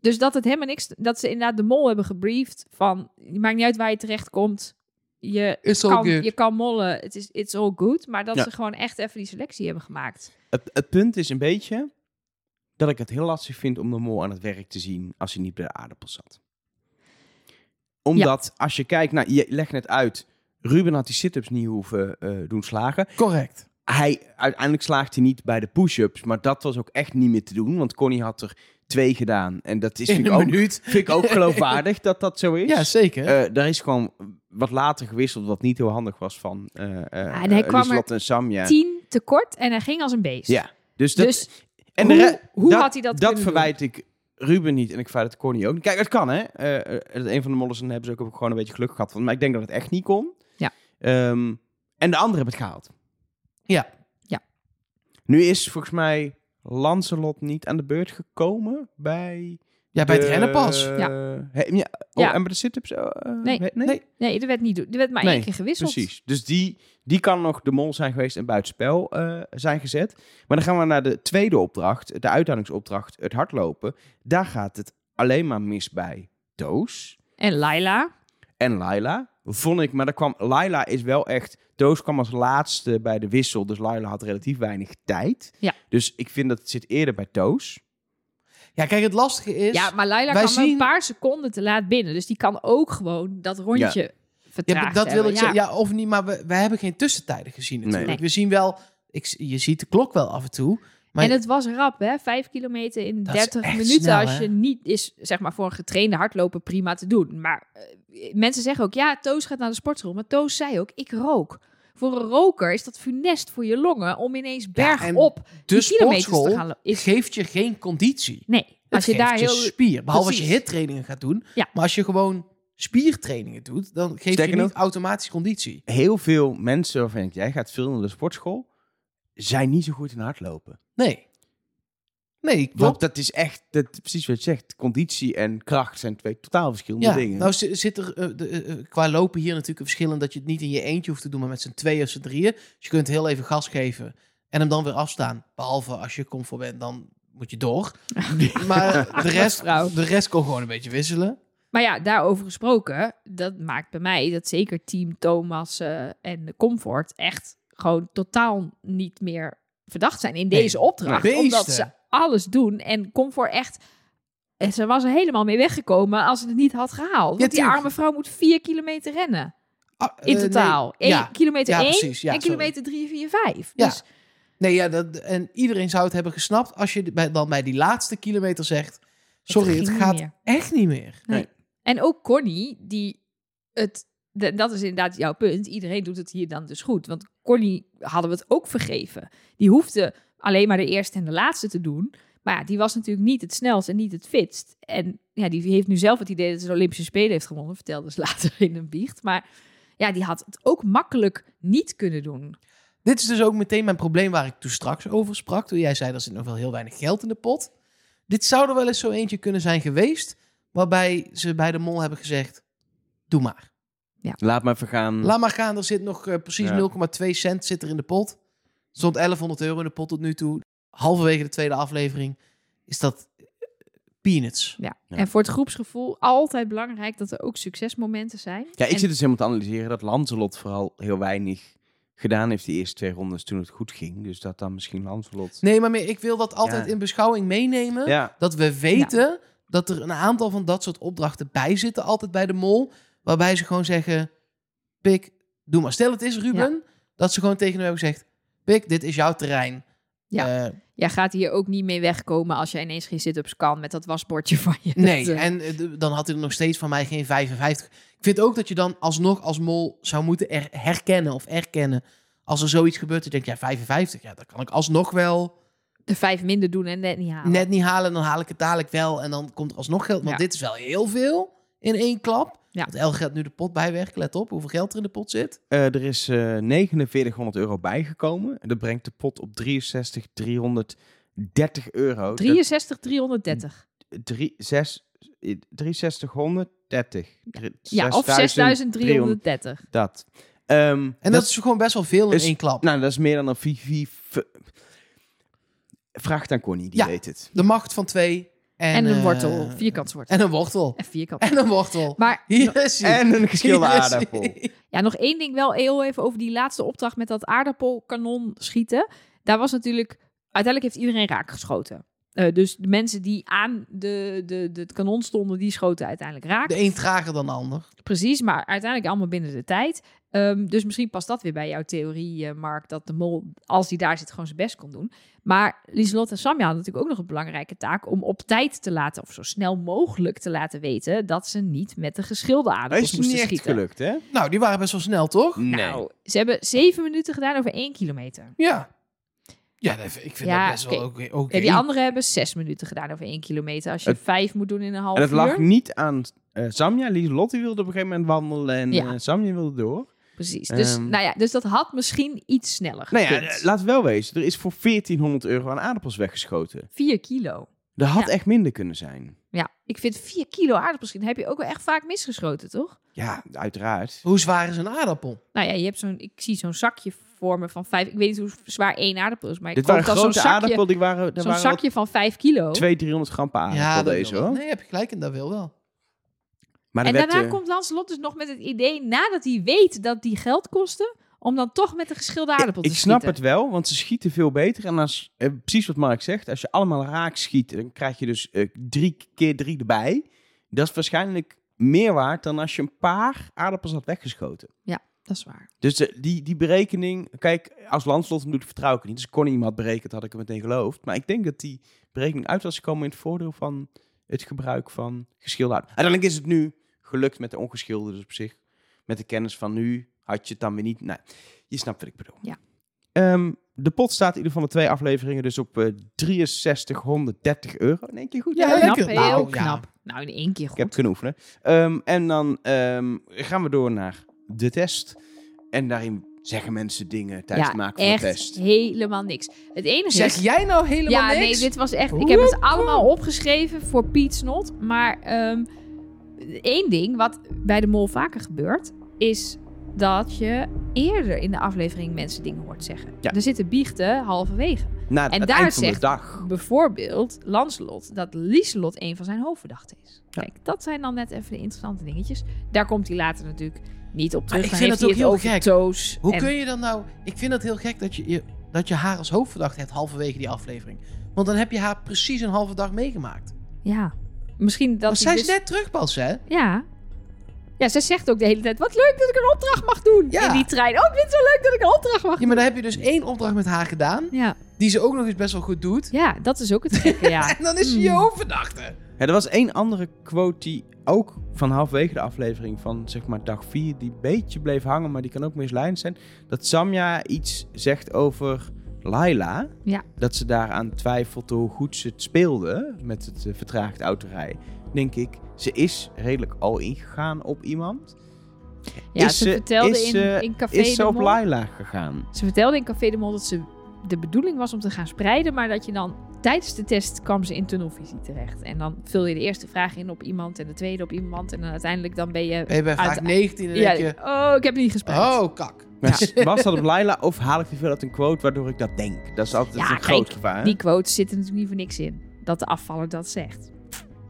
[SPEAKER 3] Dus dat het helemaal niks... Dat ze inderdaad De Mol hebben gebriefd van... Maakt niet uit waar je terechtkomt. Je
[SPEAKER 2] Is
[SPEAKER 3] kan,
[SPEAKER 2] ook
[SPEAKER 3] je kan mollen. Het is it's all good. Maar dat
[SPEAKER 1] Ja.
[SPEAKER 3] ze gewoon echt even die selectie hebben gemaakt.
[SPEAKER 1] Het, het punt is een beetje dat ik het heel lastig vind om de mol aan het werk te zien als hij niet bij de aardappel zat. Omdat als je kijkt, nou, je legt net uit, Ruben had die sit-ups niet hoeven eh, doen slagen.
[SPEAKER 2] Correct.
[SPEAKER 1] Hij, uiteindelijk slaagt hij niet bij de push-ups, maar dat was ook echt niet meer te doen, want Connie had er twee gedaan. En dat is
[SPEAKER 2] In
[SPEAKER 1] vind ik,
[SPEAKER 2] een
[SPEAKER 1] ook,
[SPEAKER 2] minuut.
[SPEAKER 1] vind ik ook geloofwaardig dat dat zo is.
[SPEAKER 2] Ja, zeker.
[SPEAKER 1] Eh, daar is gewoon wat later gewisseld, wat niet heel handig was van eh eh,
[SPEAKER 3] en hij
[SPEAKER 1] eh,
[SPEAKER 3] kwam er
[SPEAKER 1] Lieselot en Samja.
[SPEAKER 3] tien tekort en hij ging als een beest.
[SPEAKER 1] Ja, dus, dat,
[SPEAKER 3] dus
[SPEAKER 1] en
[SPEAKER 3] hoe,
[SPEAKER 1] de re-
[SPEAKER 3] hoe had hij dat
[SPEAKER 1] Dat
[SPEAKER 3] kunnen
[SPEAKER 1] verwijt ik Ruben niet en ik verwijt het Corny ook niet. Kijk, het kan hè. Eh, eh, een van de mollers en hebben ze ook gewoon een beetje geluk gehad. Want, maar ik denk dat het echt niet kon.
[SPEAKER 3] Ja.
[SPEAKER 1] Ehm, en de anderen hebben het gehaald.
[SPEAKER 2] Ja.
[SPEAKER 3] Ja.
[SPEAKER 1] Nu is volgens mij Lancelot niet aan de beurt gekomen bij...
[SPEAKER 2] Ja, bij het
[SPEAKER 1] de-
[SPEAKER 2] rennen pas.
[SPEAKER 1] He-
[SPEAKER 3] Ja.
[SPEAKER 1] ja. oh,
[SPEAKER 3] Ja.
[SPEAKER 1] En bij de sit-ups? eh,
[SPEAKER 3] Nee.
[SPEAKER 1] nee.
[SPEAKER 3] doen? Nee, er werd, niet, er werd maar
[SPEAKER 1] Nee,
[SPEAKER 3] één keer gewisseld.
[SPEAKER 1] Precies. Dus die, die kan nog de mol zijn geweest en buitenspel eh zijn gezet. Maar dan gaan we naar de tweede opdracht, de uithoudingsopdracht, het hardlopen. Daar gaat het alleen maar mis bij Doos
[SPEAKER 3] En Laila.
[SPEAKER 1] en Laila. Vond ik, maar daar kwam, Laila is wel echt... Doos kwam als laatste bij de wissel, dus Laila had relatief weinig tijd.
[SPEAKER 3] Ja.
[SPEAKER 1] Dus ik vind dat het zit eerder bij Doos.
[SPEAKER 2] Ja, kijk, het lastige is...
[SPEAKER 3] Ja, maar Laila
[SPEAKER 2] Dus wij
[SPEAKER 3] kwam
[SPEAKER 2] zien-
[SPEAKER 3] een paar seconden te laat binnen. Dus die kan ook gewoon dat rondje
[SPEAKER 2] Ja,
[SPEAKER 3] vertragen.
[SPEAKER 2] maar dat wil ik zeggen. Ja, of niet, maar we, we hebben geen tussentijden gezien natuurlijk.
[SPEAKER 1] Nee.
[SPEAKER 2] We zien wel... Ik, z- je ziet de klok wel af en toe. maar-
[SPEAKER 3] En het was rap, hè? Vijf kilometer in
[SPEAKER 2] Dat is
[SPEAKER 3] 30
[SPEAKER 2] echt
[SPEAKER 3] minuten.
[SPEAKER 2] snel,
[SPEAKER 3] als
[SPEAKER 2] hè?
[SPEAKER 3] je niet is, zeg maar, voor een getrainde hardloper prima te doen. Maar eh, mensen zeggen ook, ja, Toos gaat naar de sportschool. Maar Toos zei ook, ik rook. Voor een roker is dat funest voor je longen om ineens
[SPEAKER 2] en
[SPEAKER 3] bergop
[SPEAKER 2] De
[SPEAKER 3] die kilometers te
[SPEAKER 2] sportschool
[SPEAKER 3] gaan lo- is-
[SPEAKER 2] geeft je geen conditie.
[SPEAKER 3] Nee, als
[SPEAKER 2] Het
[SPEAKER 3] je daar
[SPEAKER 2] geeft
[SPEAKER 3] heel...
[SPEAKER 2] spier. Behalve als
[SPEAKER 3] Precies.
[SPEAKER 2] je hittrainingen gaat doen.
[SPEAKER 3] Ja.
[SPEAKER 2] Maar als je gewoon spiertrainingen doet, dan geeft
[SPEAKER 1] Sterker
[SPEAKER 2] je niet
[SPEAKER 1] nog-
[SPEAKER 2] automatisch conditie.
[SPEAKER 1] Heel veel mensen waarvan ik, jij gaat veel naar de sportschool, zijn niet zo goed in hardlopen.
[SPEAKER 2] Nee. Nee,
[SPEAKER 1] Want
[SPEAKER 2] klopt.
[SPEAKER 1] dat is echt, dat, precies wat je zegt, conditie en kracht zijn twee totaal verschillende
[SPEAKER 2] Ja,
[SPEAKER 1] dingen.
[SPEAKER 2] nou zi- zit er eh, de, eh, eh, qua lopen hier natuurlijk een verschil in dat je het niet in je eentje hoeft te doen, maar met z'n tweeën of z'n drieën. Dus je kunt heel even gas geven en hem dan weer afstaan. Behalve als je comfort bent, dan moet je door. maar de rest,
[SPEAKER 3] Vrouw.
[SPEAKER 2] de rest kon gewoon een beetje wisselen.
[SPEAKER 3] Maar ja, daarover gesproken, dat maakt bij mij dat zeker team Thomas eh, en de Comfort echt gewoon totaal niet meer verdacht zijn in
[SPEAKER 2] Nee,
[SPEAKER 3] deze opdracht.
[SPEAKER 2] beesten.
[SPEAKER 3] Omdat ze alles doen en Comfort echt... en Ze was er helemaal mee weggekomen als ze het niet had gehaald. Want die
[SPEAKER 2] tuurlijk.
[SPEAKER 3] arme vrouw moet vier kilometer rennen.
[SPEAKER 2] Ah,
[SPEAKER 3] In
[SPEAKER 2] eh,
[SPEAKER 3] totaal.
[SPEAKER 2] nee.
[SPEAKER 3] Eén-
[SPEAKER 2] Ja.
[SPEAKER 3] kilometer
[SPEAKER 2] Ja,
[SPEAKER 3] één
[SPEAKER 2] precies. Ja,
[SPEAKER 3] en
[SPEAKER 2] sorry.
[SPEAKER 3] kilometer drie, vier, vijf.
[SPEAKER 2] Ja.
[SPEAKER 3] Dus
[SPEAKER 2] Nee, ja, dat, en iedereen zou het hebben gesnapt als je bij- dan bij die laatste kilometer zegt: Sorry,
[SPEAKER 3] ging
[SPEAKER 2] het
[SPEAKER 3] niet
[SPEAKER 2] gaat
[SPEAKER 3] meer.
[SPEAKER 2] echt niet meer.
[SPEAKER 3] En ook Connie, die het. de- dat is inderdaad jouw punt. Iedereen doet het hier dan dus goed. Want Connie hadden we het ook vergeven. Die hoefde alleen maar de eerste en de laatste te doen. Maar ja, die was natuurlijk niet het snelst en niet het fitst. En ja, die heeft nu zelf het idee dat ze de Olympische Spelen heeft gewonnen. Vertelde ze later in een biecht. Maar ja, die had het ook makkelijk niet kunnen doen.
[SPEAKER 2] Dit is dus ook meteen mijn probleem waar ik toen straks over sprak. Toen jij zei, er zit nog wel heel weinig geld in de pot. Dit zou er wel eens zo eentje kunnen zijn geweest... waarbij ze bij de mol hebben gezegd, doe maar.
[SPEAKER 1] Laat maar vergaan.
[SPEAKER 2] Laat maar gaan, er zit nog eh, precies
[SPEAKER 1] Hm. Ja.
[SPEAKER 2] 0,2 cent zit er in de pot. Er stond 1100 euro in de pot tot nu toe. Halverwege de tweede aflevering is dat eh, peanuts.
[SPEAKER 1] Ja.
[SPEAKER 3] En voor het groepsgevoel altijd belangrijk dat er ook succesmomenten zijn.
[SPEAKER 1] ja, ik
[SPEAKER 3] En-
[SPEAKER 1] zit dus helemaal te analyseren dat Lancelot vooral heel weinig gedaan heeft die eerste twee rondes toen het goed ging. Dus dat dan misschien Lancelot...
[SPEAKER 2] Nee, maar meer, ik wil dat altijd
[SPEAKER 1] Ja.
[SPEAKER 2] in beschouwing meenemen.
[SPEAKER 1] Ja,
[SPEAKER 2] Dat we weten dat er een aantal van dat soort opdrachten bij zitten, altijd bij de mol. Waarbij ze gewoon zeggen: Pik, doe maar. Stel, het is Ruben. Dat ze gewoon tegen hem hebben gezegd: Pik, dit is jouw terrein.
[SPEAKER 3] Ja.
[SPEAKER 2] Eh,
[SPEAKER 3] Jij gaat hier ook niet mee wegkomen als jij ineens geen sit-ups kan met dat wasbordje van je.
[SPEAKER 2] nee,
[SPEAKER 3] Dat, eh,
[SPEAKER 2] en eh, d- dan had hij er nog steeds van mij geen 55. Ik vind ook dat je dan alsnog als mol zou moeten er- herkennen of erkennen. Als er zoiets gebeurt, dan denk jij 55. Ja, dat kan ik alsnog wel
[SPEAKER 3] de vijf minder doen en net niet halen.
[SPEAKER 2] net niet halen. Dan haal ik het dadelijk wel. En dan komt er alsnog geld. Want
[SPEAKER 3] Ja.
[SPEAKER 2] dit is wel heel veel in één klap.
[SPEAKER 3] Ja.
[SPEAKER 2] Want El gaat nu de pot bijwerken. Let op hoeveel geld er in de pot zit.
[SPEAKER 1] eh, er is eh 4900 euro bijgekomen. En dat brengt de pot op 63, 330 euro.
[SPEAKER 3] 63,
[SPEAKER 2] Hm.
[SPEAKER 3] 330.
[SPEAKER 1] Dat- drie- zes- eh, 6330.
[SPEAKER 3] Ja, of 6330.
[SPEAKER 1] Dat. Ehm,
[SPEAKER 2] En dat, is gewoon best wel veel in
[SPEAKER 1] is-
[SPEAKER 2] één klap.
[SPEAKER 1] Nou, dat is meer dan een Vivi. Vraag het aan Connie, die
[SPEAKER 2] Ja.
[SPEAKER 1] weet het.
[SPEAKER 2] de macht van twee. En,
[SPEAKER 3] En een
[SPEAKER 2] eh,
[SPEAKER 3] wortel, vierkantswortel.
[SPEAKER 2] En een wortel.
[SPEAKER 3] En vierkant.
[SPEAKER 2] En een wortel.
[SPEAKER 3] Maar
[SPEAKER 2] Hier is hij.
[SPEAKER 1] En een geschilde
[SPEAKER 2] Hier is hij.
[SPEAKER 1] aardappel.
[SPEAKER 3] ja, nog één ding wel heel even over die laatste opdracht met dat aardappelkanon schieten. Daar was natuurlijk, uiteindelijk heeft iedereen raak geschoten. Eh, dus de mensen die aan de, de, de, het kanon stonden, die schoten uiteindelijk raak.
[SPEAKER 2] De een trager dan de ander.
[SPEAKER 3] Precies, maar uiteindelijk allemaal binnen de tijd. Ehm, dus misschien past dat weer bij jouw theorie, eh, Mark, dat de mol, als hij daar zit, gewoon zijn best kon doen. Maar Lieselot en Samja hadden natuurlijk ook nog een belangrijke taak om op tijd te laten, of zo snel mogelijk te laten weten, dat ze niet met de geschilde
[SPEAKER 1] Dat
[SPEAKER 3] aardappels
[SPEAKER 1] is niet
[SPEAKER 3] moesten
[SPEAKER 1] echt
[SPEAKER 3] schieten.
[SPEAKER 1] gelukt, hè?
[SPEAKER 2] Nou, die waren best wel snel, toch?
[SPEAKER 1] Mm.
[SPEAKER 3] Nou, ze hebben zeven minuten gedaan over één kilometer.
[SPEAKER 2] Ja. Ja, dat- ik vind
[SPEAKER 3] Ja,
[SPEAKER 2] dat best wel oké. oké.
[SPEAKER 3] Ja, die anderen hebben zes minuten gedaan over één kilometer. Als je
[SPEAKER 1] Het-
[SPEAKER 3] vijf moet doen in een half
[SPEAKER 1] En het
[SPEAKER 3] uur.
[SPEAKER 1] lag niet aan eh Samja. Lieselotte wilde op een gegeven moment wandelen en
[SPEAKER 3] Ja.
[SPEAKER 1] eh, Samja wilde door.
[SPEAKER 3] Precies. Dus,
[SPEAKER 1] Ehm.
[SPEAKER 3] nou ja, dus dat had misschien iets sneller.
[SPEAKER 1] Nou ja,
[SPEAKER 3] gekund.
[SPEAKER 1] eh, laten we wel wezen. Er is voor 1400 euro aan aardappels weggeschoten.
[SPEAKER 3] Vier kilo.
[SPEAKER 1] Dat had
[SPEAKER 3] Ja.
[SPEAKER 1] echt minder kunnen zijn.
[SPEAKER 3] Ja, ik vind 4 kilo aardappels schieten, heb je ook wel echt vaak misgeschoten, toch?
[SPEAKER 1] Ja, uiteraard.
[SPEAKER 2] Hoe zwaar is een aardappel?
[SPEAKER 3] Nou ja, je hebt zo'n, ik zie zo'n zakje voor me van 5. Ik weet niet hoe zwaar één aardappel is, maar ik
[SPEAKER 1] Dit
[SPEAKER 3] hoop
[SPEAKER 1] waren
[SPEAKER 3] dat zo'n
[SPEAKER 1] grote
[SPEAKER 3] zakje,
[SPEAKER 1] aardappelen. Die waren, er
[SPEAKER 3] zo'n
[SPEAKER 1] waren wel
[SPEAKER 3] zakje van 5 kilo.
[SPEAKER 1] 200, 300 gram per aardappel
[SPEAKER 2] ja, dat wil
[SPEAKER 1] deze,
[SPEAKER 2] wel.
[SPEAKER 1] hoor.
[SPEAKER 2] Nee, heb je gelijk en dat wil wel.
[SPEAKER 1] Maar er
[SPEAKER 3] En
[SPEAKER 1] werd,
[SPEAKER 3] daarna
[SPEAKER 1] eh,
[SPEAKER 3] komt Lancelot dus nog met het idee, nadat hij weet dat die geld kosten, om dan toch met de geschilde aardappel
[SPEAKER 1] Ik
[SPEAKER 3] te
[SPEAKER 1] snap
[SPEAKER 3] schieten.
[SPEAKER 1] het wel, want ze schieten veel beter. En als, eh, precies wat Mark zegt, als je allemaal raak schiet, dan krijg je dus eh, drie keer drie erbij. Dat is waarschijnlijk meer waard dan als je een paar aardappels had weggeschoten.
[SPEAKER 3] Dat is waar.
[SPEAKER 1] Dus eh, die, die berekening, kijk, als Landslot hem doet, vertrouw ik het niet. Dus Connie hem had berekend, had ik hem meteen geloofd. Maar ik denk dat die berekening uit was gekomen in het voordeel van het gebruik van geschilde aardappels. Uiteindelijk is het nu gelukt met de ongeschilde, dus op zich. Met de kennis van nu had je het dan weer niet. Nou, je snapt wat ik bedoel.
[SPEAKER 3] Ja.
[SPEAKER 1] Ehm, de pot staat in ieder geval de twee afleveringen dus op eh 6330 euro. In één keer goed.
[SPEAKER 2] Ja,
[SPEAKER 1] hè?
[SPEAKER 2] lekker.
[SPEAKER 3] Knap, heel
[SPEAKER 2] Nou, ja.
[SPEAKER 3] knap. Nou, in één keer
[SPEAKER 1] Ik
[SPEAKER 3] goed.
[SPEAKER 1] heb kunnen oefenen. Ehm, en dan ehm, gaan we door naar de test. En daarin Zeggen mensen dingen tijdens het maken van
[SPEAKER 3] echt
[SPEAKER 1] de test?
[SPEAKER 3] helemaal niks. Het enige
[SPEAKER 2] Zeg
[SPEAKER 3] is...
[SPEAKER 2] jij nou helemaal
[SPEAKER 3] ja,
[SPEAKER 2] niks?
[SPEAKER 3] nee, dit was echt... Ik heb het allemaal opgeschreven voor Piet Snot. Maar ehm, één ding wat bij de mol vaker gebeurt... is dat je eerder in de aflevering mensen dingen hoort zeggen.
[SPEAKER 1] Ja.
[SPEAKER 3] Er zitten biechten halverwege.
[SPEAKER 1] Na
[SPEAKER 3] En
[SPEAKER 1] het
[SPEAKER 3] daar
[SPEAKER 1] eind van de
[SPEAKER 3] zegt-
[SPEAKER 1] dag.
[SPEAKER 3] Bijvoorbeeld Lancelot, dat Lieselot een van zijn hoofdverdachten is. Kijk, dat zijn dan net even de interessante dingetjes. Daar komt hij later natuurlijk niet op terug.
[SPEAKER 2] Ah, ik
[SPEAKER 3] Dan
[SPEAKER 2] vind
[SPEAKER 3] heeft
[SPEAKER 2] het
[SPEAKER 3] hij
[SPEAKER 2] ook
[SPEAKER 3] over
[SPEAKER 2] heel gek.
[SPEAKER 3] Toos
[SPEAKER 2] Hoe
[SPEAKER 3] en-
[SPEAKER 2] kun je dan nou... Ik vind het heel gek dat je, je- dat je haar als hoofdverdachte hebt halverwege die aflevering. Want dan heb je haar precies een halve dag meegemaakt.
[SPEAKER 3] Ja, misschien dat
[SPEAKER 2] Want
[SPEAKER 3] hij
[SPEAKER 2] zij is
[SPEAKER 3] dus-
[SPEAKER 2] net terug pas, hè?
[SPEAKER 3] Ja. Ja, zij zegt ook de hele tijd, wat leuk dat ik een opdracht mag doen
[SPEAKER 2] Ja.
[SPEAKER 3] in die trein. Oh, ik vind het zo leuk dat ik een opdracht mag
[SPEAKER 2] Ja, maar dan heb je dus één opdracht met haar gedaan...
[SPEAKER 3] doen. Ja,
[SPEAKER 2] die ze ook nog eens best wel goed doet.
[SPEAKER 3] ja dat is ook het gekke, ja.
[SPEAKER 2] En dan is ze je
[SPEAKER 3] Hmm.
[SPEAKER 2] hoofdverdachte.
[SPEAKER 1] Ja, er was één andere quote die ook van halverwege de aflevering van zeg maar dag 4, die een beetje bleef hangen, maar die kan ook misleidend zijn. Dat Samja iets zegt over Laila.
[SPEAKER 3] Ja.
[SPEAKER 1] Dat ze daaraan twijfelt hoe goed ze het speelde met het eh, vertraagd autorijden. Denk ik, ze is redelijk al ingegaan op iemand.
[SPEAKER 3] Ja,
[SPEAKER 1] Is
[SPEAKER 3] ze
[SPEAKER 1] ze-
[SPEAKER 3] vertelde
[SPEAKER 1] is
[SPEAKER 3] in,
[SPEAKER 1] ze-
[SPEAKER 3] in Café
[SPEAKER 1] is
[SPEAKER 3] de
[SPEAKER 1] ze op
[SPEAKER 3] Mol-
[SPEAKER 1] Laila gegaan?
[SPEAKER 3] Ze vertelde in Café de Mol dat ze de bedoeling was om te gaan spreiden, maar dat je dan tijdens de test kwam ze in tunnelvisie terecht. En dan vul je de eerste vraag in op iemand en de tweede op iemand en dan uiteindelijk dan ben je...
[SPEAKER 2] Ben je bij vraag
[SPEAKER 3] Uit-
[SPEAKER 2] 19 en
[SPEAKER 3] Ja,
[SPEAKER 2] denk je...
[SPEAKER 3] oh, ik heb niet gespreid.
[SPEAKER 2] Oh, kak.
[SPEAKER 1] Maar Was dat op Laila of haal ik te veel uit een quote waardoor ik dat denk? Dat is altijd
[SPEAKER 3] Ja,
[SPEAKER 1] een groot
[SPEAKER 3] kijk,
[SPEAKER 1] gevaar.
[SPEAKER 3] Die quotes zitten natuurlijk niet voor niks in. Dat de afvaller dat zegt.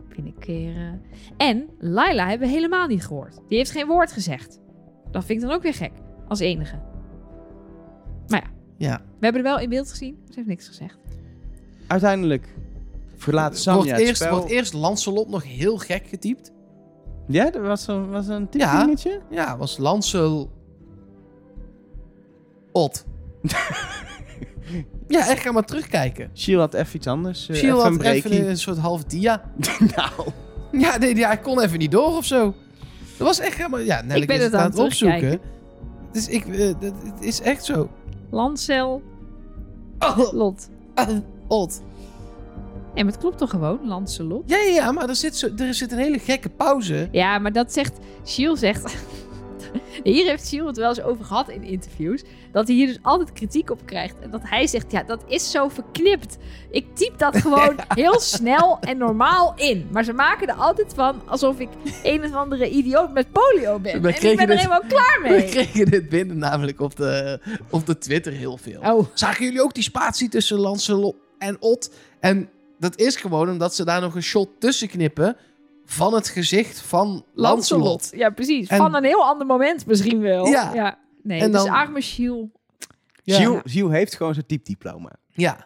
[SPEAKER 3] Vind ik weer... eh. En Laila hebben we helemaal niet gehoord. Die heeft geen woord gezegd. Dat vind ik dan ook weer gek. Als enige. Maar ja.
[SPEAKER 2] Ja.
[SPEAKER 3] We hebben er wel in beeld gezien. Ze heeft niks gezegd.
[SPEAKER 1] Uiteindelijk verlaat Samja
[SPEAKER 2] Wordt
[SPEAKER 1] het
[SPEAKER 2] eerst,
[SPEAKER 1] spel.
[SPEAKER 2] wordt eerst Lancelot nog heel gek getypt.
[SPEAKER 1] Ja, dat was een, was een tip
[SPEAKER 2] Ja.
[SPEAKER 1] dingetje.
[SPEAKER 2] Ja, was Lancel... Ot. ja, echt, ga maar terugkijken.
[SPEAKER 1] Shiel had even iets anders. eh,
[SPEAKER 2] Shiel
[SPEAKER 1] even een
[SPEAKER 2] had even een,
[SPEAKER 1] breakie.
[SPEAKER 2] een soort half dia.
[SPEAKER 1] nou.
[SPEAKER 2] Ja, nee, ja, hij kon even niet door of zo. Dat was echt helemaal... Ja, Nelly
[SPEAKER 3] Ik ben
[SPEAKER 2] is
[SPEAKER 3] het
[SPEAKER 2] aan
[SPEAKER 3] aan
[SPEAKER 2] het
[SPEAKER 3] het
[SPEAKER 2] opzoeken. Dus ik... eh, dat, het is echt zo.
[SPEAKER 3] Lancel,
[SPEAKER 2] Oh,
[SPEAKER 3] Lot.
[SPEAKER 2] oh, Ot.
[SPEAKER 3] En het klopt toch gewoon? Lancelot?
[SPEAKER 2] Ja, ja, ja, maar er zit, zo, er zit een hele gekke pauze.
[SPEAKER 3] Ja, maar dat zegt... Shiel zegt... Hier heeft Shiel het wel eens over gehad in interviews. Dat hij hier dus altijd kritiek op krijgt. En dat hij zegt, ja, dat is zo verknipt. Ik typ dat gewoon heel snel en normaal in. Maar ze maken er altijd van alsof ik een of andere idioot met polio ben.
[SPEAKER 2] We
[SPEAKER 3] en ik ben
[SPEAKER 2] kregen
[SPEAKER 3] er
[SPEAKER 2] dus-
[SPEAKER 3] helemaal klaar
[SPEAKER 2] We
[SPEAKER 3] mee.
[SPEAKER 2] kregen dit binnen namelijk op de, op de Twitter heel veel.
[SPEAKER 3] Oh,
[SPEAKER 2] Zagen jullie ook die spatie tussen Lancelot en Ot? En dat is gewoon omdat ze daar nog een shot tussen knippen van het gezicht van
[SPEAKER 3] Lancelot.
[SPEAKER 2] Lancelot.
[SPEAKER 3] Ja, precies.
[SPEAKER 2] En-
[SPEAKER 3] Van een heel ander moment misschien wel.
[SPEAKER 2] Ja.
[SPEAKER 3] Nee,
[SPEAKER 2] En
[SPEAKER 3] dus
[SPEAKER 2] dan-
[SPEAKER 3] arme Shiel.
[SPEAKER 2] Ja.
[SPEAKER 1] Shiel, Shiel heeft gewoon zijn typediploma.
[SPEAKER 2] Ja,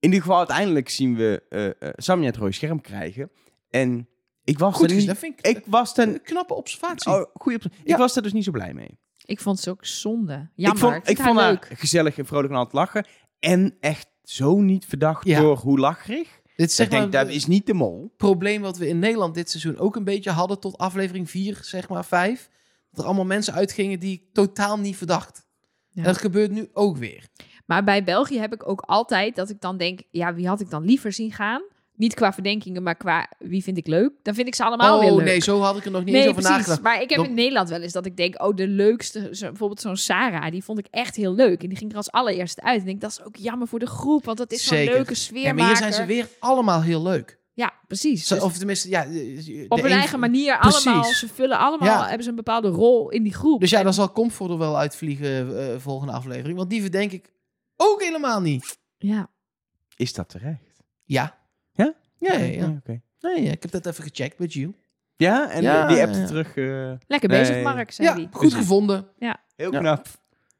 [SPEAKER 1] In ieder geval, uiteindelijk zien we eh eh, Samja het rode scherm krijgen. En ik was
[SPEAKER 2] goed
[SPEAKER 1] er
[SPEAKER 2] gezien.
[SPEAKER 1] niet...
[SPEAKER 2] Dat vind ik,
[SPEAKER 1] Ik was
[SPEAKER 2] een
[SPEAKER 1] ten...
[SPEAKER 2] knappe observatie.
[SPEAKER 1] Oh, goeie op...
[SPEAKER 2] Ja.
[SPEAKER 1] Ik was daar dus niet zo blij mee.
[SPEAKER 3] Ik vond ze ook zonde. Jammer.
[SPEAKER 1] ik vond, ik vond
[SPEAKER 3] haar
[SPEAKER 1] haar
[SPEAKER 3] leuk.
[SPEAKER 1] gezellig en vrolijk en aan het lachen. En echt zo niet verdacht
[SPEAKER 2] Ja.
[SPEAKER 1] door hoe lacherig.
[SPEAKER 2] Dit is zeg
[SPEAKER 1] ik
[SPEAKER 2] maar
[SPEAKER 1] denk, dat is niet de mol.
[SPEAKER 2] het probleem wat we in Nederland dit seizoen ook een beetje hadden tot aflevering 4, zeg maar 5. Dat er allemaal mensen uitgingen die ik totaal niet verdacht.
[SPEAKER 3] Ja.
[SPEAKER 2] En dat gebeurt nu ook weer.
[SPEAKER 3] Maar bij België heb ik ook altijd dat ik dan denk, ja, wie had ik dan liever zien gaan? Niet qua verdenkingen, maar qua wie vind ik leuk. Dan vind ik ze allemaal weer
[SPEAKER 2] oh
[SPEAKER 3] leuk.
[SPEAKER 2] nee, zo had ik er nog niet eens
[SPEAKER 3] Nee,
[SPEAKER 2] over
[SPEAKER 3] precies.
[SPEAKER 2] nagedacht.
[SPEAKER 3] Maar ik heb
[SPEAKER 2] Dan-
[SPEAKER 3] in Nederland wel eens dat ik denk, oh, de leukste, zo- bijvoorbeeld zo'n Sarah, die vond ik echt heel leuk. En die ging er als allereerste uit. En ik denk, dat is ook jammer voor de groep, want dat is zo'n
[SPEAKER 2] Zeker.
[SPEAKER 3] leuke
[SPEAKER 2] Ja,
[SPEAKER 3] sfeermaker.
[SPEAKER 2] maar hier zijn ze weer allemaal heel leuk.
[SPEAKER 3] Ja, precies.
[SPEAKER 2] Zo-
[SPEAKER 3] Dus
[SPEAKER 2] Of tenminste, ja. de-
[SPEAKER 3] op
[SPEAKER 2] de
[SPEAKER 3] hun
[SPEAKER 2] een-
[SPEAKER 3] eigen manier
[SPEAKER 2] Precies.
[SPEAKER 3] allemaal. Ze vullen allemaal,
[SPEAKER 2] Ja.
[SPEAKER 3] hebben ze een bepaalde rol in die groep.
[SPEAKER 2] Dus ja, dan zal Comfort er wel uitvliegen eh, volgende aflevering. Want die verdenk ik ook helemaal niet.
[SPEAKER 3] Ja.
[SPEAKER 1] Is dat terecht?
[SPEAKER 2] Ja.
[SPEAKER 1] Ja?
[SPEAKER 2] Ja, ja,
[SPEAKER 1] Nee,
[SPEAKER 2] ja.
[SPEAKER 1] oké.
[SPEAKER 2] Nee, ja, ik heb dat even gecheckt met you.
[SPEAKER 1] Ja, en
[SPEAKER 2] Ja,
[SPEAKER 1] eh, die appte
[SPEAKER 2] ja.
[SPEAKER 1] terug. eh,
[SPEAKER 3] Lekker
[SPEAKER 1] Nee.
[SPEAKER 3] bezig, Mark, zei
[SPEAKER 2] Ja,
[SPEAKER 3] die.
[SPEAKER 2] goed
[SPEAKER 1] Precies.
[SPEAKER 2] gevonden.
[SPEAKER 1] heel
[SPEAKER 2] Ja.
[SPEAKER 1] knap.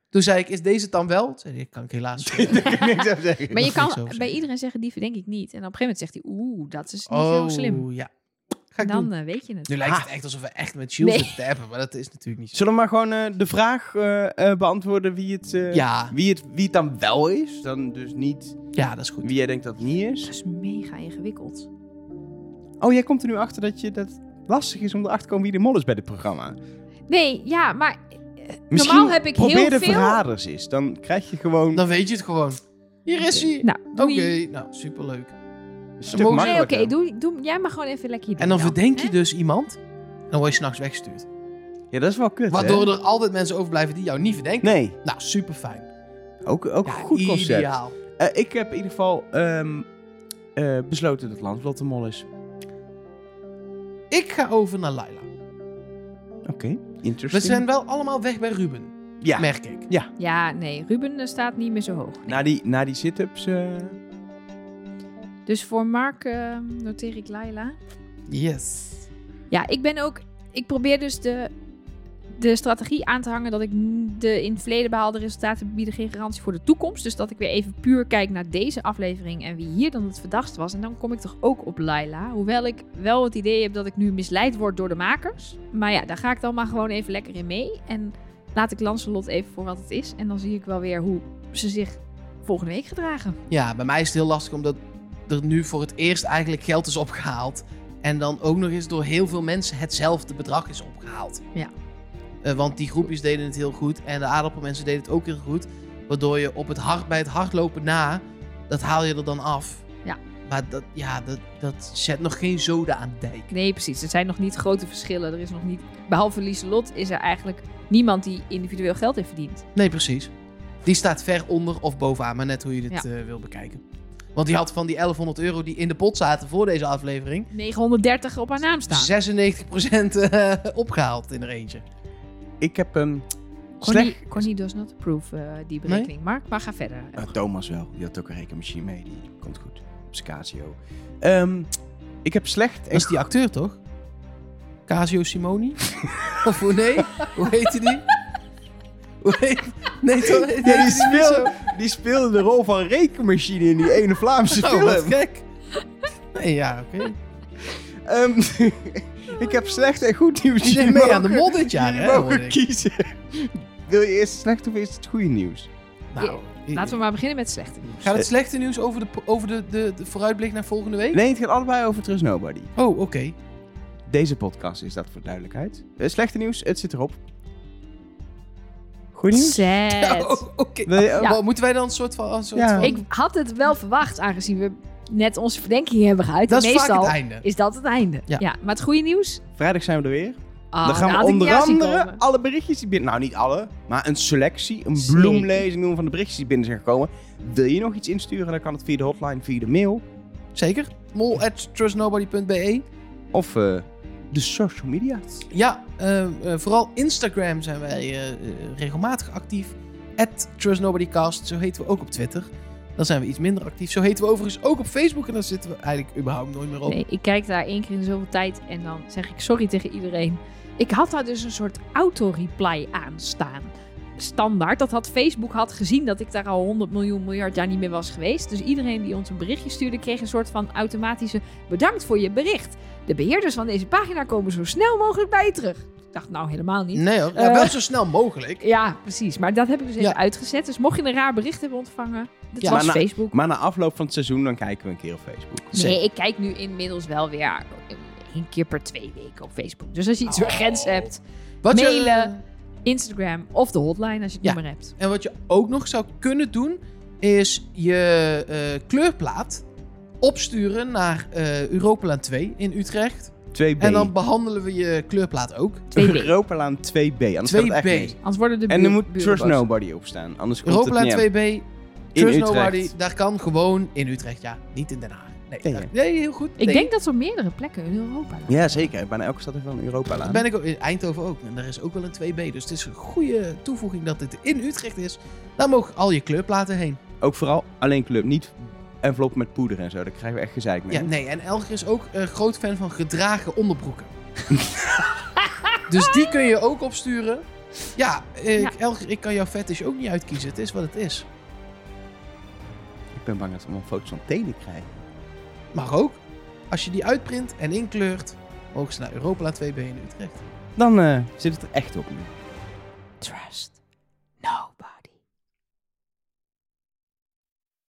[SPEAKER 2] Toen zei ik, is deze het dan wel? Toen zei ik, kan ik helaas.
[SPEAKER 1] Daar kan ik niks aan zeggen.
[SPEAKER 3] Maar
[SPEAKER 2] Mag
[SPEAKER 3] je
[SPEAKER 2] ik niks
[SPEAKER 3] kan
[SPEAKER 2] over
[SPEAKER 3] bij
[SPEAKER 2] zeggen.
[SPEAKER 3] iedereen zeggen, die verdenk ik niet. En op een gegeven moment zegt hij, oeh, dat is niet
[SPEAKER 2] oh,
[SPEAKER 3] heel slim.
[SPEAKER 2] ja. Ga ik
[SPEAKER 3] dan
[SPEAKER 2] doen.
[SPEAKER 3] eh, weet je het.
[SPEAKER 2] Nu lijkt het echt alsof we echt met Jules
[SPEAKER 3] Nee.
[SPEAKER 2] zitten te hebben, maar dat is natuurlijk niet zo.
[SPEAKER 1] Zullen we maar gewoon eh, de vraag eh, eh, beantwoorden wie het, eh,
[SPEAKER 2] Ja,
[SPEAKER 1] wie, het, wie het dan wel is? Dan dus niet
[SPEAKER 2] ja, dat is goed.
[SPEAKER 1] wie jij denkt dat het niet
[SPEAKER 3] Dat
[SPEAKER 1] is.
[SPEAKER 3] is mega ingewikkeld.
[SPEAKER 1] Oh, jij komt er nu achter dat, je, dat het lastig is om erachter te komen wie de mol is bij dit programma.
[SPEAKER 3] Nee, ja, maar
[SPEAKER 1] Misschien
[SPEAKER 3] normaal heb ik
[SPEAKER 1] probeer
[SPEAKER 3] heel
[SPEAKER 1] de
[SPEAKER 3] veel...
[SPEAKER 1] verraders eens. Dan krijg je gewoon
[SPEAKER 2] Dan weet je het gewoon. Hier is hij.
[SPEAKER 3] Nou,
[SPEAKER 2] Oké,
[SPEAKER 3] doei.
[SPEAKER 2] nou, superleuk.
[SPEAKER 1] een
[SPEAKER 2] mogen-
[SPEAKER 1] stuk
[SPEAKER 2] Nee,
[SPEAKER 3] Nee, oké,
[SPEAKER 1] makkelijker.
[SPEAKER 3] doe, doe, jij mag gewoon even lekker je ding
[SPEAKER 2] En dan
[SPEAKER 3] doen,
[SPEAKER 2] verdenk
[SPEAKER 3] hè?
[SPEAKER 2] je dus iemand, dan word je s'nachts weggestuurd.
[SPEAKER 1] Ja, dat is wel kut, hè?
[SPEAKER 2] Waardoor er altijd mensen overblijven die jou niet verdenken.
[SPEAKER 1] Nee,
[SPEAKER 2] Nou, super fijn.
[SPEAKER 1] ook, ook
[SPEAKER 2] Ja,
[SPEAKER 1] een goed concept.
[SPEAKER 2] Ideaal.
[SPEAKER 1] Eh, ik heb in ieder geval ehm, eh, besloten dat Lanslot de mol is.
[SPEAKER 2] Ik ga over naar Laila.
[SPEAKER 1] Oké,
[SPEAKER 2] We
[SPEAKER 1] interesting.
[SPEAKER 2] zijn wel allemaal weg bij Ruben,
[SPEAKER 1] Ja,
[SPEAKER 2] merk ik.
[SPEAKER 3] Ja, nee, Ruben eh, staat niet meer zo hoog. nee.
[SPEAKER 2] Nou.
[SPEAKER 1] na die, na die sit-ups... eh,
[SPEAKER 3] Dus voor Mark eh, noteer ik Laila.
[SPEAKER 2] Yes.
[SPEAKER 3] Ja, ik ben ook. Ik probeer dus de, de strategie aan te hangen dat ik n- de in het verleden behaalde resultaten bieden geen garantie voor de toekomst. Dus dat ik weer even puur kijk naar deze aflevering en wie hier dan het verdacht was. En dan kom ik toch ook op Laila. Hoewel ik wel het idee heb dat ik nu misleid word door de makers. Maar ja, daar ga ik dan maar gewoon even lekker in mee. En laat ik Lancelot even voor wat het is. En dan zie ik wel weer hoe ze zich volgende week gedragen.
[SPEAKER 2] Ja, bij mij is het heel lastig omdat er nu voor het eerst eigenlijk geld is opgehaald. En dan ook nog eens door heel veel mensen hetzelfde bedrag is opgehaald.
[SPEAKER 3] Ja.
[SPEAKER 2] Eh, want die groepjes deden het heel goed en de aardappelmensen deden het ook heel goed. Waardoor je op het hard, bij het hardlopen na, dat haal je er dan af.
[SPEAKER 3] Ja.
[SPEAKER 2] Maar dat, ja, dat, dat zet nog geen zoden aan de dijk.
[SPEAKER 3] Nee, precies. Er zijn nog niet grote verschillen. Er is nog niet, behalve Lieselot is er eigenlijk niemand die individueel geld heeft verdiend.
[SPEAKER 2] Nee, precies. Die staat ver onder of bovenaan, maar net hoe je dit eh, wil bekijken. Want die had van die 1100 euro die in de pot zaten voor deze aflevering...
[SPEAKER 3] 930 op haar naam staan.
[SPEAKER 2] 96% eh, opgehaald in er eentje.
[SPEAKER 1] ik heb een slecht...
[SPEAKER 3] Connie, Connie does not approve eh, die berekening, Mark. Maar ga verder.
[SPEAKER 1] Eh, Thomas wel, die had ook een rekenmachine mee. Die komt goed. Op zijn Casio. Ehm, ik heb slecht...
[SPEAKER 2] Dat is die acteur toch? Casio Simoni? of hoe nee? Hoe heette die? Hoe heet... Nee, toch? heette
[SPEAKER 1] Ja, die,
[SPEAKER 2] niet zo?
[SPEAKER 1] speelde, die speelde de rol van rekenmachine in die ene Vlaamse
[SPEAKER 2] Oh, wat
[SPEAKER 1] film.
[SPEAKER 2] gek. Nee, ja, oké.
[SPEAKER 1] Ehm, ik heb slecht en goed nieuws.
[SPEAKER 2] Die zijn
[SPEAKER 1] Jullie
[SPEAKER 2] mee aan de
[SPEAKER 1] mogen-
[SPEAKER 2] mol dit jaar,
[SPEAKER 1] jullie
[SPEAKER 2] hè?
[SPEAKER 1] mogen
[SPEAKER 2] hoor ik.
[SPEAKER 1] kiezen. Wil je eerst het slechte of eerst het goede nieuws?
[SPEAKER 2] Nou,
[SPEAKER 3] Laten we maar beginnen met slechte nieuws.
[SPEAKER 2] Gaat het slechte nieuws over de, over de, de, de vooruitblik naar volgende week?
[SPEAKER 1] Nee, het gaat allebei over Trust Nobody.
[SPEAKER 2] Oh, oké.
[SPEAKER 1] Deze podcast is dat voor duidelijkheid. Het slechte nieuws, het zit erop. Goed nieuws?
[SPEAKER 3] Sad.
[SPEAKER 2] Oh, oké.
[SPEAKER 1] Wil je ook-
[SPEAKER 2] Wat, Moeten wij dan een soort van... Een soort
[SPEAKER 1] Ja.
[SPEAKER 2] van...
[SPEAKER 3] Ik had het wel verwacht, aangezien we net onze verdenking hebben geuit.
[SPEAKER 2] dat
[SPEAKER 3] En
[SPEAKER 2] is vaak
[SPEAKER 3] Meestal
[SPEAKER 2] het einde.
[SPEAKER 3] is dat het einde.
[SPEAKER 2] Ja.
[SPEAKER 3] Ja. maar het goede nieuws?
[SPEAKER 1] Vrijdag zijn we er weer.
[SPEAKER 3] Ah,
[SPEAKER 1] Dan gaan
[SPEAKER 3] daar
[SPEAKER 1] we
[SPEAKER 3] had ik niet
[SPEAKER 1] onder
[SPEAKER 3] aan zien
[SPEAKER 1] andere
[SPEAKER 3] komen.
[SPEAKER 1] alle berichtjes die binnen... Nou, niet alle, maar een selectie, een
[SPEAKER 3] Zeker.
[SPEAKER 1] bloemlezing doen van de berichtjes die binnen zijn gekomen. Wil je nog iets insturen, dan kan het via de hotline, via de mail.
[SPEAKER 2] Zeker. Mol at trustnobody.be.
[SPEAKER 1] Of eh, de social media's.
[SPEAKER 2] Ja, eh, eh, vooral Instagram zijn wij eh, eh, regelmatig actief. At TrustNobodyCast, zo heten we ook op Twitter. Dan zijn we iets minder actief. Zo heten we overigens ook op Facebook en daar zitten we eigenlijk überhaupt nooit meer op.
[SPEAKER 3] Nee, ik kijk daar één keer in zoveel tijd en dan zeg ik sorry tegen iedereen. Ik had daar dus een soort auto-reply aan staan. Standaard. Dat had Facebook had gezien dat ik daar al 100 miljoen miljard jaar niet meer was geweest. Dus iedereen die ons een berichtje stuurde, kreeg een soort van automatische bedankt voor je bericht. De beheerders van deze pagina komen zo snel mogelijk bij je terug. Ik dacht nou helemaal niet.
[SPEAKER 2] Nee hoor, ja,
[SPEAKER 3] Eh.
[SPEAKER 2] wel zo snel mogelijk.
[SPEAKER 3] Ja, precies. Maar dat heb ik dus even
[SPEAKER 2] Ja.
[SPEAKER 3] uitgezet. Dus mocht je een raar bericht hebben ontvangen, dat
[SPEAKER 2] Ja.
[SPEAKER 3] was
[SPEAKER 1] Maar na-
[SPEAKER 3] Facebook.
[SPEAKER 1] Maar na afloop van het seizoen, dan kijken we een keer op Facebook.
[SPEAKER 3] Nee, ik kijk nu inmiddels wel weer één keer per twee weken op Facebook. Dus als je iets
[SPEAKER 1] Oh.
[SPEAKER 3] urgents hebt,
[SPEAKER 2] Wat je-
[SPEAKER 3] Mailen. Instagram of de hotline als je het
[SPEAKER 2] Ja.
[SPEAKER 3] nummer hebt.
[SPEAKER 2] en wat je ook nog zou kunnen doen, is je eh, kleurplaat opsturen naar eh Europalaan 2 in Utrecht.
[SPEAKER 1] 2B.
[SPEAKER 2] En dan behandelen we je kleurplaat ook.
[SPEAKER 3] 2B.
[SPEAKER 1] Europalaan 2B. Anders gaat het echt
[SPEAKER 2] 2B.
[SPEAKER 1] mis.
[SPEAKER 3] Anders worden de
[SPEAKER 1] En
[SPEAKER 3] buur-
[SPEAKER 1] er moet
[SPEAKER 3] buren
[SPEAKER 1] Trust
[SPEAKER 3] boos.
[SPEAKER 1] Nobody op staan. Anders komt
[SPEAKER 2] Europalaan
[SPEAKER 1] het niet
[SPEAKER 2] 2B,
[SPEAKER 1] In
[SPEAKER 2] Trust
[SPEAKER 1] Utrecht.
[SPEAKER 2] Nobody, daar kan gewoon in Utrecht, ja. Niet in Den Haag. Nee,
[SPEAKER 1] Nee,
[SPEAKER 2] daar-
[SPEAKER 1] ja.
[SPEAKER 2] nee heel goed.
[SPEAKER 3] Ik
[SPEAKER 2] Nee.
[SPEAKER 3] denk dat ze op meerdere plekken in Europa liggen.
[SPEAKER 1] Ja, zeker. Bijna elke stad heeft wel een Europalaan.
[SPEAKER 2] Dat ben ik ook in Eindhoven ook. En daar is ook wel een 2B. Dus het is een goede toevoeging dat dit in Utrecht is. Daar mogen al je kleurplaten heen.
[SPEAKER 1] Ook vooral alleen club. Niet envelop met poeder en zo. Daar krijgen we echt gezeik mee.
[SPEAKER 2] Ja, nee. En Elger is ook een groot fan van gedragen onderbroeken. dus die kun je ook opsturen. Ja, ik,
[SPEAKER 3] Ja.
[SPEAKER 2] Elger, ik kan jouw fetish ook niet uitkiezen. Het is wat het is.
[SPEAKER 1] Ik ben bang dat we allemaal foto's van tenen krijgen.
[SPEAKER 2] Mag ook. Als je die uitprint en inkleurt, mogen ze naar Europa 2B in Utrecht.
[SPEAKER 1] Dan eh, zit het er echt op nu.
[SPEAKER 3] Trust.